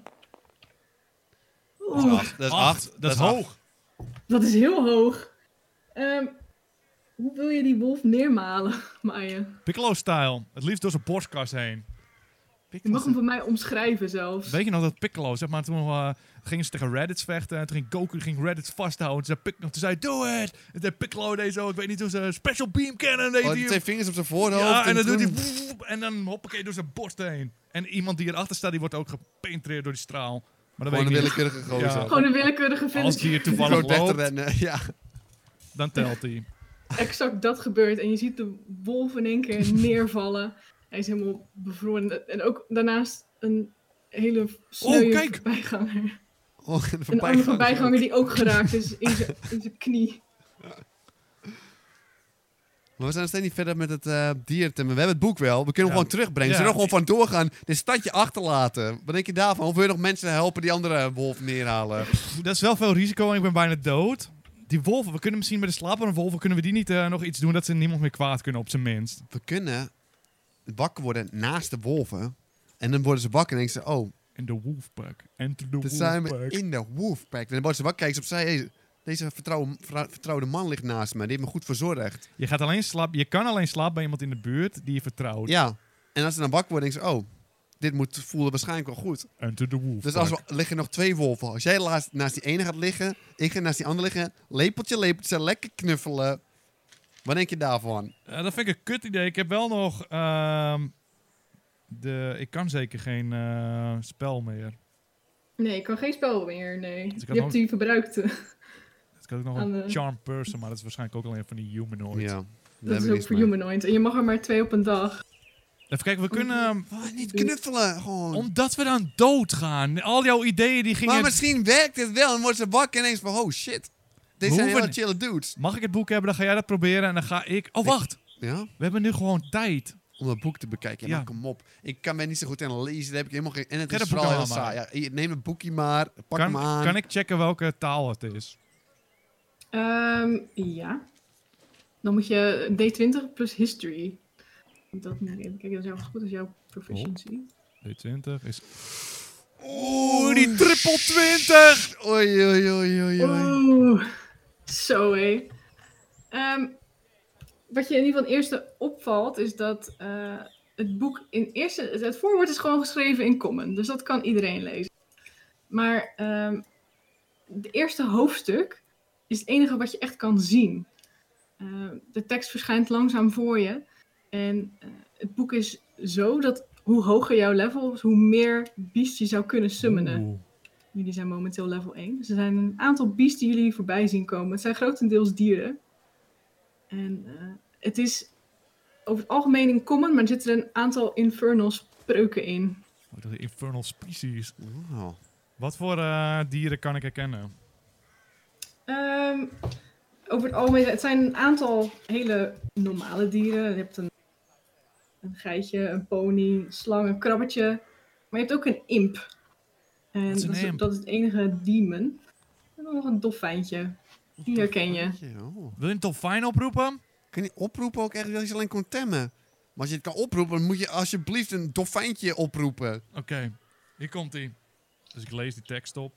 Speaker 2: Dat is
Speaker 3: Oeh,
Speaker 2: acht. Dat is acht.
Speaker 1: Dat is
Speaker 2: acht. Oh,
Speaker 1: hoog.
Speaker 3: dat is heel hoog. Ehm, hoe wil je die wolf neermalen, Maya?
Speaker 1: Piccolo-style. Het liefst door zijn borstkast heen.
Speaker 3: Je mag hem voor mij omschrijven zelfs.
Speaker 1: Weet je nog dat Piccolo, zeg maar, toen eh, gingen ze tegen Reddit vechten. En toen ging Goku ging Reddit vasthouden. Toen zei, Piccolo, toen zei do it! En toen Piccolo deed zo, ik weet niet hoe ze special beam cannon deed
Speaker 2: Oh,
Speaker 1: hij.
Speaker 2: die twee vingers op zijn voorhoofd.
Speaker 1: Ja, en dan doet
Speaker 2: toen-
Speaker 1: hij... woep, En dan hoppakee door zijn borst heen. En iemand die erachter staat, die wordt ook gepenetreerd door die straal. Maar dat
Speaker 2: Gewoon
Speaker 1: weet ik
Speaker 2: een
Speaker 1: niet.
Speaker 2: willekeurige gozer.
Speaker 1: Ja.
Speaker 3: Gewoon een willekeurige
Speaker 1: Als
Speaker 3: villager.
Speaker 1: die er toevallig
Speaker 2: Gewoon
Speaker 1: loopt,
Speaker 2: wegrennen. Ja.
Speaker 1: dan telt hij.
Speaker 3: Exact dat gebeurt. En je ziet de wolf in één keer neervallen. Hij is helemaal bevroren. En ook daarnaast een hele sneuwe
Speaker 1: Oh, kijk!
Speaker 3: bijganger.
Speaker 2: Oh, en de
Speaker 3: Een andere
Speaker 2: voorbijganger.
Speaker 3: voorbijganger die ook geraakt is in zijn- in zijn knie.
Speaker 2: Maar we zijn nog steeds niet verder met het eh dier. Tim. We hebben het boek wel. We kunnen hem
Speaker 1: Ja.
Speaker 2: gewoon terugbrengen.
Speaker 1: Ja.
Speaker 2: Ze kunnen er gewoon vandoor gaan. Dit stadje achterlaten. Wat denk je daarvan? Of wil je nog mensen helpen die andere wolf neerhalen?
Speaker 1: Dat is wel veel risico en ik ben bijna dood. Die wolven, we kunnen misschien met de slapende wolven, kunnen we die niet eh, nog iets doen dat ze niemand meer kwaad kunnen op zijn minst.
Speaker 2: We kunnen wakker worden naast de wolven. En dan worden ze wakker en denken ze... Oh,
Speaker 1: En de wolfpack. En de
Speaker 2: dan zijn we
Speaker 1: wolfpack.
Speaker 2: in de wolfpack. En dan worden ze wakker kijken ze opzij. Hey, deze vertrouwen, vrou- vertrouwde man ligt naast me. Die heeft me goed verzorgd.
Speaker 1: Je, gaat alleen slaap, je kan alleen slapen bij iemand in de buurt die je vertrouwt.
Speaker 2: Ja. En als ze dan wakker worden denken ze... Oh, dit moet voelen waarschijnlijk wel goed.
Speaker 1: En de wolfpack.
Speaker 2: Dus als we liggen nog twee wolven. Als jij laatst naast die ene gaat liggen, ik ga naast die andere liggen. Lepeltje, lepeltje, lekker knuffelen. Wat denk je daarvan?
Speaker 1: Eh, dat vind ik een kut idee. Ik heb wel nog... ehm, de, ik kan zeker geen eh, spel meer.
Speaker 3: Nee, ik kan geen spel meer, nee.
Speaker 1: ik
Speaker 3: Je
Speaker 1: had nog-
Speaker 3: hebt die verbruikt.
Speaker 1: Ik had ook nog
Speaker 3: Aan
Speaker 1: een
Speaker 3: de-
Speaker 1: charm person, maar dat is waarschijnlijk ook alleen van die humanoid.
Speaker 2: Ja, daar
Speaker 3: Dat
Speaker 2: heb
Speaker 3: is
Speaker 2: ik
Speaker 3: ook
Speaker 2: niks
Speaker 3: voor
Speaker 2: mee.
Speaker 3: humanoid. En je mag er maar twee op een dag.
Speaker 1: Even kijken, we kunnen... ehm,
Speaker 2: Wat, niet knuffelen,
Speaker 3: Oh,
Speaker 2: gewoon.
Speaker 1: omdat we dan doodgaan. Al jouw ideeën die gingen...
Speaker 2: Maar misschien werkt het wel en wordt ze wakker en ineens van, oh shit. Deze zijn
Speaker 1: hoeven
Speaker 2: hele
Speaker 1: niet-
Speaker 2: chille dudes.
Speaker 1: Mag ik het boek hebben? Dan ga jij dat proberen en dan ga ik... Oh, wacht!
Speaker 2: Ja?
Speaker 1: We hebben nu gewoon tijd.
Speaker 2: Om dat boek te bekijken. Ja,
Speaker 1: Ja.
Speaker 2: maar kom op. Ik kan mij niet zo goed aan lezen. Daar heb ik helemaal geen... En het
Speaker 1: Ga
Speaker 2: is
Speaker 1: dat boek
Speaker 2: vooral heel
Speaker 1: nou maar.
Speaker 2: saai. Ja, hier, neem het boekje maar. Pak
Speaker 1: Kan,
Speaker 2: hem aan.
Speaker 1: kan ik checken welke taal het is?
Speaker 3: Ehm, ja. Dan moet je D20 plus history. Dat moet ik even kijken. Dat is even goed als jouw proficiency.
Speaker 1: D20 is...
Speaker 2: Oeh,
Speaker 1: die triple 20!
Speaker 2: Oh, Oei, oei, oei, oei, oei.
Speaker 3: Oeh, zo hé. Ehm, wat je in ieder geval het eerste opvalt, is dat eh, het boek in eerste. Het voorwoord is gewoon geschreven in Common, dus dat kan iedereen lezen. Maar ehm het eerste hoofdstuk is het enige wat je echt kan zien. Ehm, de tekst verschijnt langzaam voor je. En eh, het boek is zo dat hoe hoger jouw level is, hoe meer beest je zou kunnen summonen.
Speaker 1: Oeh.
Speaker 3: Jullie zijn momenteel level 1. Dus er zijn een aantal beasts die jullie voorbij zien komen. Het zijn grotendeels dieren. En eh, het is over het algemeen in common, maar er zitten een aantal infernal spreuken in.
Speaker 1: Wat een infernal species.
Speaker 3: Oh.
Speaker 2: Wauw.
Speaker 1: Wat voor eh, dieren kan ik herkennen?
Speaker 3: Ehm, over het algemeen, het zijn een aantal hele normale dieren. Je hebt een, een geitje, een pony, een slang, een krabbetje. Maar je hebt ook een imp. En
Speaker 1: Wat is een
Speaker 3: dat,
Speaker 1: imp?
Speaker 3: dat is het enige demon. En dan nog een dolfijntje. Die herken je.
Speaker 2: Oh.
Speaker 1: Wil je een dolfijn oproepen?
Speaker 2: Kun je oproepen ook echt? Dat is alleen kon temmen. Maar als je het kan oproepen, dan moet je alsjeblieft een dolfijntje oproepen.
Speaker 1: Oké, hier komt ie. Dus ik lees die tekst op.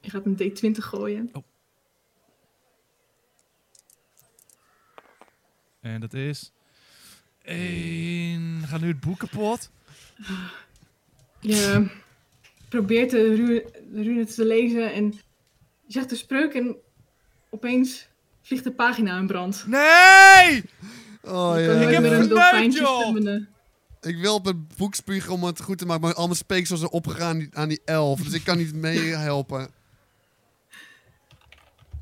Speaker 3: Je gaat een D20 gooien.
Speaker 1: En dat is... Eén... Gaat nu het boek kapot?
Speaker 3: Je probeert de ru- de rune te lezen en je zegt de spreuk en opeens vliegt de pagina in brand.
Speaker 1: Nee!
Speaker 2: Oh
Speaker 3: Je kan nooit
Speaker 1: heb
Speaker 3: meer
Speaker 1: het
Speaker 3: een
Speaker 1: verneukt,
Speaker 3: dolfijntje
Speaker 1: joh!
Speaker 3: summenen.
Speaker 2: Ik wil op het boek spugen om het goed te maken, maar al mijn speeksels zijn opgegaan die- aan die elf. Dus ik kan niet meehelpen.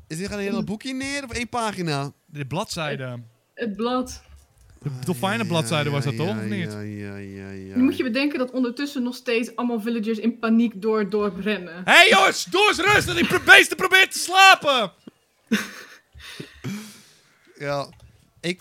Speaker 2: Is dit een hele boekje neer of één pagina?
Speaker 1: De bladzijde.
Speaker 3: Het blad.
Speaker 1: De dolfijnenbladzijde was dat toch, of niet?
Speaker 2: Ja, ja, ja, ja.
Speaker 3: Nu moet je bedenken dat ondertussen nog steeds allemaal villagers in paniek door het dorp rennen.
Speaker 1: Hé hey, jongens, doe eens rustig! Die pro- beesten probeert te slapen!
Speaker 2: Ja. Ik...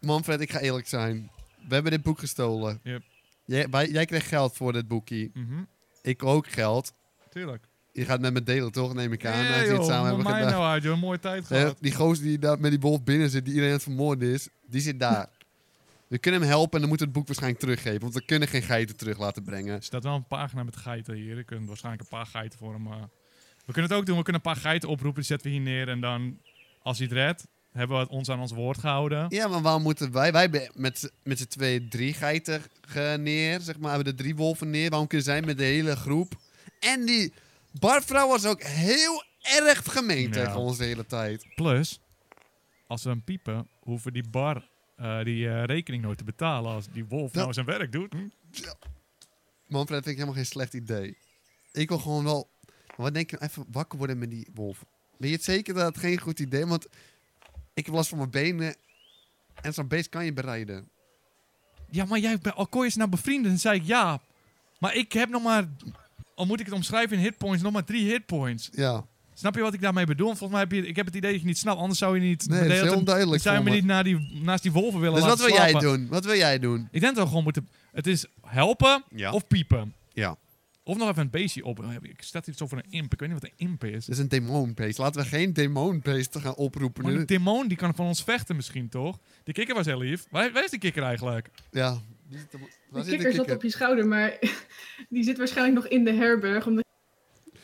Speaker 2: Manfred, ik ga eerlijk zijn. We hebben dit boek gestolen.
Speaker 1: Yep.
Speaker 2: Jij, wij- jij kreeg geld voor dit boekje.
Speaker 1: Mhm.
Speaker 2: Ik ook geld.
Speaker 1: Tuurlijk.
Speaker 2: Je gaat met me delen, toch? Neem ik aan.
Speaker 1: Nee,
Speaker 2: als we dit
Speaker 1: joh,
Speaker 2: samen hebben
Speaker 1: maakt mij
Speaker 2: gedaan.
Speaker 1: nou uit, joh. Een mooie tijd
Speaker 2: Eh,
Speaker 1: gehad.
Speaker 2: die gozer die daar met die wolf binnen zit, die iedereen aan het vermoorden is, die zit daar. We kunnen hem helpen en dan moeten we het boek waarschijnlijk teruggeven. Want we kunnen geen geiten terug laten brengen.
Speaker 1: Er staat wel een pagina met geiten hier. Ik kan waarschijnlijk een paar geiten voor hem. eh. We kunnen het ook doen. We kunnen een paar geiten oproepen. Die zetten we hier neer. En dan, als hij het redt, hebben we het ons aan ons woord gehouden.
Speaker 2: Ja, maar waarom moeten wij... Wij hebben met, z'n- met z'n twee drie geiten ge- neer, zeg maar. Hebben de drie wolven neer. Waarom kunnen zij met de hele groep... En die barvrouw was ook heel erg gemeen
Speaker 1: Ja.
Speaker 2: tegen ons de hele tijd.
Speaker 1: Plus, als we hem piepen, hoeven we die bar, eh, die eh, rekening nooit te betalen. Als die wolf nou
Speaker 2: Dat- Mm.
Speaker 1: zijn werk doet. Hm?
Speaker 2: Manfred vind ik helemaal geen slecht idee. Ik wil gewoon wel... maar Wat denk je nou? Even wakker worden met die wolf. Ben je het zeker dat het geen goed idee is? Want ik heb last van mijn benen. En zo'n beest kan je bereiden.
Speaker 1: Ja, maar jij bent, al kon je ze nou bevrienden, dan zei ik ja. Maar ik heb nog maar, al moet ik het omschrijven in hitpoints, nog maar drie hitpoints.
Speaker 2: Ja.
Speaker 1: Snap je wat ik daarmee bedoel? Volgens mij heb je, ik heb het idee dat je niet snapt, anders zou je niet...
Speaker 2: Nee,
Speaker 1: de hele
Speaker 2: dat is heel
Speaker 1: tijd-
Speaker 2: onduidelijk
Speaker 1: Zou je
Speaker 2: voor
Speaker 1: me
Speaker 2: me.
Speaker 1: niet naar die, naast die wolven willen
Speaker 2: Dus wat
Speaker 1: laten
Speaker 2: wil jij
Speaker 1: slapen?
Speaker 2: doen? Wat wil jij doen?
Speaker 1: Ik denk dat we gewoon moeten... Het is helpen
Speaker 2: Ja.
Speaker 1: of piepen.
Speaker 2: Ja.
Speaker 1: Of nog even een beestje op. Oh, Ik staat hier zo voor een imp. Ik weet niet wat een imp is.
Speaker 2: Het is een demonbeest. Laten we geen demonbeest gaan oproepen
Speaker 1: Maar
Speaker 2: nu.
Speaker 1: een demon die kan van ons vechten misschien, toch? Die kikker was heel lief. Waar, waar is die kikker eigenlijk?
Speaker 2: Ja. Die zit er- Waar
Speaker 3: De
Speaker 2: zit de
Speaker 3: kikker zat
Speaker 2: kikker?
Speaker 3: op je schouder, maar die zit waarschijnlijk nog in de herberg. Omdat...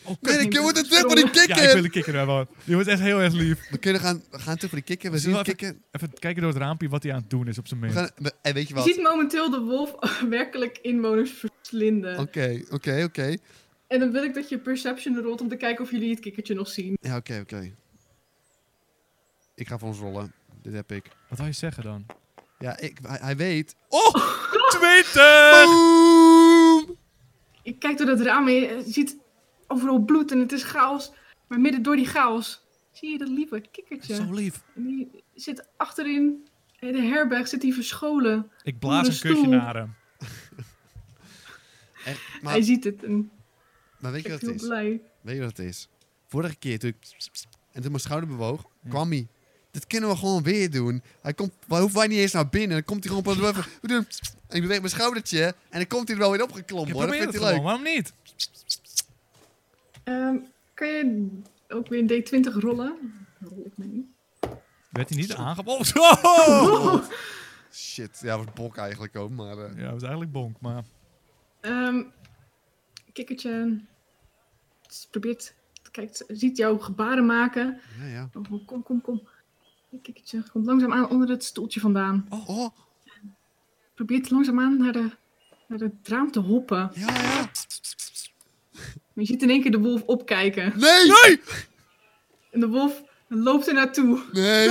Speaker 1: Oh,
Speaker 2: Nee,
Speaker 1: kut.
Speaker 2: ik moet het terug voor die
Speaker 1: Ja, ik wil
Speaker 2: kikker!
Speaker 1: de kikker hebben. hoor. Die was echt heel erg lief.
Speaker 2: We kunnen gaan, we gaan terug voor die kikker. We zien
Speaker 1: Zullen
Speaker 2: de
Speaker 1: we
Speaker 2: kikker.
Speaker 1: Even kijken door het raampje wat hij aan het doen is op zijn
Speaker 2: We
Speaker 1: minst.
Speaker 2: gaan, we- en weet je
Speaker 3: Je
Speaker 2: wat?
Speaker 3: ziet momenteel de wolf werkelijk inwoners verslinden.
Speaker 2: Oké, oké, oké.
Speaker 3: En dan wil ik dat je perception rolt om te kijken of jullie het kikkertje nog zien.
Speaker 2: Ja, oké, oké. Ik ga voor ons rollen. Dit heb ik.
Speaker 1: Wat wil je zeggen dan?
Speaker 2: Ja, ik, hij, hij weet. Oh!
Speaker 1: 20!
Speaker 2: Boom!
Speaker 3: Ik kijk door dat raam en je ziet overal bloed en het is chaos. Maar midden door die chaos zie je dat lieve kikkertje.
Speaker 1: Zo lief.
Speaker 3: En die zit achterin in de herberg, zit hij verscholen.
Speaker 1: Ik
Speaker 3: Onder
Speaker 1: blaas
Speaker 3: een
Speaker 1: een kusje
Speaker 3: stoel.
Speaker 1: naar hem.
Speaker 2: Echt,
Speaker 3: Hij
Speaker 2: Eh, maar,
Speaker 3: ziet het en
Speaker 2: maar weet je
Speaker 3: kijkt
Speaker 2: wat het
Speaker 3: heel
Speaker 2: is?
Speaker 3: blij.
Speaker 2: Weet je wat het is? Vorige keer toen ik... En toen mijn schouder bewoog, kwam hij. Dit kunnen we gewoon weer doen. Hij komt... Waar hoeven wij niet eens naar binnen. Dan komt hij gewoon... pas- We doen... En ik beweeg mijn schoudertje. En dan komt hij er wel weer opgeklommen.
Speaker 1: Ik
Speaker 2: Hoor. Dat
Speaker 1: probeer
Speaker 2: vindt
Speaker 1: het
Speaker 2: hij
Speaker 1: gewoon,
Speaker 2: leuk.
Speaker 1: waarom niet?
Speaker 3: Ehm, kan je ook weer een D20 rollen? Rol ik mee.
Speaker 1: Werd hij niet aangepakt? Oh,
Speaker 2: Shit. Ja, was bok eigenlijk ook. Maar... eh,
Speaker 1: Ja, dat was eigenlijk bonk, maar...
Speaker 3: Ehm kikkertje probeert, kijkt, ziet jou gebaren maken.
Speaker 2: ja, ja.
Speaker 3: Oh, oh, kom, kom, kom. Het Kikkertje komt langzaamaan onder het stoeltje vandaan.
Speaker 2: Oh,
Speaker 3: Probeert langzaamaan naar, de, naar het raam te hoppen.
Speaker 2: ja, ja.
Speaker 3: Maar je ziet in één keer de wolf opkijken.
Speaker 2: Nee! Nee!
Speaker 3: En de wolf loopt er naartoe.
Speaker 2: Nee!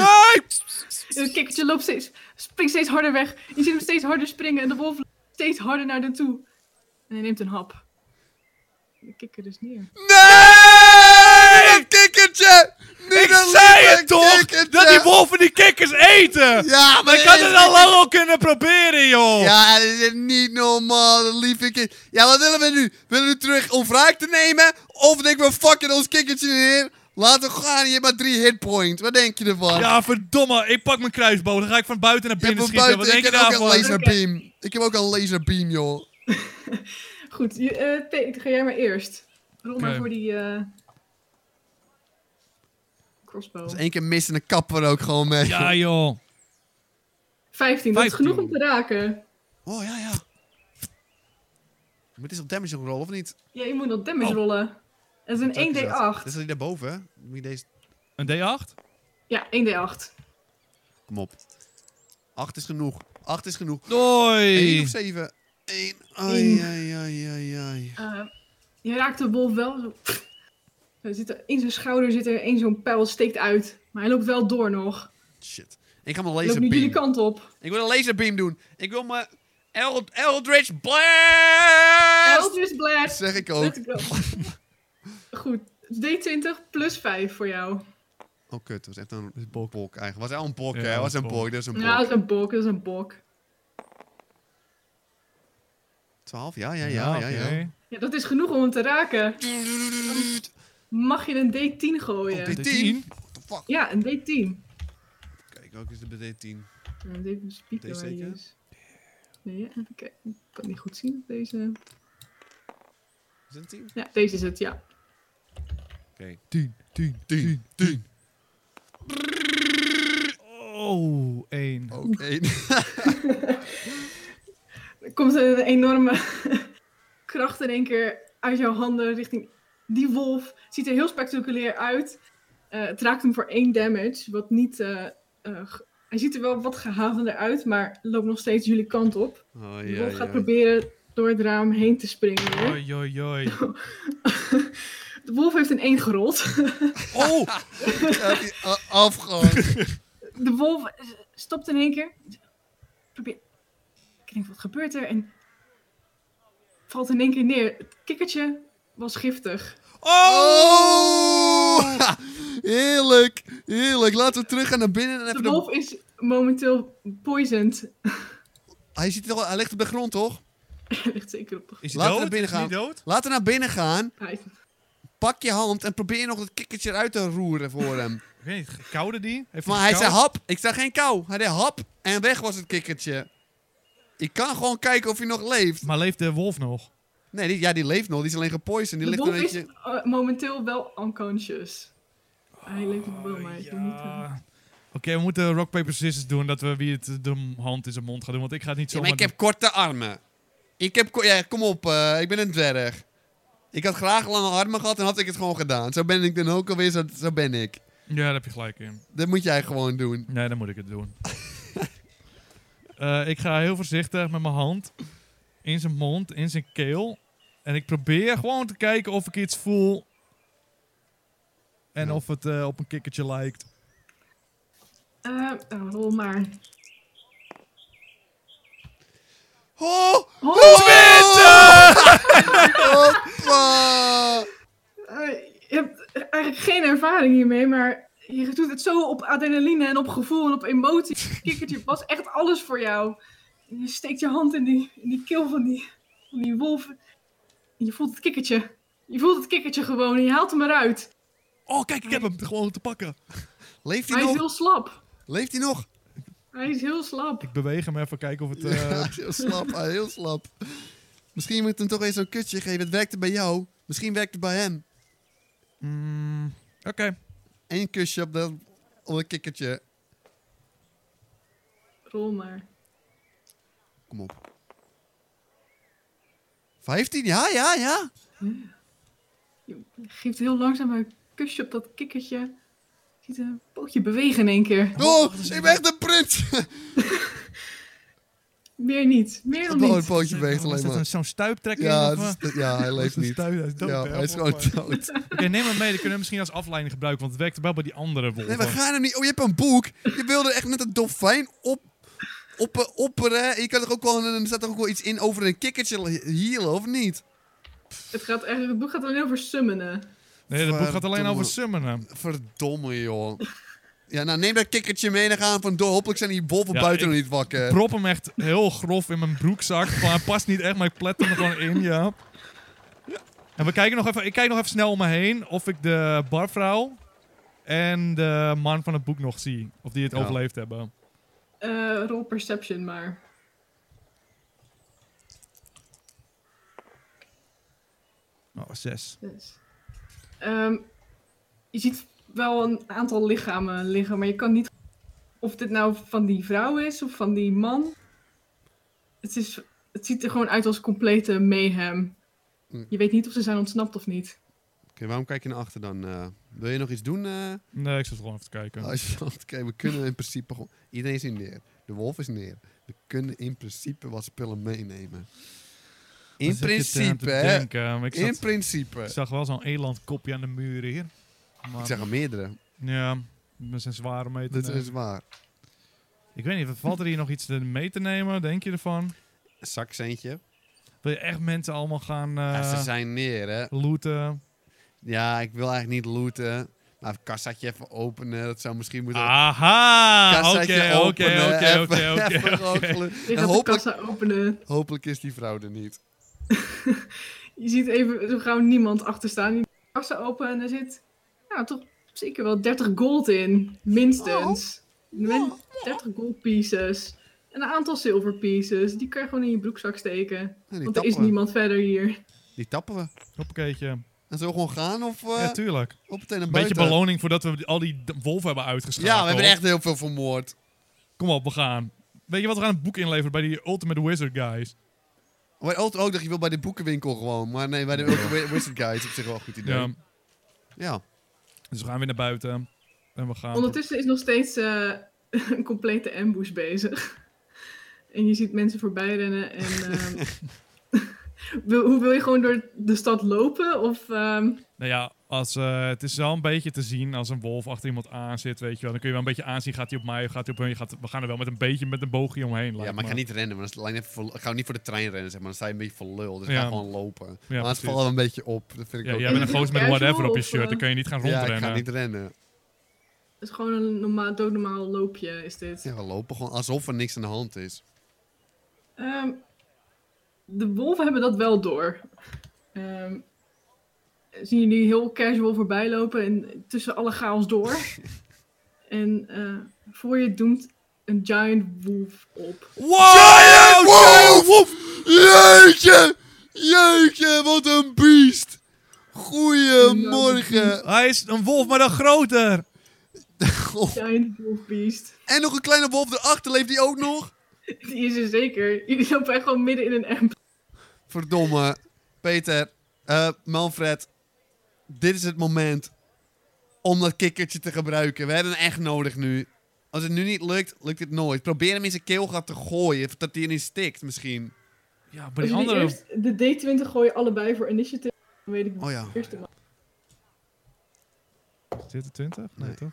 Speaker 3: En het kikkertje loopt steeds, springt steeds harder weg. Je ziet hem steeds harder springen en de wolf loopt steeds harder naar hem toe. En hij neemt een hap. De kikker dus neer.
Speaker 2: Dat kikkertje! Niet
Speaker 1: Ik
Speaker 2: dat
Speaker 1: zei
Speaker 2: lieve
Speaker 1: het toch!
Speaker 2: kikkertje!
Speaker 1: Dat die wolven die kikkers eten!
Speaker 2: Ja, maar
Speaker 1: Ik had
Speaker 2: dit
Speaker 1: het
Speaker 2: is-
Speaker 1: al lang al kunnen proberen, joh!
Speaker 2: Ja, dit is niet normaal, dat lieve kind. Ja, wat willen we nu? Willen we nu terug om wraak te nemen? Of denken we, fucking ons kikkertje neer? Laten we gaan, je hebt maar drie hitpoints. Wat denk je ervan?
Speaker 1: Ja, verdomme, ik pak mijn kruisboog. Dan ga ik van buiten naar
Speaker 2: je hebt
Speaker 1: binnen
Speaker 2: van
Speaker 1: schieten. Wat
Speaker 2: buiten, ik
Speaker 1: denk je
Speaker 2: heb ook een
Speaker 1: daarvan?
Speaker 2: laserbeam. Ik heb ook een laserbeam, joh.
Speaker 3: Goed, je, eh, Peter, ga jij maar eerst. Rol maar
Speaker 1: Oké.
Speaker 3: voor die eh, crossbow.
Speaker 2: Dat is één keer mis en dan kappen we er ook gewoon mee.
Speaker 1: Ja, joh.
Speaker 3: 15, dat is
Speaker 1: 15.
Speaker 3: genoeg om te raken.
Speaker 2: Oh, ja, ja. Maar het is op damage rollen, of niet?
Speaker 3: Ja, je moet nog damage
Speaker 1: Oh.
Speaker 3: rollen. Dat is
Speaker 2: Wat is
Speaker 3: een
Speaker 2: dat?
Speaker 3: 1d8.
Speaker 2: Dit is die daarboven, hè? Moet je deze...
Speaker 1: Een D8?
Speaker 3: Ja, 1d8.
Speaker 2: Kom op. Acht is genoeg. Acht is genoeg. Eén
Speaker 1: Doei!
Speaker 2: of zeven. Eén. Ai,
Speaker 3: Eén.
Speaker 2: ai, ai, ai, ai.
Speaker 3: Eh, je raakt de wolf wel. Zo. Er zit er- in zijn schouder zit er één zo'n pijl, steekt uit. Maar hij loopt wel door nog.
Speaker 2: Shit. Ik ga mijn
Speaker 3: Hij loopt nu jullie
Speaker 2: laserbeam.
Speaker 3: kant op.
Speaker 2: Ik wil een laserbeam doen. Ik wil mijn Eld Eldritch Blast!
Speaker 3: Eldritch Blast!
Speaker 2: Zeg ik ook.
Speaker 3: Let's go. Goed, D20 plus 5 voor jou.
Speaker 2: Oh kut, dat was echt
Speaker 1: is
Speaker 2: een
Speaker 1: een bok.
Speaker 2: bok eigenlijk. Was al een bok,
Speaker 1: Ja,
Speaker 2: hè? Was
Speaker 1: dat
Speaker 2: een
Speaker 1: is
Speaker 2: bok, dat is een
Speaker 3: Nou, dat
Speaker 2: bok.
Speaker 3: is een bok, dat is een bok.
Speaker 2: Twaalf? Ja, ja, ja, ja, ja.
Speaker 1: oké.
Speaker 3: Ja, dat is genoeg om hem te raken. Mag je een D10 gooien?
Speaker 2: Oh, dit-
Speaker 1: De
Speaker 2: 10.
Speaker 1: 10?
Speaker 2: What the fuck?
Speaker 3: Ja, een D10.
Speaker 2: Kijk, ook is de BD10.
Speaker 3: Ja, Even spieken
Speaker 2: Deze
Speaker 3: waar die
Speaker 2: zeker?
Speaker 3: is. Nee, hè? even kijken. Ik kan het niet goed zien op deze.
Speaker 2: Is het een team?
Speaker 3: Ja, deze is het, ja.
Speaker 2: Oké.
Speaker 5: 10, 10,
Speaker 2: 10, 10.
Speaker 5: Oh, 1.
Speaker 2: Oké.
Speaker 3: Er komt een enorme kracht in één keer uit jouw handen richting die wolf. Ziet er heel spectaculair uit. Eh, het raakt hem voor één damage, wat niet... eh, eh, ge- hij ziet er wel wat gehavender uit, maar loopt nog steeds jullie kant op.
Speaker 2: Oh,
Speaker 3: De
Speaker 2: ja,
Speaker 3: wolf gaat
Speaker 2: ja.
Speaker 3: proberen door het raam heen te springen. weer.
Speaker 1: Joi, joi, joi.
Speaker 3: De wolf heeft een één gerold.
Speaker 2: Oh! Heb je a- afgehakt.
Speaker 3: De wolf stopt in één keer. Probeer... Ik denk, wat gebeurt er? En valt in één keer neer. Het kikkertje was giftig.
Speaker 2: Oh! Heerlijk, heerlijk. Laten we terug gaan naar binnen en
Speaker 3: De
Speaker 2: even...
Speaker 3: wolf is momenteel poisoned.
Speaker 2: Hij, zit wel, hij ligt op de grond, toch?
Speaker 3: Hij ligt zeker op de grond.
Speaker 1: Is hij
Speaker 2: Laten we
Speaker 1: dood?
Speaker 2: naar binnen
Speaker 1: Is hij
Speaker 2: gaan.
Speaker 1: dood?
Speaker 2: Laten we naar binnen gaan.
Speaker 3: Hij-
Speaker 2: Pak je hand en probeer nog dat kikkertje uit te roeren voor hem.
Speaker 1: Ik weet niet, koude die? Heeft
Speaker 2: Maar hij zei hap. Ik zei geen kou. Hij deed hap en weg was het kikkertje. Ik kan gewoon kijken of hij nog leeft.
Speaker 1: Maar leeft de wolf nog?
Speaker 2: Nee, die, ja, die leeft nog. Die is alleen gepoison. Die
Speaker 3: De
Speaker 2: ligt een
Speaker 3: wolf is
Speaker 2: beetje...
Speaker 3: eh, momenteel wel unconscious. Hij leeft nog
Speaker 2: Oh,
Speaker 3: wel, maar hij is nog niet... eh,
Speaker 1: Ja. Oké, we moeten rock, paper, scissors doen. Dat we wie het de hand in zijn mond gaat doen. Want ik ga het niet
Speaker 2: Ja,
Speaker 1: zo.
Speaker 2: maar ik heb korte armen. Ik heb... ko- Ja, kom op. eh, ik ben een dwerg. Ik had graag lange armen gehad en had ik het gewoon gedaan. Zo ben ik dan ook alweer. Zo, zo ben ik.
Speaker 1: Ja, daar heb je gelijk in.
Speaker 2: Dat moet jij gewoon doen.
Speaker 1: Nee, dan moet ik het doen. Eh, ik ga heel voorzichtig met mijn hand in zijn mond, in zijn keel. En ik probeer gewoon te kijken of ik iets voel. En
Speaker 2: Ja.
Speaker 1: of het eh, op een kikkertje lijkt.
Speaker 3: eh, nou, rol maar.
Speaker 2: Oh!
Speaker 3: Oh,
Speaker 2: Hoppa!
Speaker 3: eh, je hebt eigenlijk geen ervaring hiermee, maar je doet het zo op adrenaline en op gevoel en op emotie. Het Kikkertje was echt alles voor jou. Je steekt je hand in die, in die keel van die, van die wolf. En je voelt het kikkertje. Je voelt het kikkertje gewoon en je haalt hem eruit.
Speaker 1: Oh, kijk, ik heb hem gewoon te pakken.
Speaker 2: Leeft hij
Speaker 3: Hij is
Speaker 2: nog?
Speaker 3: heel slap.
Speaker 2: Leeft hij nog?
Speaker 3: Hij is heel slap.
Speaker 1: Ik beweeg hem even, kijken of het... eh,
Speaker 2: Ja, heel slap, ah, heel slap. Misschien moet je hem toch eens zo'n kutje geven. Het werkte bij jou. Misschien werkt het bij hem.
Speaker 1: mm, Oké.
Speaker 2: Eén kusje op dat op een kikkertje.
Speaker 3: Rol maar.
Speaker 2: Kom op. 15? Ja, ja, ja.
Speaker 3: Je geeft heel langzaam een kusje op dat kikkertje. Je ziet een pootje bewegen in één keer.
Speaker 2: Oh, ik ben echt een prins.
Speaker 3: Meer niet. Meer dan
Speaker 2: Oh, een
Speaker 3: niet.
Speaker 2: pootje beweegt
Speaker 1: Was
Speaker 2: alleen
Speaker 1: dat een-
Speaker 2: maar.
Speaker 1: zo'n stuiptrekking?
Speaker 2: Ja,
Speaker 1: of, eh?
Speaker 2: het is- ja, hij leeft
Speaker 1: Was dat stuip-
Speaker 2: niet.
Speaker 1: hij is dood,
Speaker 2: Ja,
Speaker 1: hè?
Speaker 2: hij is gewoon
Speaker 1: Volgens mij.
Speaker 2: dood.
Speaker 1: Oké, neem hem mee. Dan kunnen we misschien als afleiding gebruiken. Want het werkte wel bij die andere wolven.
Speaker 2: Nee, we gaan er niet. Oh, je hebt een boek. Je wilde echt net een dolfijn op, op, opperen. Je kan toch ook wel, er staat toch ook wel iets in over een kikkertje hielen, of niet?
Speaker 3: Het, gaat eigenlijk, het boek gaat alleen over summonen.
Speaker 1: Nee, dat boek gaat alleen
Speaker 2: Verdomme.
Speaker 1: over summonen.
Speaker 2: Verdomme, joh. Ja, nou neem dat kikkertje mee en dan gaan we vandoor. Hopelijk zijn die wolven
Speaker 1: Ja,
Speaker 2: buiten
Speaker 1: ik-
Speaker 2: nog niet wakker.
Speaker 1: prop hem echt heel grof in mijn broekzak. Van, hij past niet echt, maar ik plet hem er gewoon in, ja. En we kijken nog even, ik kijk nog even snel om me heen of ik de barvrouw en de man van het boek nog zie. Of die het
Speaker 2: Ja.
Speaker 1: overleefd hebben.
Speaker 3: Eh rol perception maar.
Speaker 1: Oh, zes.
Speaker 3: Dus. Ehm, je ziet wel een aantal lichamen liggen, maar je kan niet. Of dit nou van die vrouw is of van die man. Het, is, het ziet er gewoon uit als complete mayhem.
Speaker 2: Mm.
Speaker 3: Je weet niet of ze zijn ontsnapt of niet.
Speaker 2: waarom kijk je naar achter dan? Eh, wil je nog iets doen? eh?
Speaker 1: Nee, ik zat gewoon even te kijken.
Speaker 2: Oh, Oké, we kunnen in principe gewoon... Iedereen is hier neer. De wolf is neer. We kunnen in principe wat spullen meenemen.
Speaker 1: Dan
Speaker 2: In
Speaker 1: zit je te- aan te
Speaker 2: principe, hè?
Speaker 1: denken, maar ik, zat-
Speaker 2: In principe.
Speaker 1: ik zag wel zo'n elandkopje aan de muren hier. Maar,
Speaker 2: Ik zeg er meerdere.
Speaker 1: Ja, met zijn zware mee te
Speaker 2: Dat
Speaker 1: nemen.
Speaker 2: is waar.
Speaker 1: Ik weet niet, valt er hier nog iets te- mee te nemen? Denk je ervan?
Speaker 2: Een zakcentje.
Speaker 1: Wil je echt mensen allemaal gaan eh,
Speaker 2: ja, ze zijn neer, hè?
Speaker 1: looten?
Speaker 2: Ja, ik wil eigenlijk niet looten. Maar een kassatje even openen. Dat zou misschien moeten...
Speaker 1: Aha,
Speaker 2: Kassaatje
Speaker 1: Ah, oké, oké,
Speaker 2: openen,
Speaker 1: oké,
Speaker 2: eh, even-
Speaker 1: oké,
Speaker 2: even
Speaker 1: oké.
Speaker 2: gewoon gelu-
Speaker 3: Je
Speaker 2: En
Speaker 3: gaat de
Speaker 2: hopelijk,
Speaker 3: kassa openen.
Speaker 2: hopelijk is die vrouw er niet.
Speaker 3: Je ziet even zo gauw niemand achter staan. Je doet de kassa open en er zit nou, toch zeker
Speaker 2: Oh.
Speaker 3: wel 30 gold in. Minstens. Min- 30 gold pieces. een aantal silver pieces. Die kan je gewoon in je broekzak steken.
Speaker 2: Ja, die,
Speaker 3: Want er is
Speaker 2: tappen we.
Speaker 3: niemand verder hier.
Speaker 2: die tappen we.
Speaker 1: Hoppakeetje.
Speaker 2: En zo gewoon gaan of eh
Speaker 1: Ja, tuurlijk.
Speaker 2: op meteen naar
Speaker 1: Een beetje
Speaker 2: buiten?
Speaker 1: beloning voordat we die- al die d- wolven hebben uitgeschakeld.
Speaker 2: Ja, we hebben er echt heel veel vermoord.
Speaker 1: Kom op, we gaan. Weet je wat, we gaan een boek inleveren bij die Ultimate Wizard Guys.
Speaker 2: Maar ook, ook dat je wil bij de boekenwinkel gewoon. Maar nee, bij de Ultimate Wizard Guy is op zich wel een goed idee.
Speaker 1: Ja.
Speaker 2: Ja.
Speaker 1: Dus we gaan weer naar buiten. En we gaan...
Speaker 3: Ondertussen is nog steeds eh, een complete ambush bezig. En je ziet mensen voorbij rennen. En, ehm, wil, hoe wil je gewoon door de stad lopen? Of ehm,
Speaker 1: Nou ja, als, eh, het is wel een beetje te zien als een wolf achter iemand aan zit, weet je wel. Dan kun je wel een beetje aanzien, gaat hij op mij of gaat hij op hun. Je gaat, we gaan er wel met een beetje met een boogje omheen.
Speaker 2: Ja, maar ik ga niet rennen. Maar dan lijkt het voor- ik ga niet voor de trein rennen, zeg maar. Dan sta je een beetje voor lul. Dus ik
Speaker 1: Ja.
Speaker 2: ga gewoon lopen. maar het
Speaker 1: precies.
Speaker 2: valt wel een beetje op. Dat vind ik
Speaker 1: Ja,
Speaker 2: ook
Speaker 1: jij
Speaker 3: En
Speaker 1: bent een
Speaker 3: is
Speaker 1: goos
Speaker 3: het
Speaker 1: met
Speaker 3: casual
Speaker 1: whatever op je
Speaker 3: of,
Speaker 1: shirt,
Speaker 3: eh?
Speaker 1: dan kun je niet gaan
Speaker 2: Ja, ik
Speaker 1: rondrennen.
Speaker 2: ga niet rennen.
Speaker 3: het is gewoon een normaal, doodnormaal loopje is dit.
Speaker 2: Ja, we lopen gewoon alsof er niks aan de hand is.
Speaker 3: Ehm, de wolven hebben dat wel door. Ehm, zien jullie heel casual voorbij lopen en tussen alle chaos door. en eh, voor je doemt een giant wolf op.
Speaker 2: Giant Wolf! Jeetje! Jeetje, wat een beest! Goedemorgen!
Speaker 1: Hij is een wolf, maar dan groter.
Speaker 2: Goh.
Speaker 3: Giant wolf beast.
Speaker 2: En nog een kleine wolf erachter, leeft die ook nog?
Speaker 3: Die is er zeker. Jullie lopen echt gewoon midden in een amp.
Speaker 2: Verdomme. Peter, eh, Manfred, dit is het moment om dat kikkertje te gebruiken. We hebben hem echt nodig nu. Als het nu niet lukt, lukt het nooit. Probeer hem in zijn keelgat te gooien, dat hij erin stikt misschien.
Speaker 1: Ja, maar
Speaker 3: Als
Speaker 1: die
Speaker 3: jullie
Speaker 1: andere...
Speaker 3: eerst de D20 gooien allebei voor initiative, dan weet ik
Speaker 2: Oh ja.
Speaker 3: de eerste man.
Speaker 1: Is dit de 20? Nee,
Speaker 2: Nee.
Speaker 1: toch?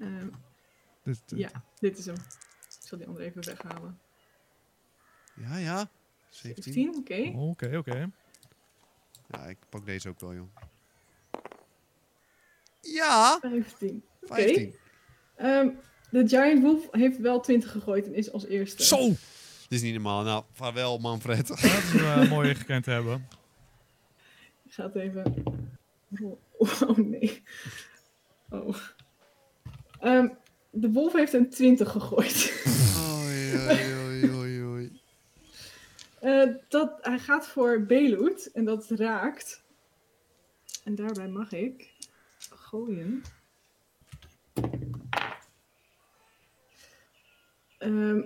Speaker 3: Ehm,
Speaker 1: Dit is de-
Speaker 3: ja, dit is hem. Ik zal die andere even weghalen.
Speaker 2: Ja, ja. 17.
Speaker 3: 15, oké.
Speaker 1: Oh, Oké, oké.
Speaker 2: Ja, ik pak deze ook wel, joh. Ja,
Speaker 3: 15. Oké.
Speaker 2: 15.
Speaker 3: Ehm, de Giant Wolf heeft wel 20 gegooid en is als eerste.
Speaker 1: Zo!
Speaker 2: Dit is niet normaal. Nou, vaarwel, Manfred.
Speaker 1: Dat is eh, mooi gekend te hebben.
Speaker 3: Ik ga het even. Oh, oh, nee. Oh. Ehm, de wolf heeft een 20 gegooid.
Speaker 2: Oei, oei, oei, oei, oei.
Speaker 3: Eh, dat, hij gaat voor Beloot en dat raakt. En daarbij mag ik gooien. Ehm,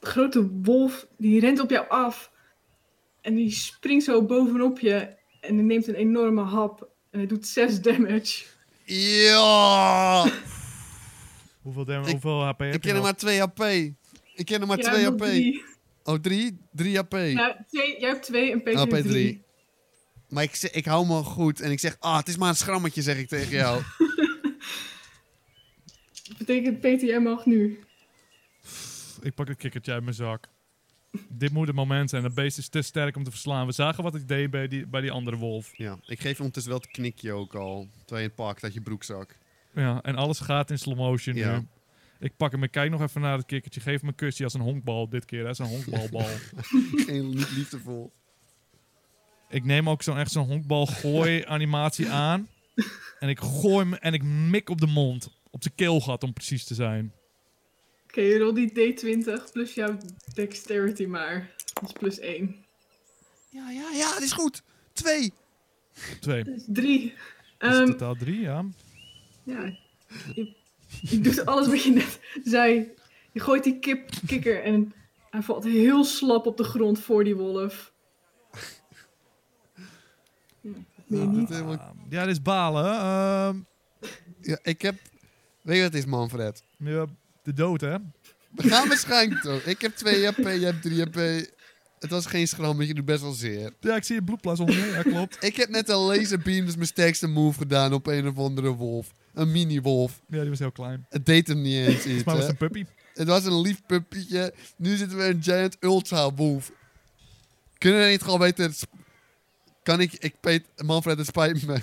Speaker 3: de grote wolf die rent op jou af. En die springt zo bovenop je. En die neemt een enorme hap. En hij doet 6 damage.
Speaker 2: Ja!
Speaker 1: Hoeveel, dam-
Speaker 2: Ik-
Speaker 1: hoeveel HP heb
Speaker 2: Ik
Speaker 1: je
Speaker 2: ken er
Speaker 1: nog?
Speaker 2: maar 2 HP. Ik ken er maar
Speaker 3: Jij
Speaker 2: 2
Speaker 3: hebt
Speaker 2: HP.
Speaker 3: nog drie.
Speaker 2: Oh, 3? 3 HP.
Speaker 3: Nou, twee, jij hebt 2 en Peter
Speaker 2: Oh,
Speaker 3: heeft
Speaker 2: Peter
Speaker 3: 3.
Speaker 2: Maar ik, ze- ik hou me goed en ik zeg, ah, het is maar een schrammetje, zeg ik tegen jou.
Speaker 3: Dat betekent Peter, jij mag nu.
Speaker 1: Ik pak een kikkertje uit mijn zak. Dit moet het moment zijn. Dat beest is te sterk om te verslaan. We zagen wat het deed bij die, bij die andere wolf.
Speaker 2: ja, ik geef ondertussen wel het knikje ook al. Terwijl je het pakt uit je broekzak.
Speaker 1: Ja, en alles gaat in slow motion
Speaker 2: Ja.
Speaker 1: nu. Ik pak hem, ik kijk nog even naar het kikkertje. Geef hem een kusje als een honkbal dit keer. Hè? Zo'n honkbalbal.
Speaker 2: Geen niet liefdevol.
Speaker 1: ik neem ook zo'n echt zo'n honkbalgooi animatie aan. En ik gooi hem en ik mik op de mond. Op zijn keelgat om precies te zijn.
Speaker 3: Oké, rol die D20 plus jouw dexterity maar. Dat is plus 1.
Speaker 2: Ja, ja, ja, het is goed. 2.
Speaker 1: Twee.
Speaker 3: Dat is 3.
Speaker 1: Dat
Speaker 3: Ehm.
Speaker 1: is totaal drie, ja.
Speaker 3: ja, je, je doet alles wat je net zei. Je gooit die kip, kikker en hij valt heel slap op de grond voor die wolf. Ja, dat weet je niet.
Speaker 1: Ja, dit is balen. Ehm,
Speaker 2: ja, ik heb... Weet je wat het is, Manfred?
Speaker 1: ja, de dood, hè?
Speaker 2: We gaan waarschijnlijk toch. Ik heb 2 HP, jij hebt 3 HP. Het was geen schrammetje, je doet best wel zeer.
Speaker 1: Ja, ik zie je bloedplas onder je. Ja, klopt.
Speaker 2: Ik heb net een laserbeam, dus mijn sterkste move gedaan op een of andere wolf. Een mini-wolf.
Speaker 1: Ja, die was heel klein.
Speaker 2: Het deed hem niet eens iets.
Speaker 1: Volgens mij was
Speaker 2: hè.
Speaker 1: het een puppy.
Speaker 2: Het was een lief puppietje. Nu zitten we in een giant ultra wolf. Kunnen we niet gewoon beter... sp- Kan ik... ik Pet- Manfred, het spijt me.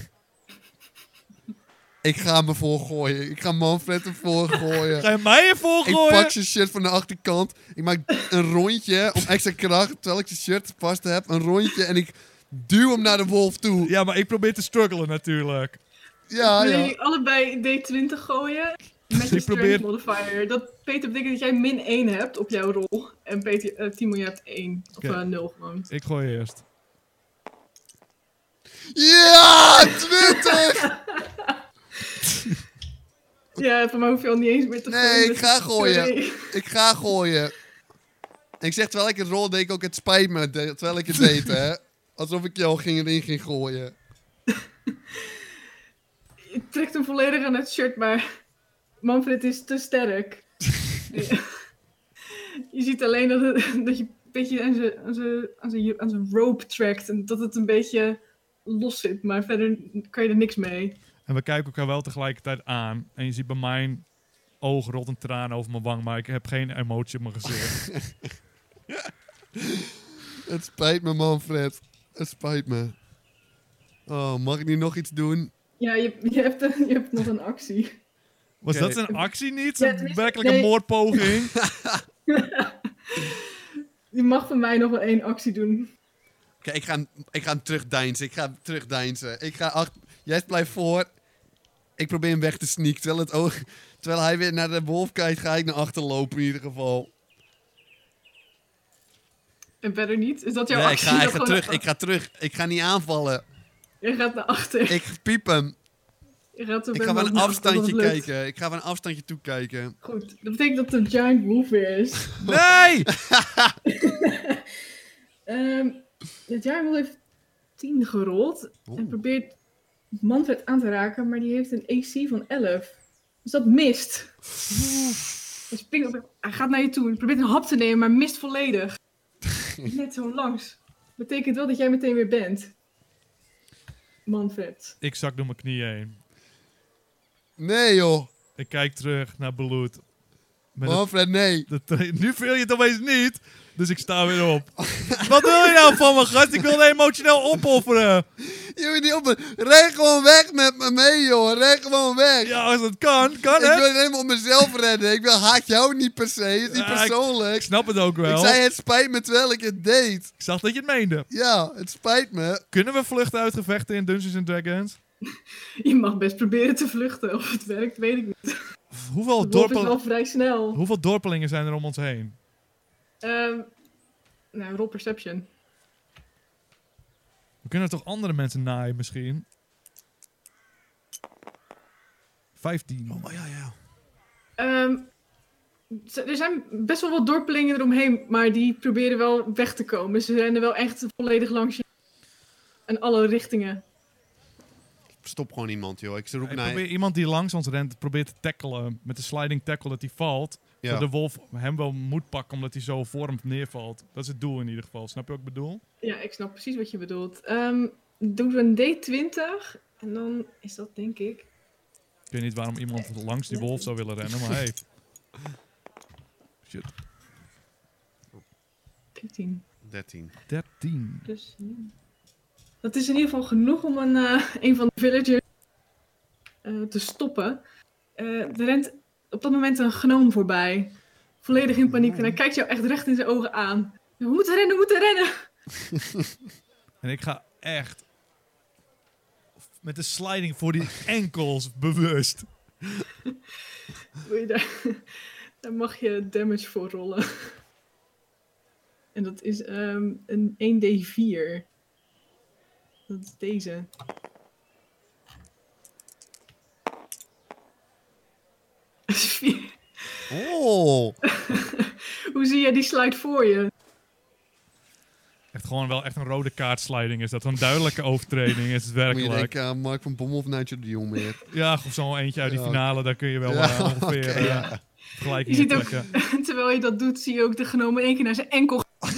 Speaker 2: Ik ga me voorgooien. Ik ga Manfred ervoor gooien.
Speaker 1: Ga je mij ervoor
Speaker 2: Ik pak
Speaker 1: gooien?
Speaker 2: zijn shirt van de achterkant. Ik maak een rondje om extra kracht. Terwijl ik zijn shirt vast heb. Een rondje. En ik duw hem naar de wolf toe.
Speaker 1: Ja, maar ik probeer te struggelen natuurlijk.
Speaker 2: Ja,
Speaker 3: Willen
Speaker 2: ja.
Speaker 3: jullie allebei D20 gooien? Met je
Speaker 1: Ik probeer-
Speaker 3: strength modifier. Dat Peter betekent dat jij min 1 hebt op jouw rol. En Peter, eh, Timo, je hebt 1. Of
Speaker 1: Oké.
Speaker 3: eh, 0 gewoon.
Speaker 1: Ik gooi eerst.
Speaker 2: Ja, 20!
Speaker 3: Ja, voor mij hoef je al niet eens meer te
Speaker 2: Nee,
Speaker 3: gooien,
Speaker 2: ik
Speaker 3: dus-
Speaker 2: ga gooien.
Speaker 3: Sorry.
Speaker 2: ik ga gooien. Ik zeg, terwijl ik het rol deed, ik ook het spijt me. de- Terwijl ik het deed, hè. Alsof ik jou ging erin ging gooien.
Speaker 3: Je trekt hem volledig aan het shirt, maar Manfred is te sterk. je ziet alleen dat, het- dat je een beetje aan zijn- aan zijn- aan zijn- aan zijn rope trekt en dat het een beetje los zit, maar verder kan je er niks mee.
Speaker 1: En we kijken elkaar wel tegelijkertijd aan. En je ziet bij mijn oog rot een traan over mijn wang, maar ik heb geen emotie op mijn gezicht.
Speaker 2: Het spijt me, Manfred. Het spijt me. Oh, mag ik nu nog iets doen?
Speaker 3: Ja, je, je, hebt, een- je hebt nog een actie.
Speaker 1: Was
Speaker 2: Oké.
Speaker 1: dat een actie niet?
Speaker 3: Ja,
Speaker 1: Een
Speaker 3: tenminste,
Speaker 1: werkelijke
Speaker 3: nee.
Speaker 1: moordpoging?
Speaker 3: Je mag van mij nog wel één actie doen.
Speaker 2: Kijk, ik ga, hem- ik ga hem terugdeinzen. Ik ga hem terugdeinzen. Ik ga achter... Jij blijft voor. Ik probeer hem weg te sneaken. Terwijl, het oog... terwijl hij weer naar de wolf kijkt, ga ik naar achter lopen in ieder geval.
Speaker 3: En verder niet. Is dat jouw
Speaker 2: Nee, ik
Speaker 3: actie?
Speaker 2: ga, ik
Speaker 3: Dat
Speaker 2: ga
Speaker 3: gewoon-
Speaker 2: terug. Ik ga terug. Ik ga niet aanvallen.
Speaker 3: Je gaat naar achter.
Speaker 2: Ik piep hem.
Speaker 3: je gaat er
Speaker 2: Ik
Speaker 3: bij
Speaker 2: ga van
Speaker 3: mij
Speaker 2: een
Speaker 3: naar achter, dat
Speaker 2: afstandje
Speaker 3: lukt.
Speaker 2: kijken. Ik ga van een afstandje toekijken.
Speaker 3: Goed, dat betekent dat de giant wolf weer is.
Speaker 1: Nee!
Speaker 3: Ehm de giant wolf heeft 10 gerold en
Speaker 2: Oeh.
Speaker 3: probeert Manfred aan te raken, maar die heeft een AC van 11. Dus dat mist. Hij, springt op- hij gaat naar je toe, hij probeert een hap te nemen, maar mist volledig. Net zo langs. Betekent wel dat jij meteen weer bent. Manfred.
Speaker 1: Ik zak door mijn knieën heen.
Speaker 2: Nee, joh.
Speaker 1: Ik kijk terug naar Beloed. Met het-
Speaker 2: Manfred, nee.
Speaker 1: dat- nu viel je het opeens niet, dus ik sta weer op. Wat wil je nou van me, gast? Ik wil emotioneel opofferen.
Speaker 2: Je moet niet op. Ren gewoon weg met me mee, joh. Ren gewoon weg.
Speaker 1: Ja, als dat kan, kan
Speaker 2: ik
Speaker 1: het.
Speaker 2: wil helemaal mezelf redden. Ik wil haat jou niet per se. Het is
Speaker 1: Ja,
Speaker 2: niet
Speaker 1: ik-
Speaker 2: persoonlijk.
Speaker 1: Ik snap het ook
Speaker 2: Ik
Speaker 1: wel.
Speaker 2: zei het spijt me terwijl ik het deed.
Speaker 1: Ik zag dat je het meende.
Speaker 2: Ja, het spijt me.
Speaker 1: Kunnen we vluchten uitgevechten in Dungeons Dragons?
Speaker 3: Je mag best proberen te vluchten. Of het werkt, weet ik niet.
Speaker 1: Hoeveel,
Speaker 3: De wolf is
Speaker 1: dorpel-
Speaker 3: wel vrij snel.
Speaker 1: hoeveel dorpelingen zijn er om ons heen?
Speaker 3: Ehm nou, roll perception.
Speaker 1: We kunnen toch andere mensen naaien misschien? 15.
Speaker 2: Oh, ja, ja.
Speaker 3: Ehm, z- er zijn best wel wat dorpelingen eromheen, maar die proberen wel weg te komen. Ze rennen wel echt volledig langs je. In alle richtingen.
Speaker 2: Stop gewoon iemand, joh. Ik roep
Speaker 1: Ik
Speaker 2: naar...
Speaker 1: probeer iemand die langs ons rent, probeert te tackelen. Met de sliding tackle dat hij valt.
Speaker 2: Ja.
Speaker 1: Dat de wolf hem wel moet pakken omdat hij zo voor hem neervalt. Dat is het doel in ieder geval. Snap je wat ik bedoel?
Speaker 3: Ja, ik snap precies wat je bedoelt. Ehm doe een D20 en dan is dat denk ik.
Speaker 1: Ik weet niet waarom iemand langs die wolf zou willen rennen, maar hey. Shit.
Speaker 3: 13.
Speaker 2: 13.
Speaker 1: 13.
Speaker 3: Dus, ja. Dat is in ieder geval genoeg om een, eh, een van de villagers eh, te stoppen. Eh, er rent op dat moment een gnoom voorbij. Volledig in paniek. En hij kijkt jou echt recht in zijn ogen aan. We moeten rennen, we moeten rennen.
Speaker 1: En ik ga echt met de sliding voor die enkels bewust.
Speaker 3: Wil je daar, daar mag je damage voor rollen. En dat is ehm, een 1d4. Dat is deze. Dat is vier.
Speaker 2: Oh.
Speaker 3: Hoe zie jij die slide voor je?
Speaker 1: Echt gewoon wel echt een rode kaartsliding is dat. Een duidelijke overtreding is het
Speaker 2: Moet je
Speaker 1: werkelijk.
Speaker 2: denken aan Mark van Bommel of Nigel de Jong meer.
Speaker 1: Ja, of zo'n eentje uit die
Speaker 2: Ja.
Speaker 1: finale, daar kun je wel
Speaker 2: Ja,
Speaker 1: eh, ongeveer
Speaker 2: oké,
Speaker 1: eh,
Speaker 2: ja.
Speaker 1: vergelijkingen
Speaker 3: Je ziet ook-
Speaker 1: trekken.
Speaker 3: Terwijl je dat doet, zie je ook de genomen in één keer naar zijn enkel. Ah!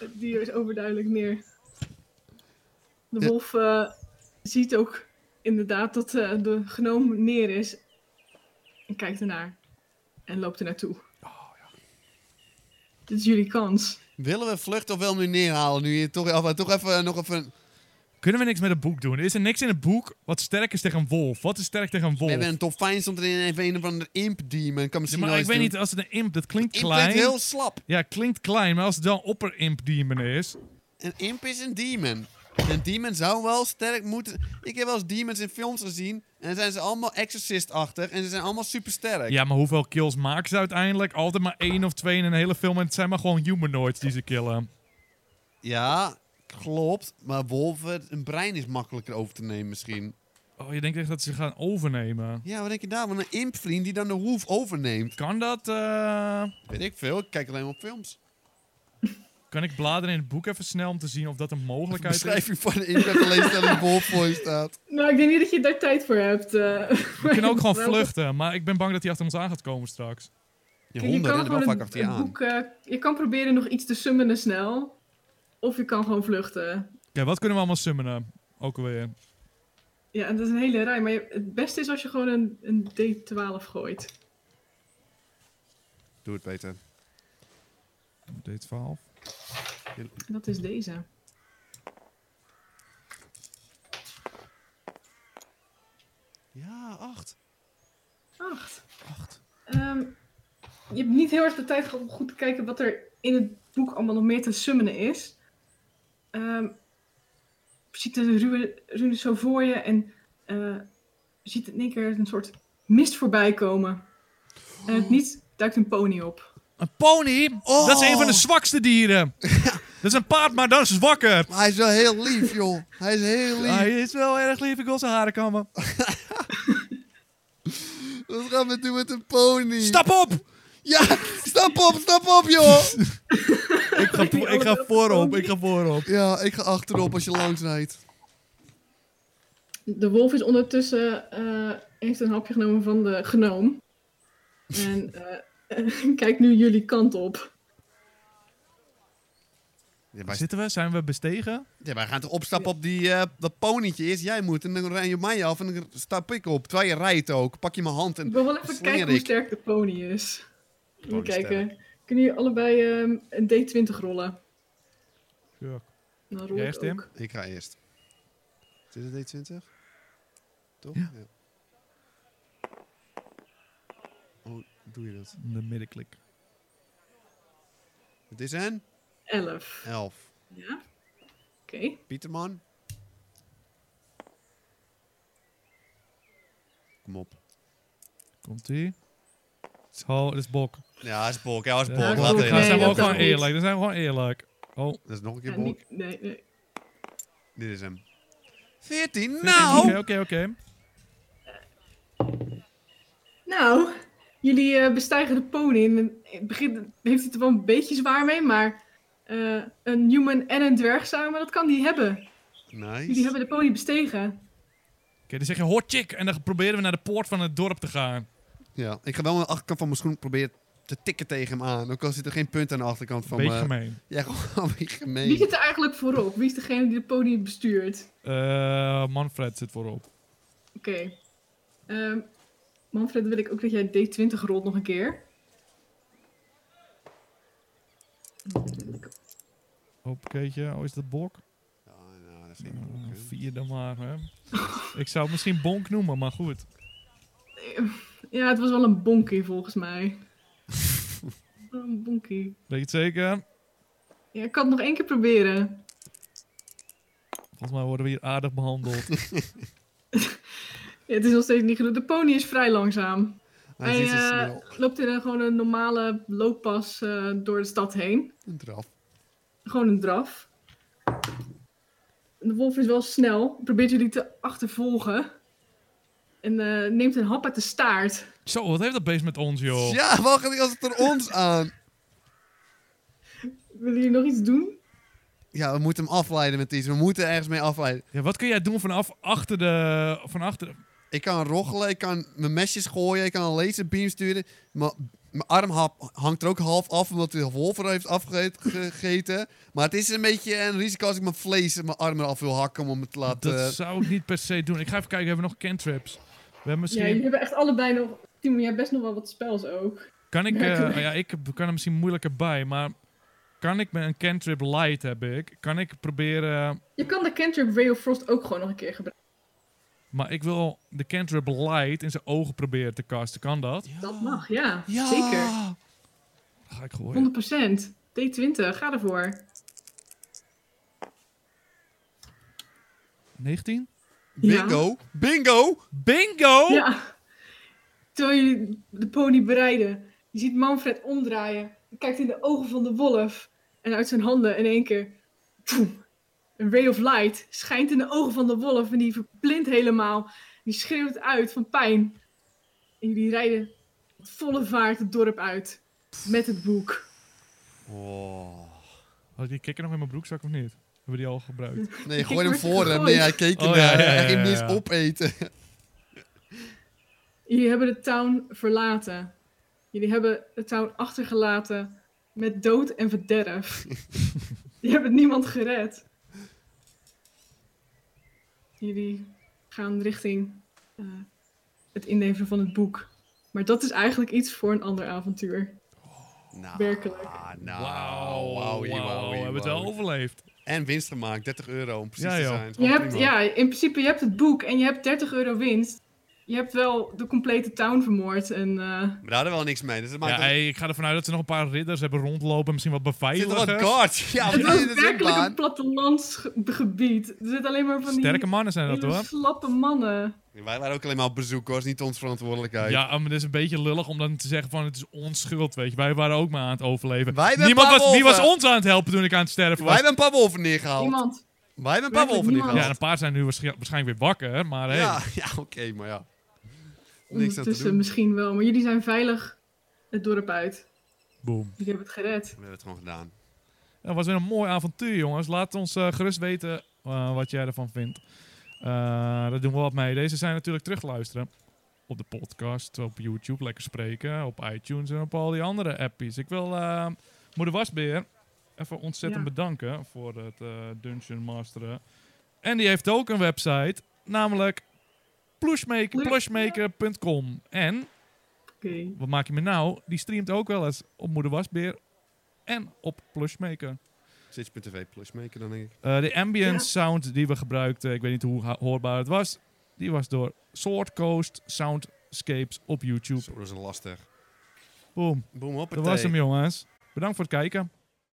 Speaker 3: Het dier is overduidelijk neer. De
Speaker 2: Ja.
Speaker 3: wolf eh, ziet ook inderdaad dat eh, de genoom neer is. En kijkt ernaar. En loopt er naartoe.
Speaker 1: Oh,
Speaker 3: Dit is jullie kans.
Speaker 2: Willen we vluchten of wel nu neerhalen? Nu je toch, of, eh, toch even nog even...
Speaker 1: Oh. Kunnen we niks met het boek doen? Is er niks in het boek wat sterk is tegen een wolf? Wat is sterk tegen een wolf?
Speaker 2: We hebben een dolfijn stond erin en even een of andere imp demon. Kan
Speaker 1: Ja,
Speaker 2: misschien
Speaker 1: maar
Speaker 2: wel
Speaker 1: ik
Speaker 2: iets
Speaker 1: weet niet,
Speaker 2: doen.
Speaker 1: als het een imp, dat klinkt
Speaker 2: Imp
Speaker 1: klein.
Speaker 2: klinkt heel slap.
Speaker 1: Ja, klinkt klein, maar als het wel een opper imp demon is.
Speaker 2: Een imp is een demon. En demons zou wel sterk moeten... Ik heb wel eens demons in films gezien. En dan zijn ze allemaal exorcist-achtig. En ze zijn allemaal supersterk.
Speaker 1: Ja, maar hoeveel kills maken ze uiteindelijk? Altijd maar één of twee in een hele film. En het zijn maar gewoon humanoids die ze killen.
Speaker 2: Ja, klopt. Maar wolven, een brein is makkelijker over te nemen misschien.
Speaker 1: Oh, je denkt echt dat ze gaan overnemen.
Speaker 2: Ja, wat denk je daar? Van een impvriend die dan de wolf overneemt.
Speaker 1: Kan dat? eh,
Speaker 2: Weet ik veel, ik kijk alleen maar op films.
Speaker 1: Kan ik bladeren in het boek even snel om te zien of dat een
Speaker 3: dus-
Speaker 1: mogelijkheid is?
Speaker 2: Beschrijving van de impact alleen dat een wolf voor je staat.
Speaker 3: Nou, ik denk niet dat je daar tijd voor hebt. eh.
Speaker 1: We kunnen ook gewoon vluchten, maar ik ben bang dat hij achter ons aan gaat komen straks.
Speaker 2: Je
Speaker 3: Kijk, je
Speaker 2: honden
Speaker 3: kan
Speaker 2: rennen wel
Speaker 3: gewoon
Speaker 2: vaak
Speaker 3: een,
Speaker 2: achter je
Speaker 3: een
Speaker 2: aan.
Speaker 3: boek... eh, je kan proberen nog iets te summonen snel. Of je kan gewoon vluchten.
Speaker 1: Oké, wat kunnen we allemaal summonen? Ook alweer.
Speaker 3: Ja, en dat is een hele rij. Maar je- het beste is als je gewoon een, een D12 gooit.
Speaker 2: Doe het, Peter.
Speaker 1: D12.
Speaker 3: En dat is deze.
Speaker 2: Ja, acht.
Speaker 3: Acht. Ehm, je hebt niet heel erg de tijd gehad om goed te kijken wat er in het boek allemaal nog meer te summonen is. Ehm, je ziet de ruïne- ruïnes zo voor je en eh, je ziet in één keer een soort mist voorbij komen. En het niet duikt een pony op.
Speaker 1: Een pony?
Speaker 2: Oh!
Speaker 1: Dat is een van de zwakste dieren. Dat is een paard, maar dat is zwakker.
Speaker 2: Maar hij is wel heel lief, joh. Hij is heel lief.
Speaker 1: Hij is wel erg lief, ik wil zijn haren kammen.
Speaker 2: Wat gaan we doen met een pony?
Speaker 1: Stap op!
Speaker 2: Ja, stap op, stap op, joh!
Speaker 1: Ik ga, vo- ik ga voorop, ik ga voorop.
Speaker 2: Ja, ik ga achterop als je langs rijdt.
Speaker 3: De wolf is ondertussen eh, heeft een hapje genomen van de gnoom. En eh, kijkt nu jullie kant op.
Speaker 2: Ja, wij,
Speaker 1: Zitten we? Zijn we bestegen?
Speaker 2: ja, wij gaan toch opstappen op die, eh, dat ponietje. Eerst jij moet en dan rij je op mij af en dan stap ik op. Terwijl je rijdt ook. Pak je mijn hand
Speaker 3: Ik
Speaker 2: en...
Speaker 3: wil wel even
Speaker 2: Slinger
Speaker 3: kijken hoe
Speaker 2: ik.
Speaker 3: sterk de pony is. Even
Speaker 2: Pony is
Speaker 3: kijken. Kunnen jullie allebei ehm, een D20 rollen?
Speaker 1: Ja.
Speaker 3: Dan rol
Speaker 1: Jij
Speaker 3: ik
Speaker 1: eerst, Tim?
Speaker 3: ook.
Speaker 2: Ik ga eerst. Is dit een D20? Toch?
Speaker 1: Ja.
Speaker 2: Hoe doe je dat?
Speaker 1: De middenklik.
Speaker 2: Het is een
Speaker 3: 11.
Speaker 2: 11.
Speaker 3: Ja? Oké.
Speaker 2: Pieterman. Kom op.
Speaker 1: Komt ie. Zo, dat is bok.
Speaker 2: Ja, dat is Bok. Ja, dat is
Speaker 1: Ja,
Speaker 2: Bok.
Speaker 3: dat is
Speaker 2: Laat
Speaker 3: Bok.
Speaker 2: even.
Speaker 1: Dan zijn we
Speaker 3: dat
Speaker 1: ook gewoon
Speaker 3: kan niet.
Speaker 1: eerlijk, dan zijn we gewoon eerlijk. Oh,
Speaker 2: Dat is nog een
Speaker 3: Ja,
Speaker 2: keer Bok.
Speaker 3: niet- nee, nee.
Speaker 2: Dit is hem. 14?
Speaker 1: Oké,
Speaker 2: Nou!
Speaker 1: oké, oké.
Speaker 3: Nou, jullie eh, bestijgen de pony. En in het begin heeft hij er wel een beetje zwaar mee, maar eh, een human en een dwerg samen, dat kan die hebben. Jullie
Speaker 2: Nice.
Speaker 3: hebben de pony bestegen.
Speaker 1: Oké, dan zeg je hot chick en dan proberen we naar de poort van het dorp te gaan.
Speaker 2: Ja, ik ga wel aan de achterkant van mijn schoen proberen te tikken tegen hem aan. Ook al zit er geen punt aan de achterkant van eh,
Speaker 1: Beetje
Speaker 2: mijn...
Speaker 1: gemeen.
Speaker 2: Ja, gewoon een beetje
Speaker 3: Wie
Speaker 2: gemeen.
Speaker 3: zit er eigenlijk voorop? Wie is degene die de pony bestuurt?
Speaker 1: Eh, Manfred zit voorop.
Speaker 3: Oké. Ehm, Manfred, wil ik ook dat jij D20 rolt nog een keer.
Speaker 1: Hoppakeetje, oh is dat bok?
Speaker 2: Ja, nou, dat
Speaker 1: Eh,
Speaker 2: vind ik ook, hè.
Speaker 1: vier dan maar, hè. Ik zou het misschien bonk noemen, maar goed.
Speaker 3: Ja, het was wel een bonkie volgens mij. Wel een bonkie.
Speaker 1: Weet je het zeker?
Speaker 3: Ja, ik kan het nog één keer proberen.
Speaker 1: Volgens mij worden we hier aardig behandeld.
Speaker 3: Ja, het is nog steeds niet genoeg. De pony is vrij langzaam.
Speaker 2: Hij zit zo
Speaker 3: eh,
Speaker 2: Ah, snel.
Speaker 3: loopt in een, gewoon een normale looppas eh, door de stad heen.
Speaker 2: Een draf.
Speaker 3: Gewoon een draf. De wolf is wel snel. Probeert jullie te achtervolgen. En eh, neemt een hap uit de staart.
Speaker 1: Zo, wat heeft dat beest met ons, joh?
Speaker 2: Ja, waarom gaat hij als het er ons aan?
Speaker 3: Willen jullie nog iets doen?
Speaker 2: Ja, we moeten hem afleiden met iets. We moeten ergens mee afleiden.
Speaker 1: Ja, wat kun jij doen vanaf achter de... Van achter...
Speaker 2: Ik kan roggelen, ik kan mijn mesjes gooien, ik kan een laserbeam sturen. Maar mijn arm ha- hangt er ook half af omdat de wolf er heeft afgegeten. Maar het is een beetje een risico als ik mijn vlees en mijn arm eraf wil hakken om het te laten...
Speaker 1: Dat zou ik niet per se doen. Ik ga even kijken, hebben we nog cantrips? We hebben
Speaker 3: Ja, jullie
Speaker 1: misschien...
Speaker 3: hebben echt allebei nog. Timo, jij hebt best nog wel wat spels ook.
Speaker 1: Kan ik... eh,
Speaker 3: Merken we.
Speaker 1: ja, ik kan er misschien moeilijker bij, maar... Kan ik met een cantrip light, heb ik. Kan ik proberen...
Speaker 3: Je kan de cantrip Ray of Frost ook gewoon nog een keer gebruiken.
Speaker 1: Maar ik wil de cantrip light in zijn ogen proberen te casten. Kan dat?
Speaker 3: Dat mag, ja.
Speaker 2: Ja!
Speaker 3: Zeker.
Speaker 1: Ga ik gooien.
Speaker 3: 100%. D20, ga ervoor.
Speaker 1: 19?
Speaker 3: Ja.
Speaker 2: Bingo. Bingo!
Speaker 1: Bingo!
Speaker 3: Ja. Terwijl jullie de pony bereiden. Je ziet Manfred omdraaien. Hij kijkt in de ogen van de wolf. En uit zijn handen in één keer... poem, een ray of light schijnt in de ogen van de wolf. En die verblindt helemaal. Die schreeuwt uit van pijn. En jullie rijden met volle vaart het dorp uit. Met het boek.
Speaker 2: Oh.
Speaker 1: Had ik die kikker nog in mijn broekzak of niet? Hebben we die al gebruikt?
Speaker 2: Nee,
Speaker 3: Ik
Speaker 2: gooi hem
Speaker 3: word
Speaker 2: voor hem.
Speaker 3: gegooid.
Speaker 2: Nee, hij keek ernaar.
Speaker 1: Oh, ja, ja, ja,
Speaker 2: Hij ging hem
Speaker 1: ja,
Speaker 2: niet
Speaker 1: ja.
Speaker 2: eens opeten.
Speaker 3: Jullie hebben de town verlaten. Jullie hebben de town achtergelaten met dood en verderf. Je hebt niemand gered. Jullie gaan richting eh, het inleveren van het boek. Maar dat is eigenlijk iets voor een ander avontuur.
Speaker 2: Nou,
Speaker 3: Werkelijk.
Speaker 2: Nou,
Speaker 1: Wauw,
Speaker 2: wauw,
Speaker 1: wauw,
Speaker 2: wauw,
Speaker 1: we hebben het wel
Speaker 2: wauw.
Speaker 1: overleefd.
Speaker 2: En winst gemaakt, 30 euro om precies
Speaker 1: Ja,
Speaker 2: te
Speaker 1: joh.
Speaker 2: zijn.
Speaker 3: Je hebt,
Speaker 2: Oh, Prima.
Speaker 3: ja, in principe, je hebt het boek en je hebt 30 euro winst. Je hebt wel de complete town vermoord. En, eh,
Speaker 2: Maar daar hadden we wel niks mee. Dus dat maakt
Speaker 1: Ja,
Speaker 2: ook-
Speaker 1: hey, ik ga ervan uit dat ze nog een paar ridders hebben rondlopen. Misschien wat
Speaker 2: Zit er
Speaker 1: beveiligers.
Speaker 2: wat guard? Ja, wat
Speaker 3: het
Speaker 2: is
Speaker 3: was
Speaker 2: dit in
Speaker 3: werkelijk een
Speaker 2: baan?
Speaker 3: plattelandsgebied. Er zit alleen maar van die...
Speaker 1: Sterke mannen zijn dat
Speaker 3: Hele
Speaker 1: hoor.
Speaker 3: slappe mannen.
Speaker 2: Wij waren ook alleen maar op bezoek, hoor. Dat is niet onze verantwoordelijkheid.
Speaker 1: Ja, ah, maar het is een beetje lullig om dan te zeggen van het is ons schuld, weet je. Wij waren ook maar aan het overleven.
Speaker 2: Wij hebben
Speaker 1: Niemand
Speaker 2: een paar
Speaker 1: was, wie was
Speaker 2: wolven.
Speaker 1: ons aan het helpen toen ik aan het sterven
Speaker 2: Wij
Speaker 1: was?
Speaker 2: hebben een paar wolven neergehaald.
Speaker 3: Iemand.
Speaker 2: Wij hebben een paar
Speaker 3: Werkelijk
Speaker 2: wolven
Speaker 3: niemand.
Speaker 1: Ja, en een
Speaker 2: neergehaald.
Speaker 1: paar zijn nu waarsch- waarschijnlijk weer wakker, maar hey.
Speaker 2: Ja, ja oké, maar ja. Niks aan te
Speaker 3: Ondertussen
Speaker 2: doen. We
Speaker 3: misschien wel. Maar jullie zijn veilig het dorp uit.
Speaker 1: Boom.
Speaker 3: Jullie hebben het gered.
Speaker 2: hebben het gewoon gedaan.
Speaker 1: Dat was weer een mooi avontuur, jongens. Laat ons eh, gerust weten eh, wat jij ervan vindt. Eh daar doen we wat mee. Deze zijn natuurlijk terugluisteren. Op de podcast, op YouTube, lekker spreken. Op iTunes en op al die andere appies. Ik wil eh Moeder Wasbeer even ontzettend
Speaker 3: Ja.
Speaker 1: bedanken voor het eh, dungeon masteren. En die heeft ook een website, namelijk plushmaker- plushmaker.com. En
Speaker 3: Oké.
Speaker 1: wat maak je me nou? Die streamt ook wel eens op Moeder Wasbeer en op Plushmaker.
Speaker 2: Twitch.tv plusmaker dan denk ik.
Speaker 1: Eh, de ambient sound die we gebruikten, ik weet niet hoe ha- hoorbaar het was, die was door Sword Coast Soundscapes op YouTube.
Speaker 2: Zo, dat is lastig.
Speaker 1: Boom,
Speaker 2: Boem,
Speaker 1: dat
Speaker 2: hoppatee.
Speaker 1: was hem jongens. Bedankt voor het kijken.